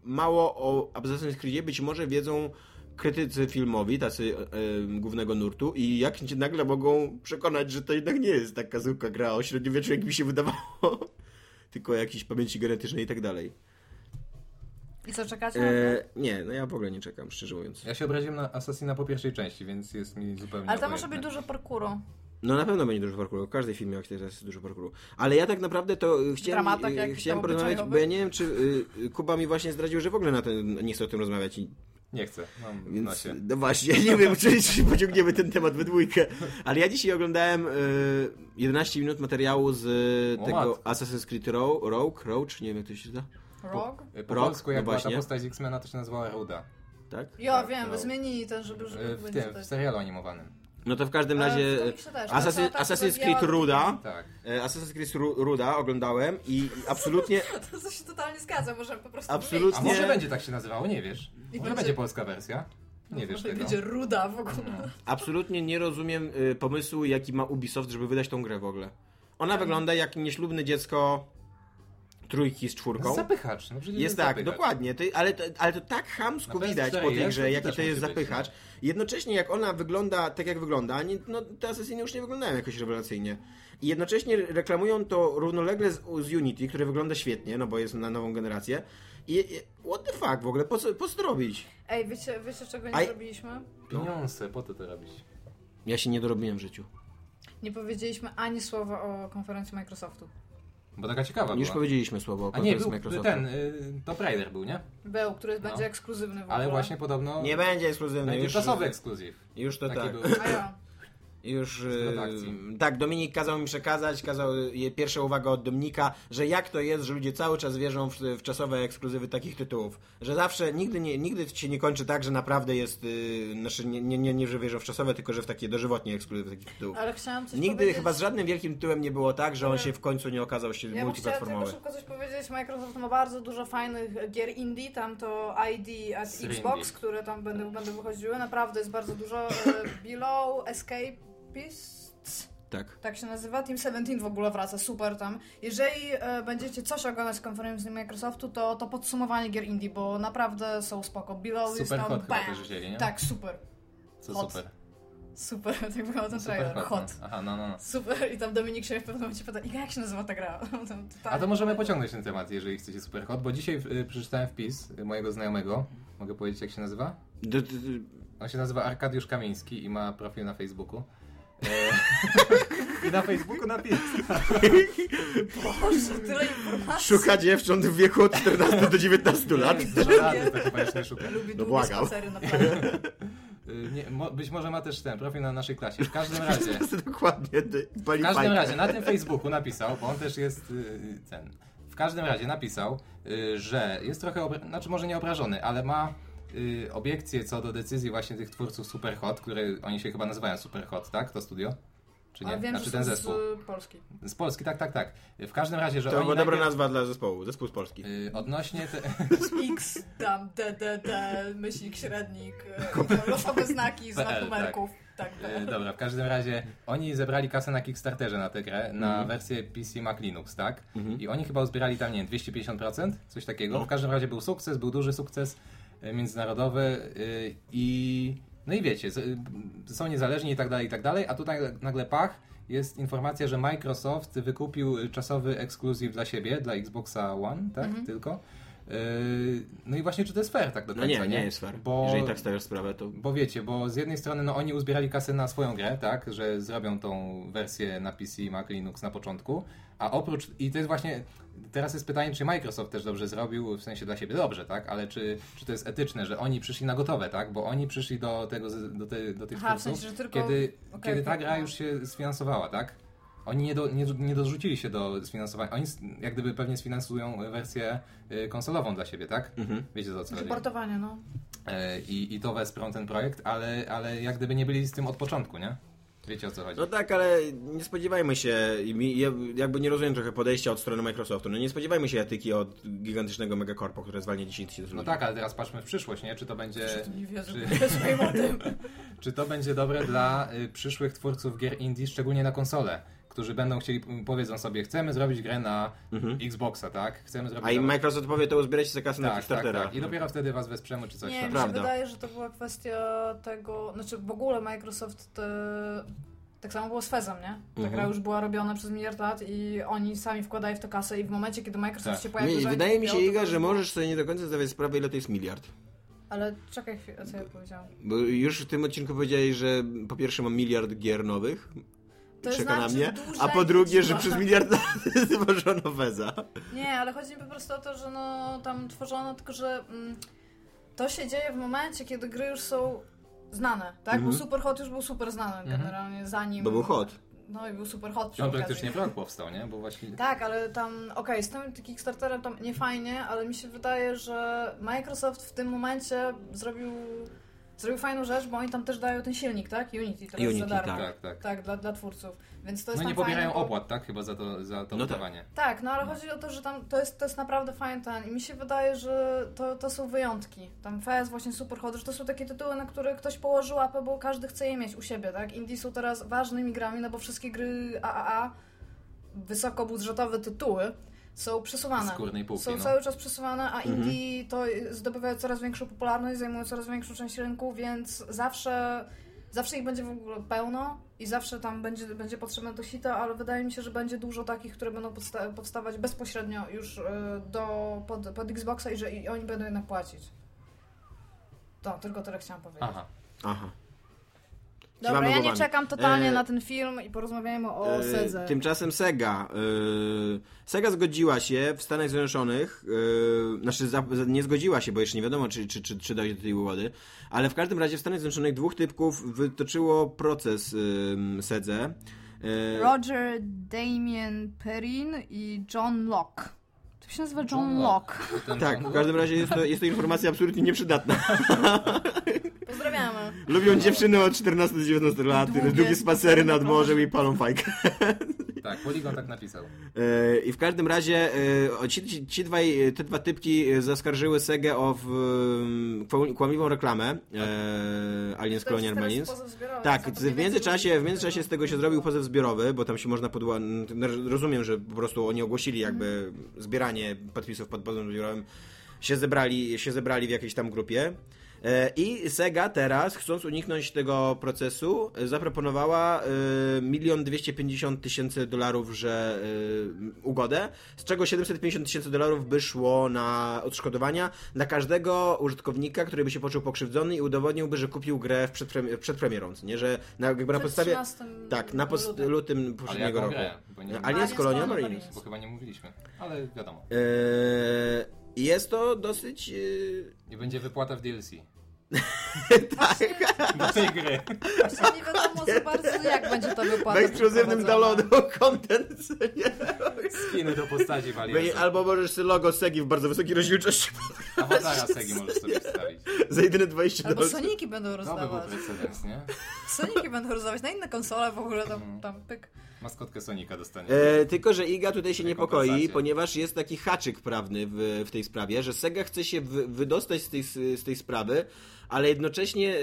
Speaker 2: mało o Assassin's Creedzie być może wiedzą krytycy filmowi, tacy e, e, głównego nurtu i jak cię nagle mogą przekonać, że to jednak nie jest taka zwykła gra o średniowieczu, jak mi się wydawało, *laughs* tylko jakiejś pamięci genetycznej i tak dalej.
Speaker 3: I co, czekacie? na to?
Speaker 2: E, nie, no ja w ogóle nie czekam, szczerze mówiąc.
Speaker 4: Ja się obraziłem na Assassina po pierwszej części, więc jest mi zupełnie
Speaker 3: Ale tam może
Speaker 4: obojętne.
Speaker 3: być dużo parkuru.
Speaker 2: No na pewno będzie dużo parkouru. W każdej filmie akcji jest dużo parkouru. Ale ja tak naprawdę to y, chciałem,
Speaker 3: dramatach
Speaker 2: y,
Speaker 3: jakichś
Speaker 2: chciałem
Speaker 3: tam
Speaker 2: porozmawiać, bo
Speaker 3: obyczajowych?
Speaker 2: ja nie wiem, czy y, y, Kuba mi właśnie zdradził, że w ogóle na ten, nie chce o tym rozmawiać. I,
Speaker 4: Nie chcę, mam w
Speaker 2: więc,
Speaker 4: nosie.
Speaker 2: no właśnie, *laughs* nie wiem, czy, czy pociągniemy ten temat we dwójkę. Ale ja dzisiaj oglądałem y, 11 minut materiału z
Speaker 4: O
Speaker 2: tego
Speaker 4: matko.
Speaker 2: Assassin's Creed Rogue, Rogue, Roach, nie wiem jak to się czyta.
Speaker 3: Rock?
Speaker 4: Po
Speaker 2: Rock?
Speaker 4: polsku jak
Speaker 2: No
Speaker 4: była ta
Speaker 2: właśnie.
Speaker 4: postać z X-Mena to się nazywała Ruda.
Speaker 2: Tak?
Speaker 3: Ja
Speaker 4: Tak,
Speaker 3: wiem,
Speaker 4: no.
Speaker 3: zmienili ten, żeby już
Speaker 4: Y, W
Speaker 3: będzie
Speaker 4: tym, w
Speaker 3: tak.
Speaker 4: serialu animowanym.
Speaker 2: No to w
Speaker 3: E,
Speaker 2: każdym razie
Speaker 3: w komiksie też.
Speaker 2: Assassin,
Speaker 3: Ona cała tak
Speaker 2: Assassin's
Speaker 3: zabijała
Speaker 2: Creed Ruda,
Speaker 4: Tak.
Speaker 2: e, Assassin's Creed Ru- Ruda oglądałem i i absolutnie
Speaker 3: To co się totalnie zgadza, możemy po prostu
Speaker 2: Absolutnie.
Speaker 4: A
Speaker 2: Nie.
Speaker 4: może będzie tak się nazywało, nie wiesz. Może
Speaker 3: będzie- No,
Speaker 4: będzie... polska wersja. Nie wiesz
Speaker 3: Może
Speaker 4: tego. No.
Speaker 3: będzie ruda w ogóle.
Speaker 2: Absolutnie nie rozumiem y, pomysłu, jaki ma Ubisoft, żeby wydać tą grę w ogóle. Ona wygląda jak nieślubne dziecko trójki z czwórką.
Speaker 4: Zapychacz. No przecież
Speaker 2: Jest tak,
Speaker 4: zapychacz.
Speaker 2: dokładnie, ty, ale, to, ale to tak hamsko
Speaker 4: Na
Speaker 2: widać
Speaker 4: PS4
Speaker 2: po tej
Speaker 4: jest,
Speaker 2: grze,
Speaker 4: to
Speaker 2: jaki
Speaker 4: też
Speaker 2: to jest
Speaker 4: musi być,
Speaker 2: zapychacz. Jednocześnie jak ona wygląda tak jak wygląda, nie, no te asesyny już nie wyglądają jakoś rewelacyjnie. I jednocześnie reklamują to równolegle z, z Unity, które wygląda świetnie, no bo jest na nową generację. I, i what the fuck w ogóle, po co, po co to robić?
Speaker 3: Ej, wiecie, wiecie czego nie
Speaker 2: Aj.
Speaker 3: zrobiliśmy?
Speaker 4: Pieniądze, po to to robić.
Speaker 2: Ja się nie dorobiłem w życiu.
Speaker 3: Nie powiedzieliśmy ani słowa o konferencji Microsoftu.
Speaker 4: Bo taka ciekawa
Speaker 2: Już
Speaker 4: była.
Speaker 2: powiedzieliśmy słowo o
Speaker 4: A nie,
Speaker 2: konferencji
Speaker 4: był
Speaker 2: Microsoftu.
Speaker 4: ten, y, Top Raider był, nie?
Speaker 3: Był, który
Speaker 4: No.
Speaker 3: będzie ekskluzywny w ogóle.
Speaker 4: Ale właśnie podobno
Speaker 2: Nie będzie ekskluzywny.
Speaker 4: taki
Speaker 2: Już,
Speaker 4: czasowy ekskluzyw.
Speaker 2: już to
Speaker 4: Taki
Speaker 2: tak.
Speaker 4: był.
Speaker 3: A ja.
Speaker 2: Już,
Speaker 4: Z
Speaker 2: e,
Speaker 4: redakcji.
Speaker 2: tak, Dominik kazał mi przekazać, kazał je pierwsza uwaga od Dominika, że jak to jest, że ludzie cały czas wierzą w, w czasowe ekskluzywy takich tytułów. Że zawsze, nigdy, nie, nigdy się nie kończy tak, że naprawdę jest, y, znaczy nie, nie, nie, nie, że wierzą w czasowe, tylko że w takie dożywotnie ekskluzywy takich tytułów.
Speaker 3: Ale chciałam coś
Speaker 2: Nigdy
Speaker 3: powiedzieć.
Speaker 2: chyba z żadnym wielkim tytułem nie było tak, że on
Speaker 3: Ale-
Speaker 2: się w końcu nie okazał się
Speaker 3: Ja bym chciała tylko
Speaker 2: multiplatformowy.
Speaker 3: szybko coś powiedzieć. Microsoft ma bardzo dużo fajnych gier indie. Tam to ID at
Speaker 4: Sry
Speaker 3: Xbox,
Speaker 4: indie.
Speaker 3: które tam będą, będą wychodziły. Naprawdę jest bardzo dużo. E, Below, Escapist.
Speaker 2: Tak.
Speaker 3: Tak się nazywa. Team 17 w ogóle wraca, super tam. Jeżeli e, będziecie coś oglądać z konferencji Microsoftu, to, to podsumowanie gier indie, bo naprawdę są spoko. Below jest
Speaker 4: Super
Speaker 3: tam
Speaker 4: hot chyba
Speaker 3: bam.
Speaker 4: też wzięli, nie?
Speaker 3: Tak, super.
Speaker 4: Co
Speaker 3: hot.
Speaker 4: super.
Speaker 3: Super, *laughs* tak wygląda ten
Speaker 4: Super
Speaker 3: trailer.
Speaker 4: hot.
Speaker 3: Hot.
Speaker 4: no. Aha, no, no, no.
Speaker 3: Super. I tam Dominik się w pewnym momencie pyta, "Iga, jak się nazywa ta gra? *laughs* Tam
Speaker 4: A
Speaker 3: totalnie-
Speaker 4: to możemy pociągnąć ten temat, jeżeli chcecie super hot, bo dzisiaj y, przeczytałem wpis y, mojego znajomego. Mogę powiedzieć, jak się nazywa?
Speaker 2: D- d- d-
Speaker 4: On się nazywa Arkadiusz Kamiński i ma profil na Facebooku. E... *laughs* I na Facebooku napis.
Speaker 3: Boże, tyle informacji. *laughs*
Speaker 2: Szuka dziewcząt w wieku od 14 do 19 lat.
Speaker 4: Żadny to chyba jeszcze nie szuka.
Speaker 3: Lubi
Speaker 2: No
Speaker 3: długie
Speaker 2: błagam.
Speaker 4: *laughs*
Speaker 3: spacery na plaży.
Speaker 4: Y, Nie, mo, być może ma też ten profil na naszej klasie. W każdym *laughs* razie,
Speaker 2: Dokładnie. ty-
Speaker 4: w
Speaker 2: pali
Speaker 4: każdym
Speaker 2: fajkę.
Speaker 4: razie na tym Facebooku napisał, bo on też jest y, ten. W każdym razie napisał, y, że jest trochę, obra- znaczy może nie obrażony, ale ma y, obiekcje co do decyzji właśnie tych twórców Superhot, które oni się chyba nazywają Superhot, tak? To studio? Czy nie?
Speaker 3: A wiem,
Speaker 4: znaczy
Speaker 3: że
Speaker 4: ten
Speaker 3: są
Speaker 4: zespół.
Speaker 3: z Polski.
Speaker 4: Z Polski, tak, tak, tak. W każdym razie, że
Speaker 2: To
Speaker 4: oni
Speaker 2: była dobra
Speaker 4: najpierw-
Speaker 2: nazwa dla zespołu, zespół z Polski.
Speaker 4: Y, Odnośnie te...
Speaker 3: X, tam, d, d, d, myślnik, średnik, e, losowe znaki, znak
Speaker 4: PL,
Speaker 3: numerków. Tak,
Speaker 4: Y,
Speaker 3: tak.
Speaker 4: Dobra, w każdym razie oni zebrali kasę na Kickstarterze na tę grę, na
Speaker 2: Mhm.
Speaker 4: wersję PC Mac Linux, tak? I oni chyba uzbierali tam, nie wiem, 250%, coś
Speaker 2: No.
Speaker 4: takiego. W każdym razie był sukces, był duży sukces y, międzynarodowy y, i... No i wiecie, z- y, są niezależni i tak dalej, i tak dalej, a tutaj nagle pach, jest informacja, że Microsoft wykupił czasowy ekskluzyw dla siebie, dla Xboxa One, tak? Tylko. Y, No i właśnie, czy to jest fair tak do
Speaker 2: Mhm. No
Speaker 4: końca,
Speaker 2: nie, nie jest fair.
Speaker 4: Bo
Speaker 2: Jeżeli tak stawiasz sprawę, to...
Speaker 4: bo wiecie, bo z jednej strony no, oni uzbierali kasę na swoją grę, tak, że zrobią tą wersję na PC, Mac, Linux na początku, a oprócz, i to jest właśnie, teraz jest pytanie, czy Microsoft też dobrze zrobił, w sensie dla siebie dobrze, tak, ale czy, czy to jest etyczne, że oni przyszli na gotowe, tak, bo oni przyszli do tego, z- do, te, do tych
Speaker 3: Aha, w
Speaker 4: twórców,
Speaker 3: sensie, że tylko-
Speaker 4: kiedy,
Speaker 3: okej,
Speaker 4: kiedy ta
Speaker 3: tak,
Speaker 4: gra
Speaker 3: no.
Speaker 4: już się sfinansowała, tak, oni nie, do, nie, nie dorzucili się do sfinansowania, oni s- jak gdyby pewnie sfinansują wersję y, konsolową dla siebie, tak, wiecie za co chodzi.
Speaker 3: Portowanie, no.
Speaker 4: E, i, i to wesprą ten projekt, ale, ale jak gdyby nie byli z tym od początku, nie? Wiecie o co chodzi.
Speaker 2: No tak, ale nie spodziewajmy się, i mi- ja jakby nie rozumiem trochę podejścia od strony Microsoftu, no nie spodziewajmy się etyki od gigantycznego megakorpu, które zwalnia 10 tysięcy
Speaker 4: No
Speaker 2: ludzi.
Speaker 4: tak, ale teraz patrzmy w przyszłość, nie? Czy to będzie,
Speaker 3: Że tu nie wierzę,
Speaker 4: czy-
Speaker 3: nie wiem o
Speaker 4: *laughs*
Speaker 3: tym.
Speaker 4: czy to będzie dobre dla y, przyszłych twórców gier indie, szczególnie na konsole, którzy będą chcieli, powiedzą sobie, chcemy zrobić grę na Xboxa, tak? Chcemy zrobić...
Speaker 2: Mhm. A i Microsoft powie, to uzbierajcie sobie kasę na
Speaker 4: tak, tak,
Speaker 2: Kickstartera.
Speaker 4: tak. I dopiero wtedy was wesprzemy, czy coś
Speaker 3: Nie,
Speaker 4: tam.
Speaker 3: mi się
Speaker 2: Prawda.
Speaker 3: wydaje, że to była kwestia tego, znaczy w ogóle Microsoft e, tak samo było z Fezem, nie? Ta
Speaker 2: Mhm.
Speaker 3: gra już była robiona przez miliard lat i oni sami wkładają w to kasę i w momencie, kiedy Microsoft
Speaker 4: Tak.
Speaker 3: się
Speaker 2: Mi-
Speaker 3: pojawił... że oni
Speaker 2: Wydaje mi się,
Speaker 3: kupią, to
Speaker 2: Iga,
Speaker 3: już
Speaker 2: że
Speaker 3: było.
Speaker 2: możesz sobie nie do końca zdawać sprawę, ile to jest miliard.
Speaker 3: Ale czekaj chwilę, co ja powiedziałam.
Speaker 2: Bo już w tym odcinku powiedziałeś, że po pierwsze mam miliard gier nowych,
Speaker 3: To
Speaker 2: czeka na
Speaker 3: znaczy
Speaker 2: mnie,
Speaker 3: duża
Speaker 2: a po drugie, że
Speaker 3: liczba.
Speaker 2: przez miliard *laughs* zwożono Weza.
Speaker 3: Nie, ale chodzi mi po prostu o to, że no tam tworzono, tylko że mm, to się dzieje w momencie, kiedy gry już są znane, tak? Bo Superhot już był super znany generalnie, zanim...
Speaker 2: Mhm. Bo był hot.
Speaker 3: No i był super hot przy
Speaker 4: On
Speaker 3: okazji.
Speaker 4: praktycznie blog powstał, nie? Bo właśnie...
Speaker 3: Tak, ale tam, okej, z tym Kickstarterem tam nie fajnie, ale mi się wydaje, że Microsoft w tym momencie zrobił Zrobił fajną rzecz, bo oni tam też dają ten silnik, tak? Unity teraz
Speaker 2: Unity,
Speaker 3: za darmo.
Speaker 2: tak.
Speaker 4: Tak, tak.
Speaker 3: dla, dla twórców. Więc to jest
Speaker 4: No
Speaker 3: tam
Speaker 4: nie pobierają
Speaker 3: fajne, bo-
Speaker 4: opłat, tak? Chyba za to, za to
Speaker 2: No tak.
Speaker 4: wydawanie.
Speaker 3: Tak, no ale chodzi o to, że tam to jest, to jest naprawdę fajny ten i mi się wydaje, że to, to są wyjątki. Tam FES, właśnie Superhot, że to są takie tytuły, na które ktoś położy łapę, bo każdy chce je mieć u siebie, tak? Indie są teraz ważnymi grami, no bo wszystkie gry AAA, wysokobudżetowe tytuły są przesuwane.
Speaker 4: Z górnej półki,
Speaker 3: są
Speaker 4: no. Mhm.
Speaker 3: cały czas przesuwane, a indie to zdobywają coraz większą popularność, zajmują coraz większą część rynku, więc zawsze Zawsze ich będzie w ogóle pełno i zawsze tam będzie, będzie potrzebne to sito, ale wydaje mi się, że będzie dużo takich, które będą podsta- powstawać bezpośrednio już y, do, pod, pod Xboxa i że i oni będą jednak płacić. To, tylko tyle chciałam powiedzieć.
Speaker 4: Aha.
Speaker 2: Aha.
Speaker 3: Dobra,
Speaker 2: Kiwamy
Speaker 3: ja nie
Speaker 2: głowami.
Speaker 3: czekam totalnie
Speaker 2: E,
Speaker 3: na ten film i porozmawiajmy o
Speaker 2: E,
Speaker 3: Sedze.
Speaker 2: Tymczasem Sega. e, Sega zgodziła się w Stanach Zjednoczonych, e, znaczy za, za- nie zgodziła się, bo jeszcze nie wiadomo, czy, czy, czy, czy dojdzie do tej ułody, ale w każdym razie w Stanach Zjednoczonych dwóch typków wytoczyło proces ym, Sedze. E,
Speaker 3: Roger Damien Perrin i John Locke. To się nazywa John, Locke.
Speaker 4: Ten
Speaker 2: tak,
Speaker 4: rząd-
Speaker 2: w każdym razie jest to, jest to informacja absolutnie nieprzydatna. *laughs*
Speaker 3: Pozdrawiamy.
Speaker 2: Lubią dziewczyny od 14 do 19 lat,
Speaker 3: Długie
Speaker 2: długie, spacery nad morzem i palą fajkę.
Speaker 4: Tak, Polygon tak napisał.
Speaker 2: E, I w każdym razie e, o, ci, ci, ci dwaj, e, te dwa typki e, zaskarżyły Segę o w, m, kłam- kłamliwą reklamę e, Aliens Colonial Marines. Tak, z- w międzyczasie, w międzyczasie z tego się zrobił pozew zbiorowy, bo tam się można podła... n- n- Rozumiem, że po prostu oni ogłosili jakby zbieranie podpisów pod pozwem zbiorowym. Się zebrali, się zebrali w jakiejś tam grupie. E, I Sega teraz, chcąc uniknąć tego procesu, e, zaproponowała e, milion dwieście pięćdziesiąt tysięcy dolarów, że e, ugodę, z czego 750 tysięcy dolarów by szło na odszkodowania dla każdego użytkownika, który by się poczuł pokrzywdzony i udowodniłby, że kupił grę w przedpremi- przed premierą, nie? Że na, jakby na
Speaker 3: Przed
Speaker 2: podstawie...
Speaker 3: 13
Speaker 2: Tak, na post-
Speaker 3: lutym.
Speaker 2: lutym
Speaker 4: Ale
Speaker 2: poprzedniego
Speaker 4: jaką
Speaker 2: roku.
Speaker 4: grę? Bo, nie,
Speaker 2: Alien
Speaker 3: Aliens
Speaker 2: z Colonial
Speaker 3: Colonial
Speaker 2: Marines.
Speaker 4: bo chyba nie mówiliśmy, ale wiadomo.
Speaker 2: Eee, jest to dosyć... Eee, *laughs*
Speaker 4: I będzie wypłata w DLC.
Speaker 2: tak,
Speaker 4: Do tej gry.
Speaker 3: Właśnie nie wiadomo za bardzo, jak będzie to
Speaker 2: w
Speaker 3: wypłata.
Speaker 2: ekskluzywnym
Speaker 3: przeprowadzona.
Speaker 2: downloadu *laughs* content. co nie?
Speaker 4: Skiny do postaci w
Speaker 2: Będzie-
Speaker 4: Aliensa.
Speaker 2: Albo możesz sobie logo Segi w bardzo wysokiej rozdzielczości *laughs*
Speaker 4: Awatara Segi możesz sobie wstawić.
Speaker 2: za jedyne 20
Speaker 3: Albo
Speaker 2: dolarów.
Speaker 3: Soniki będą
Speaker 4: To by był
Speaker 3: rozdawać.
Speaker 4: precedens, nie?
Speaker 3: Soniki będą rozdawać na inne konsole w ogóle, tam,
Speaker 4: Mhm.
Speaker 3: tam pyk.
Speaker 4: Maskotkę Sonika dostanie.
Speaker 2: E, tylko, że Iga tutaj się
Speaker 4: Tej
Speaker 2: niepokoi,
Speaker 4: kompensacji.
Speaker 2: ponieważ jest taki haczyk prawny w, w tej sprawie, że Sega chce się wy, wydostać z tej, z tej sprawy, ale jednocześnie e,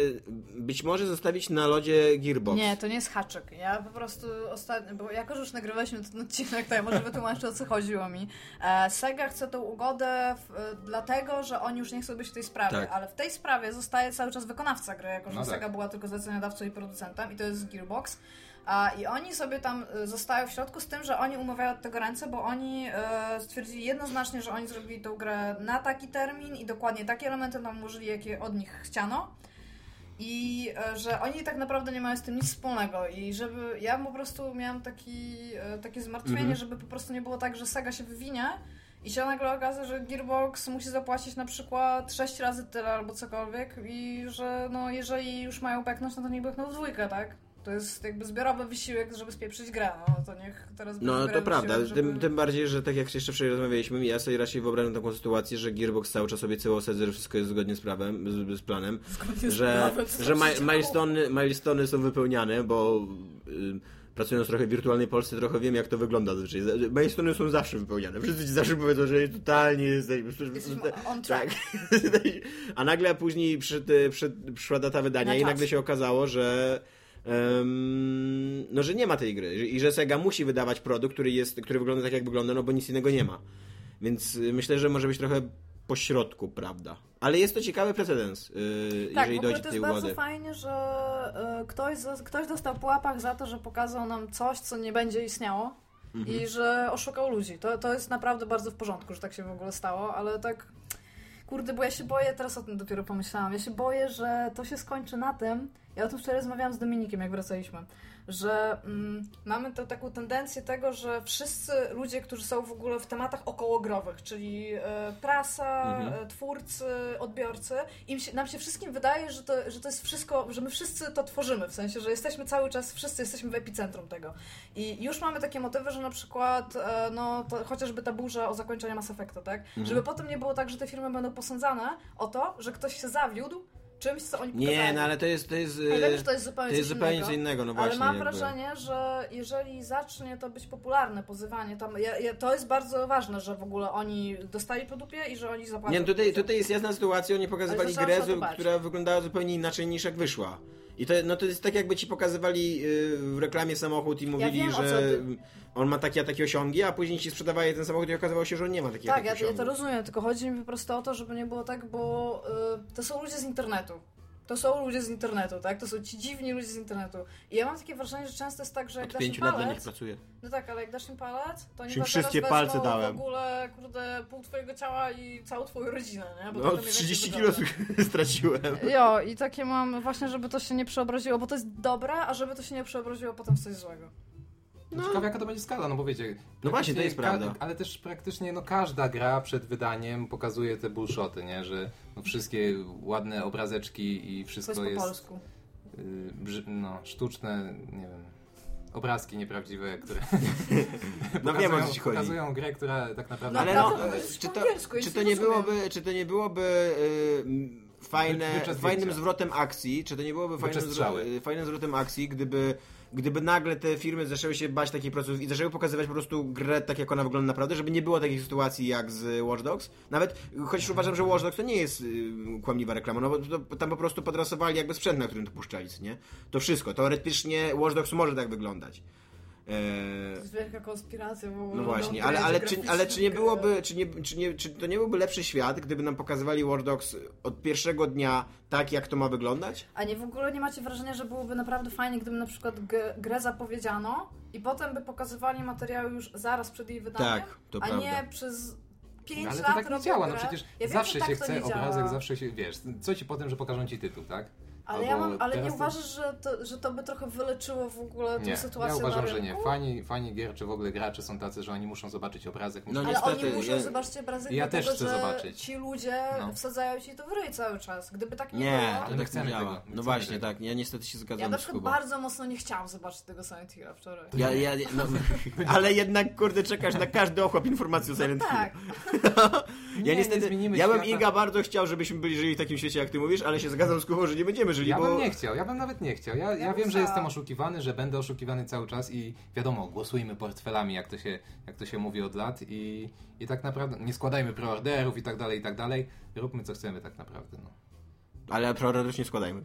Speaker 2: być może zostawić na lodzie Gearbox.
Speaker 3: Nie, to nie jest haczyk. Ja po prostu ostatnio, bo jako, że już nagrywaliśmy ten odcinek, to ja może wytłumaczę, o co chodziło mi. E, Sega chce tą ugodę w, e, dlatego, że oni już nie chcą być w tej sprawie,
Speaker 2: Tak.
Speaker 3: ale w tej sprawie zostaje cały czas wykonawca gry, jako, że
Speaker 4: No tak.
Speaker 3: Sega była tylko zleceniodawcą i producentem i to jest Gearbox. A, I oni sobie tam e, zostają w środku z tym, że oni umawiają od tego ręce, bo oni e, stwierdzili jednoznacznie, że oni zrobili tą grę na taki termin i dokładnie takie elementy nam użyli, jakie od nich chciano. I e, że oni tak naprawdę nie mają z tym nic wspólnego i żeby ja po prostu miałam taki, e, takie zmartwienie,
Speaker 2: Mhm.
Speaker 3: żeby po prostu nie było tak, że Sega się wywinie i się nagle okaże, że Gearbox musi zapłacić na przykład 6 razy tyle albo cokolwiek i że no jeżeli już mają peknąć, no to niech pekną w dwójkę, tak? To jest jakby zbiorowy wysiłek, żeby spieprzyć grę, no to niech teraz będzie
Speaker 2: No to
Speaker 3: zbiorowy
Speaker 2: prawda,
Speaker 3: wysiłek,
Speaker 2: tym,
Speaker 3: *laughs*
Speaker 2: tym bardziej, że tak jak jeszcze wczoraj rozmawialiśmy, ja sobie raczej wyobrażam taką sytuację, że Gearbox cały czas obiecywał Sedze, że wszystko jest zgodnie z prawem, z, z planem,
Speaker 3: Zgodnie z
Speaker 2: że,
Speaker 3: prawem, co
Speaker 2: że
Speaker 3: się
Speaker 2: ma,
Speaker 3: działo.
Speaker 2: milestone, milestone są wypełniane, bo y, pracując trochę w wirtualnej Polsce, trochę wiem jak to wygląda zazwyczaj. Z- Milestone są zawsze wypełniane, wszyscy ci zawsze powiedzą, że totalnie jesteśmy...
Speaker 3: Jesteśmy on track.
Speaker 2: Tak. *laughs* A nagle później przyszedł, e, przyszedł, przyszła data wydania
Speaker 3: Na
Speaker 2: i
Speaker 3: czas.
Speaker 2: nagle się okazało, że em, no, że nie ma tej gry i że Sega musi wydawać produkt, który, jest, który wygląda tak, jak wygląda, no bo nic innego nie ma. Więc y, myślę, że może być trochę pośrodku, prawda? Ale jest to ciekawy precedens, yy,
Speaker 3: Tak,
Speaker 2: jeżeli
Speaker 3: w
Speaker 2: dojdzie
Speaker 3: ogóle
Speaker 2: do
Speaker 3: to jest
Speaker 2: tej
Speaker 3: bardzo
Speaker 2: uwody.
Speaker 3: fajnie, że e, ktoś, za- ktoś dostał po łapach za to, że pokazał nam coś, co nie będzie istniało
Speaker 2: Mhm.
Speaker 3: i że oszukał ludzi. To, to jest naprawdę bardzo w porządku, że tak się w ogóle stało, ale tak. Kurde, bo ja się boję, teraz o tym dopiero pomyślałam, ja się boję, że to się skończy na tym, ja o tym wczoraj rozmawiałam z Dominikiem, jak wracaliśmy, że mm, mamy to, taką tendencję tego, że wszyscy ludzie, którzy są w ogóle w tematach okołogrowych, czyli e, prasa,
Speaker 2: Mhm.
Speaker 3: e, twórcy, odbiorcy, im się, nam się wszystkim wydaje, że to, że to jest wszystko, że my wszyscy to tworzymy, w sensie, że jesteśmy cały czas, wszyscy jesteśmy w epicentrum tego. I już mamy takie motywy, że na przykład, e, no to chociażby ta burza o
Speaker 2: Mhm.
Speaker 3: zakończeniu Mass Effecta, tak? Żeby potem nie było tak, że te firmy będą posądzane o to, że ktoś się zawiódł czymś, co oni pokazali.
Speaker 2: Nie, no ale to jest. To jest,
Speaker 3: Ja wiem,
Speaker 2: e,
Speaker 3: że to jest zupełnie,
Speaker 2: to jest
Speaker 3: coś
Speaker 2: zupełnie
Speaker 3: innego,
Speaker 2: co innego, no właśnie.
Speaker 3: Ale mam
Speaker 2: jakby.
Speaker 3: wrażenie, że jeżeli zacznie to być popularne pozywanie, tam, ja, ja, to jest bardzo ważne, że w ogóle oni dostali po dupie i że oni zapłacą.
Speaker 2: Nie, no tutaj,
Speaker 3: pieniądze.
Speaker 2: tutaj jest jasna sytuacja, oni pokazywali
Speaker 3: zaczęłam
Speaker 2: grę,
Speaker 3: się o to bać.
Speaker 2: która wyglądała zupełnie inaczej niż jak wyszła. I to, no to jest tak, jakby ci pokazywali y, w reklamie samochód i mówili,
Speaker 3: wiem, o co
Speaker 2: że
Speaker 3: ty-
Speaker 2: on ma takie a takie osiągi, a później ci sprzedawali ten samochód i okazywało się, że on nie ma takiego
Speaker 3: Tak,
Speaker 2: takiego
Speaker 3: ja, ja
Speaker 2: osiągu.
Speaker 3: to rozumiem, tylko chodzi mi po prostu o to, żeby nie było tak, bo y, to są ludzie z internetu. To są ludzie z internetu, tak? To są ci dziwni ludzie z internetu. I ja mam takie wrażenie, że często jest tak, że jak
Speaker 2: Od
Speaker 3: dasz im
Speaker 2: pięciu lat do nich
Speaker 3: palec,
Speaker 2: pracuję.
Speaker 3: no tak, ale jak dasz im palec, to
Speaker 1: Czyli
Speaker 3: oni chyba zaraz
Speaker 1: wszystkie
Speaker 3: wezmą
Speaker 1: palce dałem.
Speaker 3: w ogóle, kurde, pół twojego ciała i całą twoją rodzinę, nie? Bo tak
Speaker 2: No,
Speaker 3: to mniej więcej
Speaker 2: 30 kilo
Speaker 3: wygląda.
Speaker 2: *laughs* straciłem.
Speaker 3: Jo, i takie mam właśnie, żeby to się nie przeobraziło, bo to jest dobre, a żeby to się nie przeobraziło potem w coś złego.
Speaker 4: No. Ciekawe jaka to będzie skala, no bo wiecie... praktycznie
Speaker 2: właśnie, to jest
Speaker 4: ka-
Speaker 2: prawda.
Speaker 4: Ale też praktycznie no, każda gra przed wydaniem pokazuje te bullshoty, nie? Że no, wszystkie ładne obrazeczki i
Speaker 3: To
Speaker 4: wszystko
Speaker 3: jest po
Speaker 4: jest...
Speaker 3: polsku.
Speaker 4: y, brzy, no, sztuczne, nie wiem... Obrazki nieprawdziwe, które
Speaker 2: No wiem o co ci chodzi.
Speaker 4: pokazują grę, która tak naprawdę...
Speaker 3: No,
Speaker 2: Ale
Speaker 3: prawda,
Speaker 2: no,
Speaker 3: to jest
Speaker 2: czy
Speaker 3: po
Speaker 2: to,
Speaker 3: angielsku, ja
Speaker 2: czy
Speaker 3: nic
Speaker 2: to
Speaker 3: nie
Speaker 2: nie
Speaker 3: rozumiem.
Speaker 2: byłoby, czy to nie byłoby y, m, fajne,
Speaker 4: Wycze zdjęcia.
Speaker 2: fajnym zwrotem akcji, czy to nie byłoby fajnym,
Speaker 4: Wycze strzały.
Speaker 2: zro- y, fajnym zwrotem akcji, gdyby, gdyby nagle te firmy zaczęły się bać takiej procesów i zaczęły pokazywać po prostu grę tak, jak ona wygląda naprawdę, żeby nie było takich sytuacji jak z Watch Dogs. Nawet, chociaż uważam, że Watch Dogs to nie jest y, kłamliwa reklama, no bo to, tam po prostu podrasowali jakby sprzęt, na którym to puszczali, co nie? To wszystko. Teoretycznie Watch Dogs może tak wyglądać. E,
Speaker 3: To jest wielka konspiracja, bo...
Speaker 2: no właśnie, ale, ale, czy, ale czy nie byłoby, czy, nie, czy, nie, czy to nie byłby lepszy świat, gdyby nam pokazywali War Dogs od pierwszego dnia tak, jak to ma wyglądać?
Speaker 3: A nie, w ogóle nie macie wrażenia, że byłoby naprawdę fajnie, gdyby na przykład g- grę zapowiedziano i potem by pokazywali materiał już zaraz przed jej wydaniem,
Speaker 2: Tak, to
Speaker 3: a
Speaker 2: prawda.
Speaker 3: nie przez pięć
Speaker 4: No, ale
Speaker 3: lat
Speaker 4: to tak nie
Speaker 3: robią
Speaker 4: działa, no
Speaker 3: grę.
Speaker 4: przecież
Speaker 3: ja wiem,
Speaker 4: zawsze
Speaker 3: że tak
Speaker 4: się
Speaker 3: to
Speaker 4: chce
Speaker 3: nie działa.
Speaker 4: obrazek, zawsze się, wiesz, co ci potem, że pokażą ci tytuł, tak?
Speaker 3: Ale, ja mam,
Speaker 4: Albo
Speaker 3: ale nie
Speaker 4: teraz to-
Speaker 3: uważasz, że to, że to by trochę wyleczyło w ogóle tę
Speaker 4: Nie,
Speaker 3: sytuację
Speaker 4: ja
Speaker 3: na
Speaker 4: uważam,
Speaker 3: rynku?
Speaker 4: że nie. Fani, fani gier, czy w ogóle gracze są tacy, że oni muszą zobaczyć obrazek.
Speaker 2: No
Speaker 4: muszą...
Speaker 3: Ale
Speaker 2: niestety,
Speaker 3: oni muszą,
Speaker 2: ja-
Speaker 3: zobaczcie, Brazylię,
Speaker 4: ja
Speaker 3: dlatego,
Speaker 4: też chcę
Speaker 3: że
Speaker 4: zobaczyć.
Speaker 3: ci ludzie
Speaker 4: No.
Speaker 3: wsadzają ci to w ryj cały czas. Gdyby tak nie,
Speaker 2: Nie,
Speaker 3: było...
Speaker 2: to
Speaker 4: my
Speaker 2: tak
Speaker 4: chcemy
Speaker 2: nie
Speaker 4: tego, my
Speaker 2: działa. No
Speaker 4: chcemy
Speaker 2: właśnie,
Speaker 4: tego.
Speaker 2: tak, ja niestety się
Speaker 3: Ja na
Speaker 2: zgadzam z
Speaker 3: przykład
Speaker 2: Kubą.
Speaker 3: bardzo mocno nie chciałam zobaczyć tego Silent Hilla wczoraj.
Speaker 2: Ja, ja, no, *laughs* ale jednak, kurde, czekasz na każdy ochłap informacji o Silent Hill.
Speaker 3: Tak,
Speaker 2: Ja
Speaker 4: Nie, nie
Speaker 2: niestety,
Speaker 4: zmienimy
Speaker 2: ja bym
Speaker 4: świata.
Speaker 2: Iga bardzo chciał, żebyśmy byli żyli w takim świecie, jak ty mówisz, ale się zgadzam z Kubą, że nie będziemy żyli,
Speaker 4: Ja
Speaker 2: bo...
Speaker 4: bym nie chciał, ja bym nawet nie chciał. Ja, ja,
Speaker 3: bym
Speaker 4: wiem, że
Speaker 3: chciała.
Speaker 4: jestem oszukiwany, że będę oszukiwany cały czas i wiadomo, głosujmy portfelami, jak to się, jak to się mówi od lat i, i tak naprawdę nie składajmy preorderów i tak dalej, i tak dalej. Róbmy co chcemy tak naprawdę. No.
Speaker 2: Ale priorytetycznie składajmy.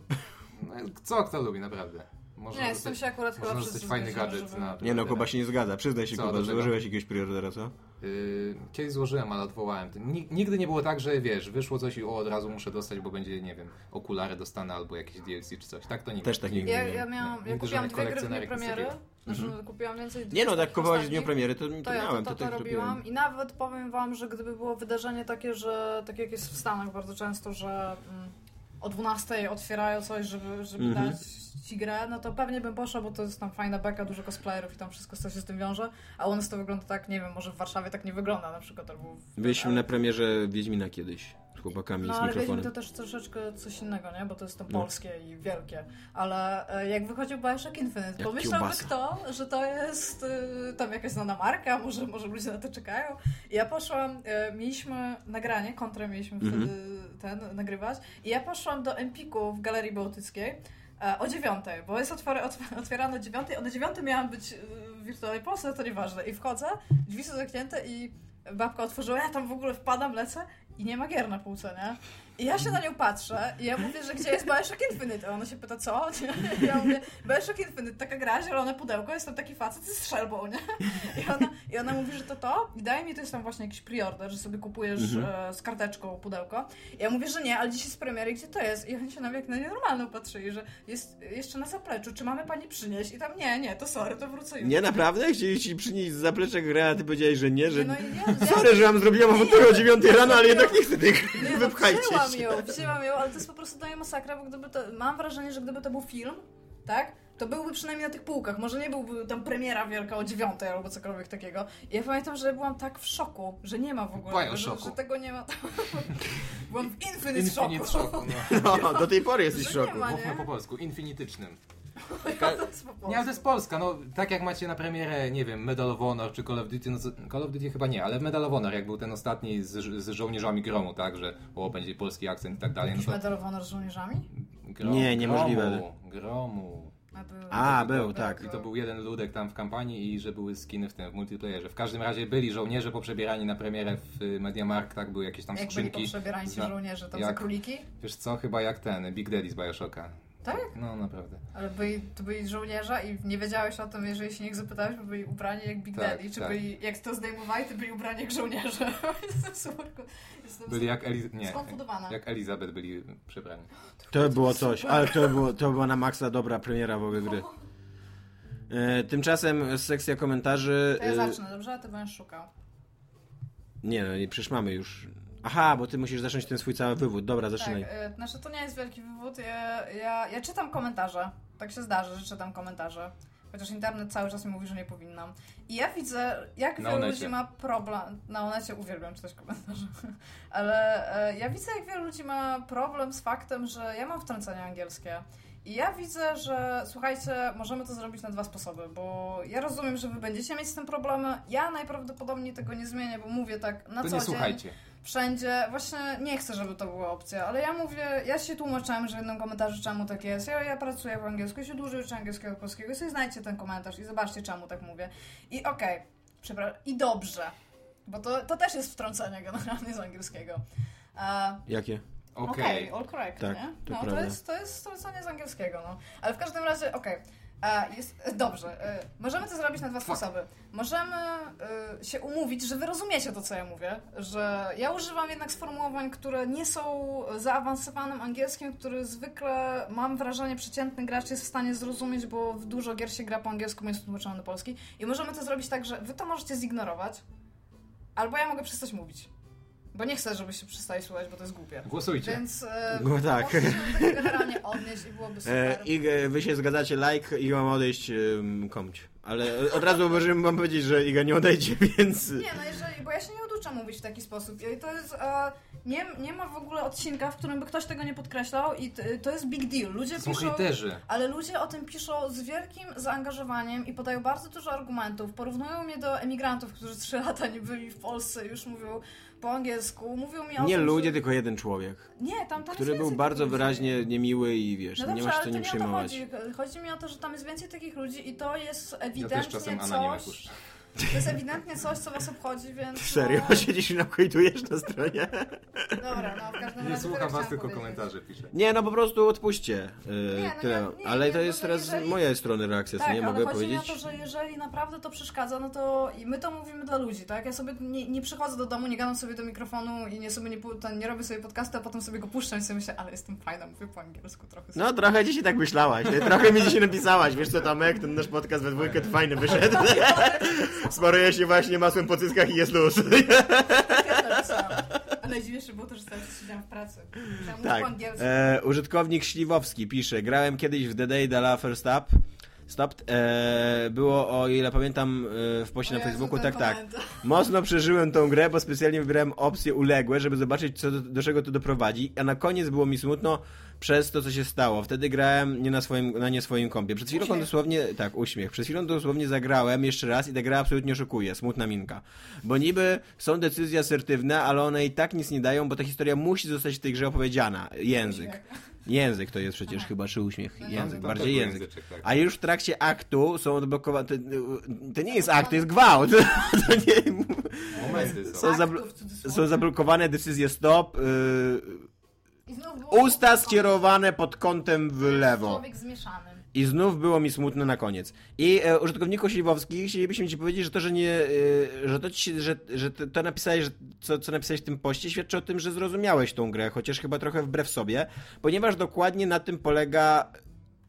Speaker 4: No, co kto lubi naprawdę? Można
Speaker 3: nie, z tym się akurat chyba
Speaker 4: można rzucać
Speaker 3: wszyscy
Speaker 4: fajny
Speaker 3: zgodzimy,
Speaker 4: gadżet
Speaker 3: żeby-
Speaker 4: na
Speaker 2: Nie no,
Speaker 4: preordera.
Speaker 2: Kuba się nie zgadza, przyznaj się
Speaker 4: Co,
Speaker 2: Kuba,
Speaker 4: dlaczego?
Speaker 2: złożyłeś jakiegoś priorytetera, co?
Speaker 4: Yy, Kiedyś złożyłem, ale odwołałem. To ni- Nigdy nie było tak, że wiesz, wyszło coś i o, od razu muszę dostać, bo będzie, nie wiem, okulary dostanę albo jakieś DLC czy coś. Tak to nigdy.
Speaker 2: Też tak nigdy
Speaker 3: Ja,
Speaker 2: nie.
Speaker 3: ja, miałam, ja
Speaker 4: Nigdy
Speaker 3: kupiłam
Speaker 4: żadnych
Speaker 3: dwie gry w dniu
Speaker 4: kolekcjonerek Mhm. nie
Speaker 3: premiery.
Speaker 4: zrobiłem.
Speaker 3: Znaczy, kupiłam więcej
Speaker 2: Nie no, tak
Speaker 3: ostatnich-
Speaker 2: kupowałaś w dniu premiery, to, to,
Speaker 3: To ja
Speaker 2: miałem,
Speaker 3: to, to, to
Speaker 2: też
Speaker 3: robiłam i nawet powiem wam, że gdyby było wydarzenie takie, że tak jak jest w Stanach bardzo często, że mm, o 12 otwierają coś, żeby, żeby
Speaker 2: Mhm.
Speaker 3: dać ci grę, no to pewnie bym poszła, bo to jest tam fajna beka, dużo cosplayerów i tam wszystko co się z tym wiąże, a u nas to wygląda tak, nie wiem, może w Warszawie tak nie wygląda na przykład. Albo w,
Speaker 2: Byliśmy na premierze Wiedźmina kiedyś z chłopakami
Speaker 3: no
Speaker 2: z
Speaker 3: ale Wiedźmin
Speaker 2: mikrofonem.
Speaker 3: to też troszeczkę coś innego, nie? Bo to jest to
Speaker 2: No.
Speaker 3: polskie i wielkie. Ale e, jak wychodził Bioshock Infinite,
Speaker 2: Jak
Speaker 3: pomyślałby
Speaker 2: kiełbasa.
Speaker 3: kto, że to jest e, tam jakaś znana marka, może, może ludzie na to czekają. I ja poszłam, e, mieliśmy nagranie, kontrę mieliśmy
Speaker 2: Mhm.
Speaker 3: wtedy ten nagrywać i ja poszłam do Empiku w Galerii Bałtyckiej e, o dziewiątej, bo jest otwory, otw otwierane o dziewiątej, o dziewiątej miałam być e, w wirtualnej Polsce, to nieważne. I wchodzę, drzwi są zamknięte i babka otworzyła, ja tam w ogóle wpadam, lecę i nie ma gier na półce, nie? I ja się na nią patrzę i ja mówię, że gdzie jest Bioshock Infinite? A ona się pyta, co? Nie? Ja mówię, Bioshock Infinite, taka gra, zielone pudełko, jest tam taki facet z strzelbą, nie? I ona, I ona mówi, że to to i daje mi, to jest tam właśnie jakiś preorder, że sobie kupujesz
Speaker 2: Mhm.
Speaker 3: e, z karteczką pudełko. I ja mówię, że nie, ale dzisiaj z premiery, gdzie to jest? I oni się na mnie jak na nienormalną patrzyli, że jest jeszcze na zapleczu, czy mamy pani przynieść? I tam, nie, nie, to sorry, to wrócę już.
Speaker 2: Nie, naprawdę? Chcieli ci przynieść z zaplecza grę, a ty powiedziałeś, że nie, że...
Speaker 3: No i nie, ja-
Speaker 2: *laughs* Sorry, że wam zrobiłam awanturę o 9 rano, ale jednak nie chcę tych
Speaker 3: Nie, no,
Speaker 2: wypchajcie
Speaker 3: wzięłam
Speaker 2: się.
Speaker 3: ją, wzięłam ją, ale to jest po prostu daje masakra, bo gdyby to, mam wrażenie, że gdyby to był film, tak, to byłby przynajmniej na tych półkach, może nie byłby tam premiera wielka o dziewiątej albo cokolwiek takiego. I ja pamiętam, że byłam tak w szoku, że nie ma w ogóle, że,
Speaker 4: Bioshoku.
Speaker 3: że tego nie ma. byłam w infinite,
Speaker 4: Infinite
Speaker 3: szoku.
Speaker 2: *laughs*
Speaker 4: szoku. No.
Speaker 2: No, do tej pory jesteś w
Speaker 3: Że nie
Speaker 2: szoku.
Speaker 3: ma.
Speaker 4: Mówmy po polsku, infinitycznym.
Speaker 3: *laughs*
Speaker 4: Ka-
Speaker 3: To jest po
Speaker 4: Nie,
Speaker 3: prostu.
Speaker 4: ale to jest Polska, no tak jak macie na premierę, nie wiem, Medal of Honor czy Call of Duty, no co- Call of Duty chyba nie, ale Medal of Honor, jak był ten ostatni z, żo- z żołnierzami gromu, tak, że o, będzie polski akcent i tak dalej, no to...
Speaker 3: Medal of Honor z żołnierzami?
Speaker 4: Grom,
Speaker 2: Nie, niemożliwe.
Speaker 4: Gromu, gromu.
Speaker 3: A, był-
Speaker 2: A, był, tak.
Speaker 4: I to był jeden ludek tam w kampanii i że były skiny w tym, w multiplayerze. W każdym razie byli żołnierze poprzebierani na premierę w y, Mediamarkt, tak, były jakieś tam
Speaker 3: Jak byli
Speaker 4: skrzynki.
Speaker 3: poprzebierani ci
Speaker 4: Zna-
Speaker 3: żołnierze tam za
Speaker 4: jak-
Speaker 3: króliki?
Speaker 4: Wiesz co, chyba jak ten, Big Daddy z Bioshocka.
Speaker 3: Tak?
Speaker 4: No, naprawdę.
Speaker 3: Ale byli, to byli żołnierze i nie wiedziałeś o tym, jeżeli się ich zapytałeś, bo byli ubrani jak Big
Speaker 4: Tak,
Speaker 3: Daddy. Czy
Speaker 4: tak.
Speaker 3: byli, jak to zdejmowali, to byli ubrani jak żołnierze. *laughs* Jestem super- Jestem
Speaker 4: Byli jak, Eliz- nie,
Speaker 3: skonfundowana.
Speaker 4: jak Elizabeth byli przebrani.
Speaker 2: To było coś,
Speaker 3: Super.
Speaker 2: ale to, było, to była na maksa dobra premiera w ogóle gry. E, tymczasem sekcja komentarzy.
Speaker 3: To ja
Speaker 4: y-
Speaker 2: e,
Speaker 3: zacznę, dobrze? A Ty będziesz szukał.
Speaker 2: nie, no nie, przecież mamy już. Aha, bo ty musisz zacząć ten swój cały wywód. Dobra, zaczynaj.
Speaker 3: Tak, y, znaczy to nie jest wielki wywód. Ja, ja, ja czytam komentarze. Tak się zdarza, że czytam komentarze. Chociaż internet cały czas mi mówi, że nie powinnam. I ja widzę, jak
Speaker 4: Na
Speaker 3: wielu
Speaker 4: Onecie.
Speaker 3: ludzi ma problem. Na onecie uwielbiam czytać komentarze. *laughs* Ale e, ja widzę, jak wielu ludzi ma problem z faktem, że ja mam wtrącenia angielskie. I ja widzę, że słuchajcie, możemy to zrobić na dwa sposoby, bo ja rozumiem, że wy będziecie mieć z tym problemy. Ja najprawdopodobniej tego nie zmienię, bo mówię tak na
Speaker 4: to
Speaker 3: co dzień
Speaker 4: nie słuchajcie.
Speaker 3: wszędzie. Właśnie nie chcę, żeby to była opcja, ale ja mówię, ja się tłumaczyłam, że w jednym komentarzu czemu tak jest. Ja, ja pracuję w angielsku, ja się dłużej uczę angielskiego od polskiego, sobie znajdźcie ten komentarz i zobaczcie czemu tak mówię. I okej, przepraszam, i dobrze, bo to, to też jest wtrącenie generalnie z angielskiego. E,
Speaker 2: Jakie?
Speaker 4: Okej.
Speaker 3: Okej, all correct,
Speaker 2: Tak,
Speaker 3: nie?
Speaker 2: to
Speaker 3: no,
Speaker 2: prawda.
Speaker 3: to jest, to jest stracenie z angielskiego, no. Ale w każdym razie, okej. e, Jest, e, dobrze, e, możemy to zrobić na dwa
Speaker 4: Fuck.
Speaker 3: sposoby. Możemy e, się umówić, że wy rozumiecie to, co ja mówię, że ja używam jednak sformułowań, które nie są zaawansowanym angielskim, który zwykle, mam wrażenie, przeciętny gracz jest w stanie zrozumieć, bo w dużo gier się gra po angielsku, jest tłumaczony na polski. I możemy to zrobić tak, że wy to możecie zignorować, albo ja mogę przestać mówić. Bo nie chcę, żebyście przestali słuchać, bo to jest głupie.
Speaker 4: Głosujcie.
Speaker 3: Więc e,
Speaker 2: No tak.
Speaker 3: możesz się do tego generalnie odnieść i byłoby super.
Speaker 2: E, I wy się zgadzacie, like, i mam odejść um, komć. Ale od razu możemy wam powiedzieć, że Iga nie odejdzie, *laughs* więc.
Speaker 3: Nie, no jeżeli, bo ja się nie oduczę mówić w taki sposób. I to jest, e, nie, nie ma w ogóle odcinka, w którym by ktoś tego nie podkreślał i t, to jest big deal. Ludzie
Speaker 4: Są
Speaker 3: piszą...
Speaker 4: hejterzy.
Speaker 3: Ale ludzie o tym piszą z wielkim zaangażowaniem i podają bardzo dużo argumentów. Porównują mnie do emigrantów, którzy 3 lata nie byli w Polsce, już mówią po angielsku. Mówią mi o
Speaker 2: Nie
Speaker 3: tym,
Speaker 2: ludzie,
Speaker 3: że...
Speaker 2: tylko jeden człowiek,
Speaker 3: Nie, tam, tam
Speaker 2: który
Speaker 3: jest
Speaker 2: był
Speaker 3: więcej
Speaker 2: bardzo
Speaker 3: takich ludzi.
Speaker 2: wyraźnie niemiły i wiesz,
Speaker 3: No
Speaker 2: nie
Speaker 3: dobrze,
Speaker 2: masz
Speaker 3: ale
Speaker 2: co
Speaker 3: to
Speaker 2: nim
Speaker 3: nie o to
Speaker 2: przyjmować.
Speaker 3: chodzi. Chodzi mi o to, że tam jest więcej takich ludzi i to jest
Speaker 4: Ja też
Speaker 3: ewidentnie
Speaker 4: czasem Anonimę
Speaker 3: coś.
Speaker 4: puszczę.
Speaker 3: To jest ewidentnie coś, co was obchodzi,
Speaker 2: *laughs*
Speaker 3: więc.
Speaker 2: *laughs* Serio,
Speaker 3: No,
Speaker 2: siedzisz i nakojdujesz na
Speaker 3: *laughs*
Speaker 2: stronie.
Speaker 3: dobra, no w każdym razie.
Speaker 4: Nie
Speaker 3: tyle
Speaker 4: słucham was,
Speaker 3: chciałam
Speaker 4: tylko
Speaker 3: powiedzieć.
Speaker 4: komentarze piszę.
Speaker 2: Nie, no po prostu odpuśćcie. Yy,
Speaker 3: Nie, no
Speaker 2: tyle.
Speaker 3: ja- nie,
Speaker 2: ale
Speaker 3: nie,
Speaker 2: to
Speaker 3: no
Speaker 2: jest
Speaker 3: to
Speaker 2: teraz
Speaker 3: jeżeli-
Speaker 2: z mojej strony reakcja, co
Speaker 3: Tak,
Speaker 2: nie
Speaker 3: ale
Speaker 2: mogę
Speaker 3: chodzi mi
Speaker 2: powiedzieć.
Speaker 3: o to, że jeżeli naprawdę to przeszkadza, no to i my to mówimy dla ludzi, tak? Ja sobie nie, nie przychodzę do domu, nie gadam sobie do mikrofonu i nie sobie nie, pu- ten, nie robię sobie podcastu, a potem sobie go puszczam i sobie myślę, ale jestem fajna, mówię po angielsku trochę.
Speaker 2: No trochę dzisiaj tak myślałaś, nie? trochę mi dzisiaj napisałaś, wiesz co Tomek, ten nasz podcast we dwójkę to fajny
Speaker 3: *laughs*
Speaker 2: wyszedł. Smaruje się właśnie masłem po cyckach i jest luz.
Speaker 3: Ja to napisałam. A najdziwniejsze było to, że cały czas siedziałam w pracy. Chciałam mówić
Speaker 2: tak.
Speaker 3: po angielsku.
Speaker 2: E, użytkownik Śliwowski pisze, grałem kiedyś w The Day Dala First Up. Stopped. E, było, o ile pamiętam, e, w poście
Speaker 3: O
Speaker 2: na
Speaker 3: Jezu,
Speaker 2: Facebooku,
Speaker 3: ten
Speaker 2: tak, tak.
Speaker 3: komentarz.
Speaker 2: Mocno przeżyłem tą grę, bo specjalnie wybrałem opcje uległe, żeby zobaczyć, co do, do czego to doprowadzi, a na koniec było mi smutno przez to, co się stało. Wtedy grałem nie na, swoim, na nie swoim kompie. Przed chwilą
Speaker 3: Uśmiech.
Speaker 2: dosłownie, tak, uśmiech. Przed chwilą dosłownie zagrałem jeszcze raz i ta gra absolutnie szokuje. Smutna minka. Bo niby są decyzje asertywne, ale one i tak nic nie dają, bo ta historia musi zostać w tej grze opowiedziana. Język. Język to jest przecież chyba, czy uśmiech.
Speaker 4: No
Speaker 2: Język,
Speaker 4: Tam
Speaker 2: bardziej
Speaker 4: był
Speaker 2: język.
Speaker 4: języczek, tak.
Speaker 2: A już w trakcie aktu są odblokowane. To, y, to nie jest akt, to jest gwałt. *laughs* To nie,
Speaker 4: Momenty
Speaker 2: są,
Speaker 4: są.
Speaker 3: Aktów,
Speaker 2: zabl-
Speaker 3: Tak, w cudzysłowie.
Speaker 2: są zablokowane decyzje stop.
Speaker 3: I znów było
Speaker 2: Yy, usta
Speaker 3: słowo-
Speaker 2: skierowane pod kątem w lewo.
Speaker 3: Człowiek zmieszany.
Speaker 2: I znów było mi smutno na koniec. I e, użytkowniku Śliwowski, chcielibyśmy ci powiedzieć, że to, że nie, e, że to, ci, się- że, że to, to napisałeś, że, co, co napisałeś w tym poście, świadczy o tym, że zrozumiałeś tą grę, chociaż chyba trochę wbrew sobie, ponieważ dokładnie na tym polega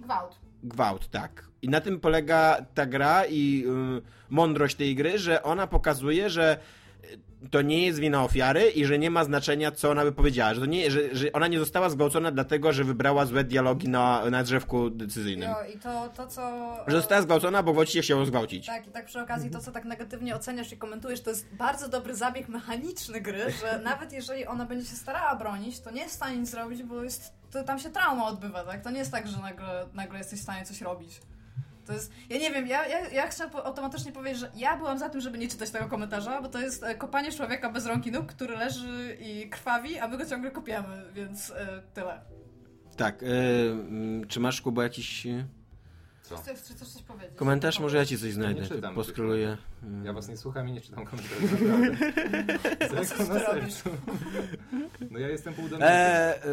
Speaker 3: Gwałt.
Speaker 2: Gwałt, tak. I na tym polega ta gra i ym, mądrość tej gry, że ona pokazuje, że y, to nie jest wina ofiary i że nie ma znaczenia, co ona by powiedziała. Że, to nie, że, że ona nie została zgwałcona dlatego, że wybrała złe dialogi na, na drzewku decyzyjnym.
Speaker 3: Jo, I to, to co.
Speaker 2: Że została zgwałcona, bo właściwie chciał ją zgwałcić.
Speaker 3: Tak, i tak przy okazji to, co tak negatywnie oceniasz i komentujesz, to jest bardzo dobry *laughs* zabieg mechaniczny gry, że nawet jeżeli ona będzie się starała bronić, to nie jest w stanie nic zrobić, bo jest to tam się trauma odbywa, tak? To nie jest tak, że nagle, nagle jesteś w stanie coś robić. To jest, ja nie wiem, ja, ja, ja chcę po- automatycznie powiedzieć, że ja byłam za tym, żeby nie czytać tego komentarza, bo to jest e, kopanie człowieka bez rąk i nóg, który leży i krwawi, a my go ciągle kopiemy, więc e, tyle.
Speaker 2: Tak, e, mm, czy masz, Kuba, jakiś e,
Speaker 4: Co?
Speaker 3: Chcesz, chcesz coś powiedzieć? No.
Speaker 2: komentarz? Może ja ci coś znajdę,
Speaker 4: czytam tych
Speaker 2: poskroluję. Mm.
Speaker 4: Ja was nie słucham i nie czytam komentarzy, *laughs* naprawdę. Zresztą na
Speaker 3: ty robisz?
Speaker 4: sercu. No ja jestem pół do
Speaker 2: E, e,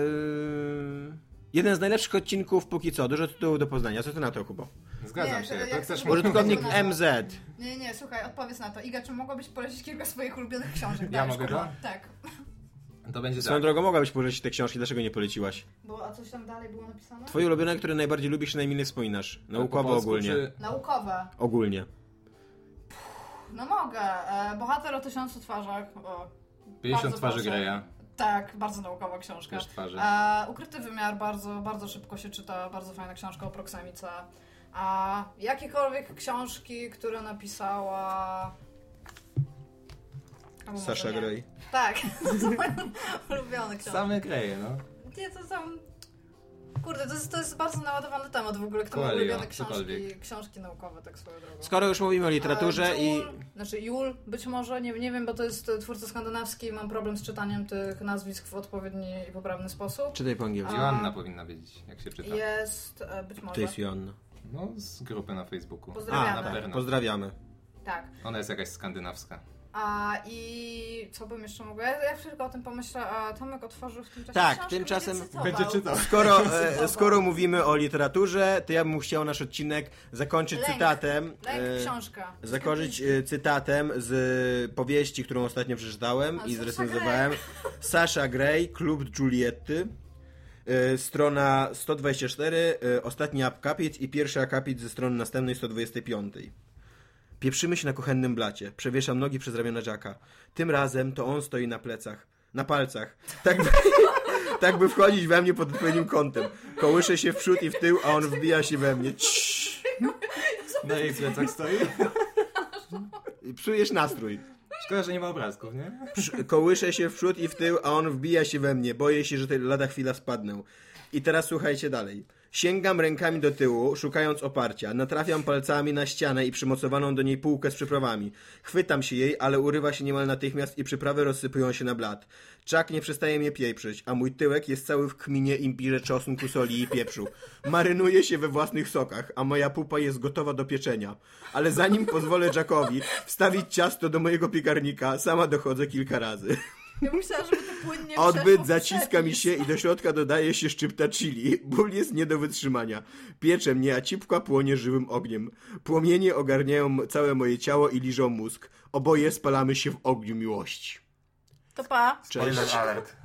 Speaker 2: jeden z najlepszych odcinków póki co, dużo tytułów do poznania. Co ty na to, Kubo?
Speaker 4: Zgadzam
Speaker 3: Nie,
Speaker 4: się,
Speaker 3: to
Speaker 4: to
Speaker 3: jak
Speaker 4: też
Speaker 3: to-
Speaker 4: mogę *laughs*
Speaker 2: Użytkownik
Speaker 4: powiedzieć.
Speaker 2: MZ.
Speaker 4: Tak.
Speaker 3: Nie, nie, słuchaj, odpowiedz na to. Iga, czy mogłabyś polecić kilka swoich ulubionych książek?
Speaker 4: Ja
Speaker 3: Dajesz,
Speaker 4: mogę,
Speaker 3: Kuba.
Speaker 4: tak?
Speaker 3: Tak.
Speaker 4: To będzie
Speaker 2: Swoją
Speaker 4: tak.
Speaker 2: drogą mogłabyś pożyczyć te książki, dlaczego nie poleciłaś?
Speaker 3: Bo, a coś tam dalej było napisane?
Speaker 2: Twoje ulubione, które najbardziej lubisz i najmniej wspominasz?
Speaker 4: Po
Speaker 2: Naukowo
Speaker 4: polsku
Speaker 2: no, ogólnie.
Speaker 4: czy-
Speaker 3: Naukowe.
Speaker 2: Ogólnie.
Speaker 3: No mogę. E, bohater o tysiącu twarzach. O,
Speaker 4: 50
Speaker 3: Bardzo
Speaker 4: twarzy
Speaker 3: proszę.
Speaker 4: Greya.
Speaker 3: tak, bardzo naukowa książka.
Speaker 4: Też twarzy.
Speaker 3: E, ukryty wymiar bardzo, bardzo szybko się czyta. Bardzo fajna książka o proksemice. A jakiekolwiek książki, które napisała... Albo może
Speaker 2: Sasha
Speaker 3: nie.
Speaker 2: Grey.
Speaker 3: Tak, *laughs* to są moje ulubione książki.
Speaker 4: Same Greje, no.
Speaker 3: Nie, to tam... Kurde, to jest, to jest bardzo naładowany temat w ogóle, kto ma
Speaker 4: Coelho,
Speaker 3: ulubione książki,
Speaker 4: cokolwiek.
Speaker 3: książki naukowe, tak swoją drogą.
Speaker 2: Skoro już mówimy o literaturze
Speaker 3: Ale
Speaker 2: i...
Speaker 3: Jul, Znaczy Jul być może, nie, nie wiem, bo to jest e, twórca skandynawski, mam problem z czytaniem tych nazwisk w odpowiedni i poprawny sposób.
Speaker 2: Czytaj po angielsku.
Speaker 4: Joanna powinna wiedzieć, jak się czyta.
Speaker 3: Jest, e, być może,
Speaker 2: To jest Joanna.
Speaker 4: No, z grupy na Facebooku.
Speaker 3: Pozdrawiamy.
Speaker 4: A, na
Speaker 3: tak.
Speaker 4: pewno.
Speaker 2: Pozdrawiamy.
Speaker 3: tak.
Speaker 4: Ona jest jakaś skandynawska.
Speaker 3: A i co bym jeszcze mogła, ja, ja tylko o tym pomyślę, a Tomek otworzył w tym czasie
Speaker 2: Tak,
Speaker 3: książkę,
Speaker 2: tymczasem
Speaker 3: będzie cytował.
Speaker 4: *laughs*
Speaker 2: Skoro, e, skoro mówimy o literaturze, to ja bym chciał nasz odcinek zakończyć
Speaker 3: Lęk.
Speaker 2: cytatem.
Speaker 3: Lęk,
Speaker 2: e,
Speaker 3: książka.
Speaker 2: Zakończyć e, cytatem z y, powieści, którą ostatnio przeczytałem
Speaker 3: A,
Speaker 2: i
Speaker 3: Sasha
Speaker 2: zrecenzowałem.
Speaker 3: *laughs*
Speaker 2: Sasha Gray, Klub Juliety. e, Strona 124, e, ostatni akapit i pierwszy akapit ze strony następnej 125. Pieprzymy się na kuchennym blacie. Przewieszam nogi przez ramiona Jacka. Tym razem to on stoi na plecach. Na palcach. Tak by, *laughs* tak by wchodzić we mnie pod odpowiednim kątem. Kołyszę się w przód i w tył, a on wbija się we mnie. Ciii.
Speaker 4: Na jej plecach stoi.
Speaker 2: Czujesz nastrój.
Speaker 4: Szkoda, że nie ma obrazków, nie?
Speaker 2: Przy- Kołyszę się w przód i w tył, a on wbija się we mnie. Boję się, że tej lada chwila spadnę. I teraz słuchajcie dalej. Sięgam rękami do tyłu, szukając oparcia. Natrafiam palcami na ścianę i przymocowaną do niej półkę z przyprawami. Chwytam się jej, ale urywa się niemal natychmiast i przyprawy rozsypują się na blat. Czak nie przestaje mnie pieprzyć, a mój tyłek jest cały w kminie, imbirze, czosnku, soli i pieprzu. Marynuję się we własnych sokach, a moja pupa jest gotowa do pieczenia. Ale zanim pozwolę Jackowi wstawić ciasto do mojego piekarnika, sama dochodzę kilka razy.
Speaker 3: Ja myślałam, żeby to płynnie przeszło
Speaker 2: Odbyt
Speaker 3: w
Speaker 2: zaciska mi
Speaker 3: przepis.
Speaker 2: się i do środka dodaje się szczypta chili. Ból jest nie do wytrzymania. Piecze mnie, a cipka płonie żywym ogniem. Płomienie ogarniają całe moje ciało i liżą mózg. Oboje spalamy się w ogniu miłości.
Speaker 3: To pa.
Speaker 2: Cześć.
Speaker 4: alert.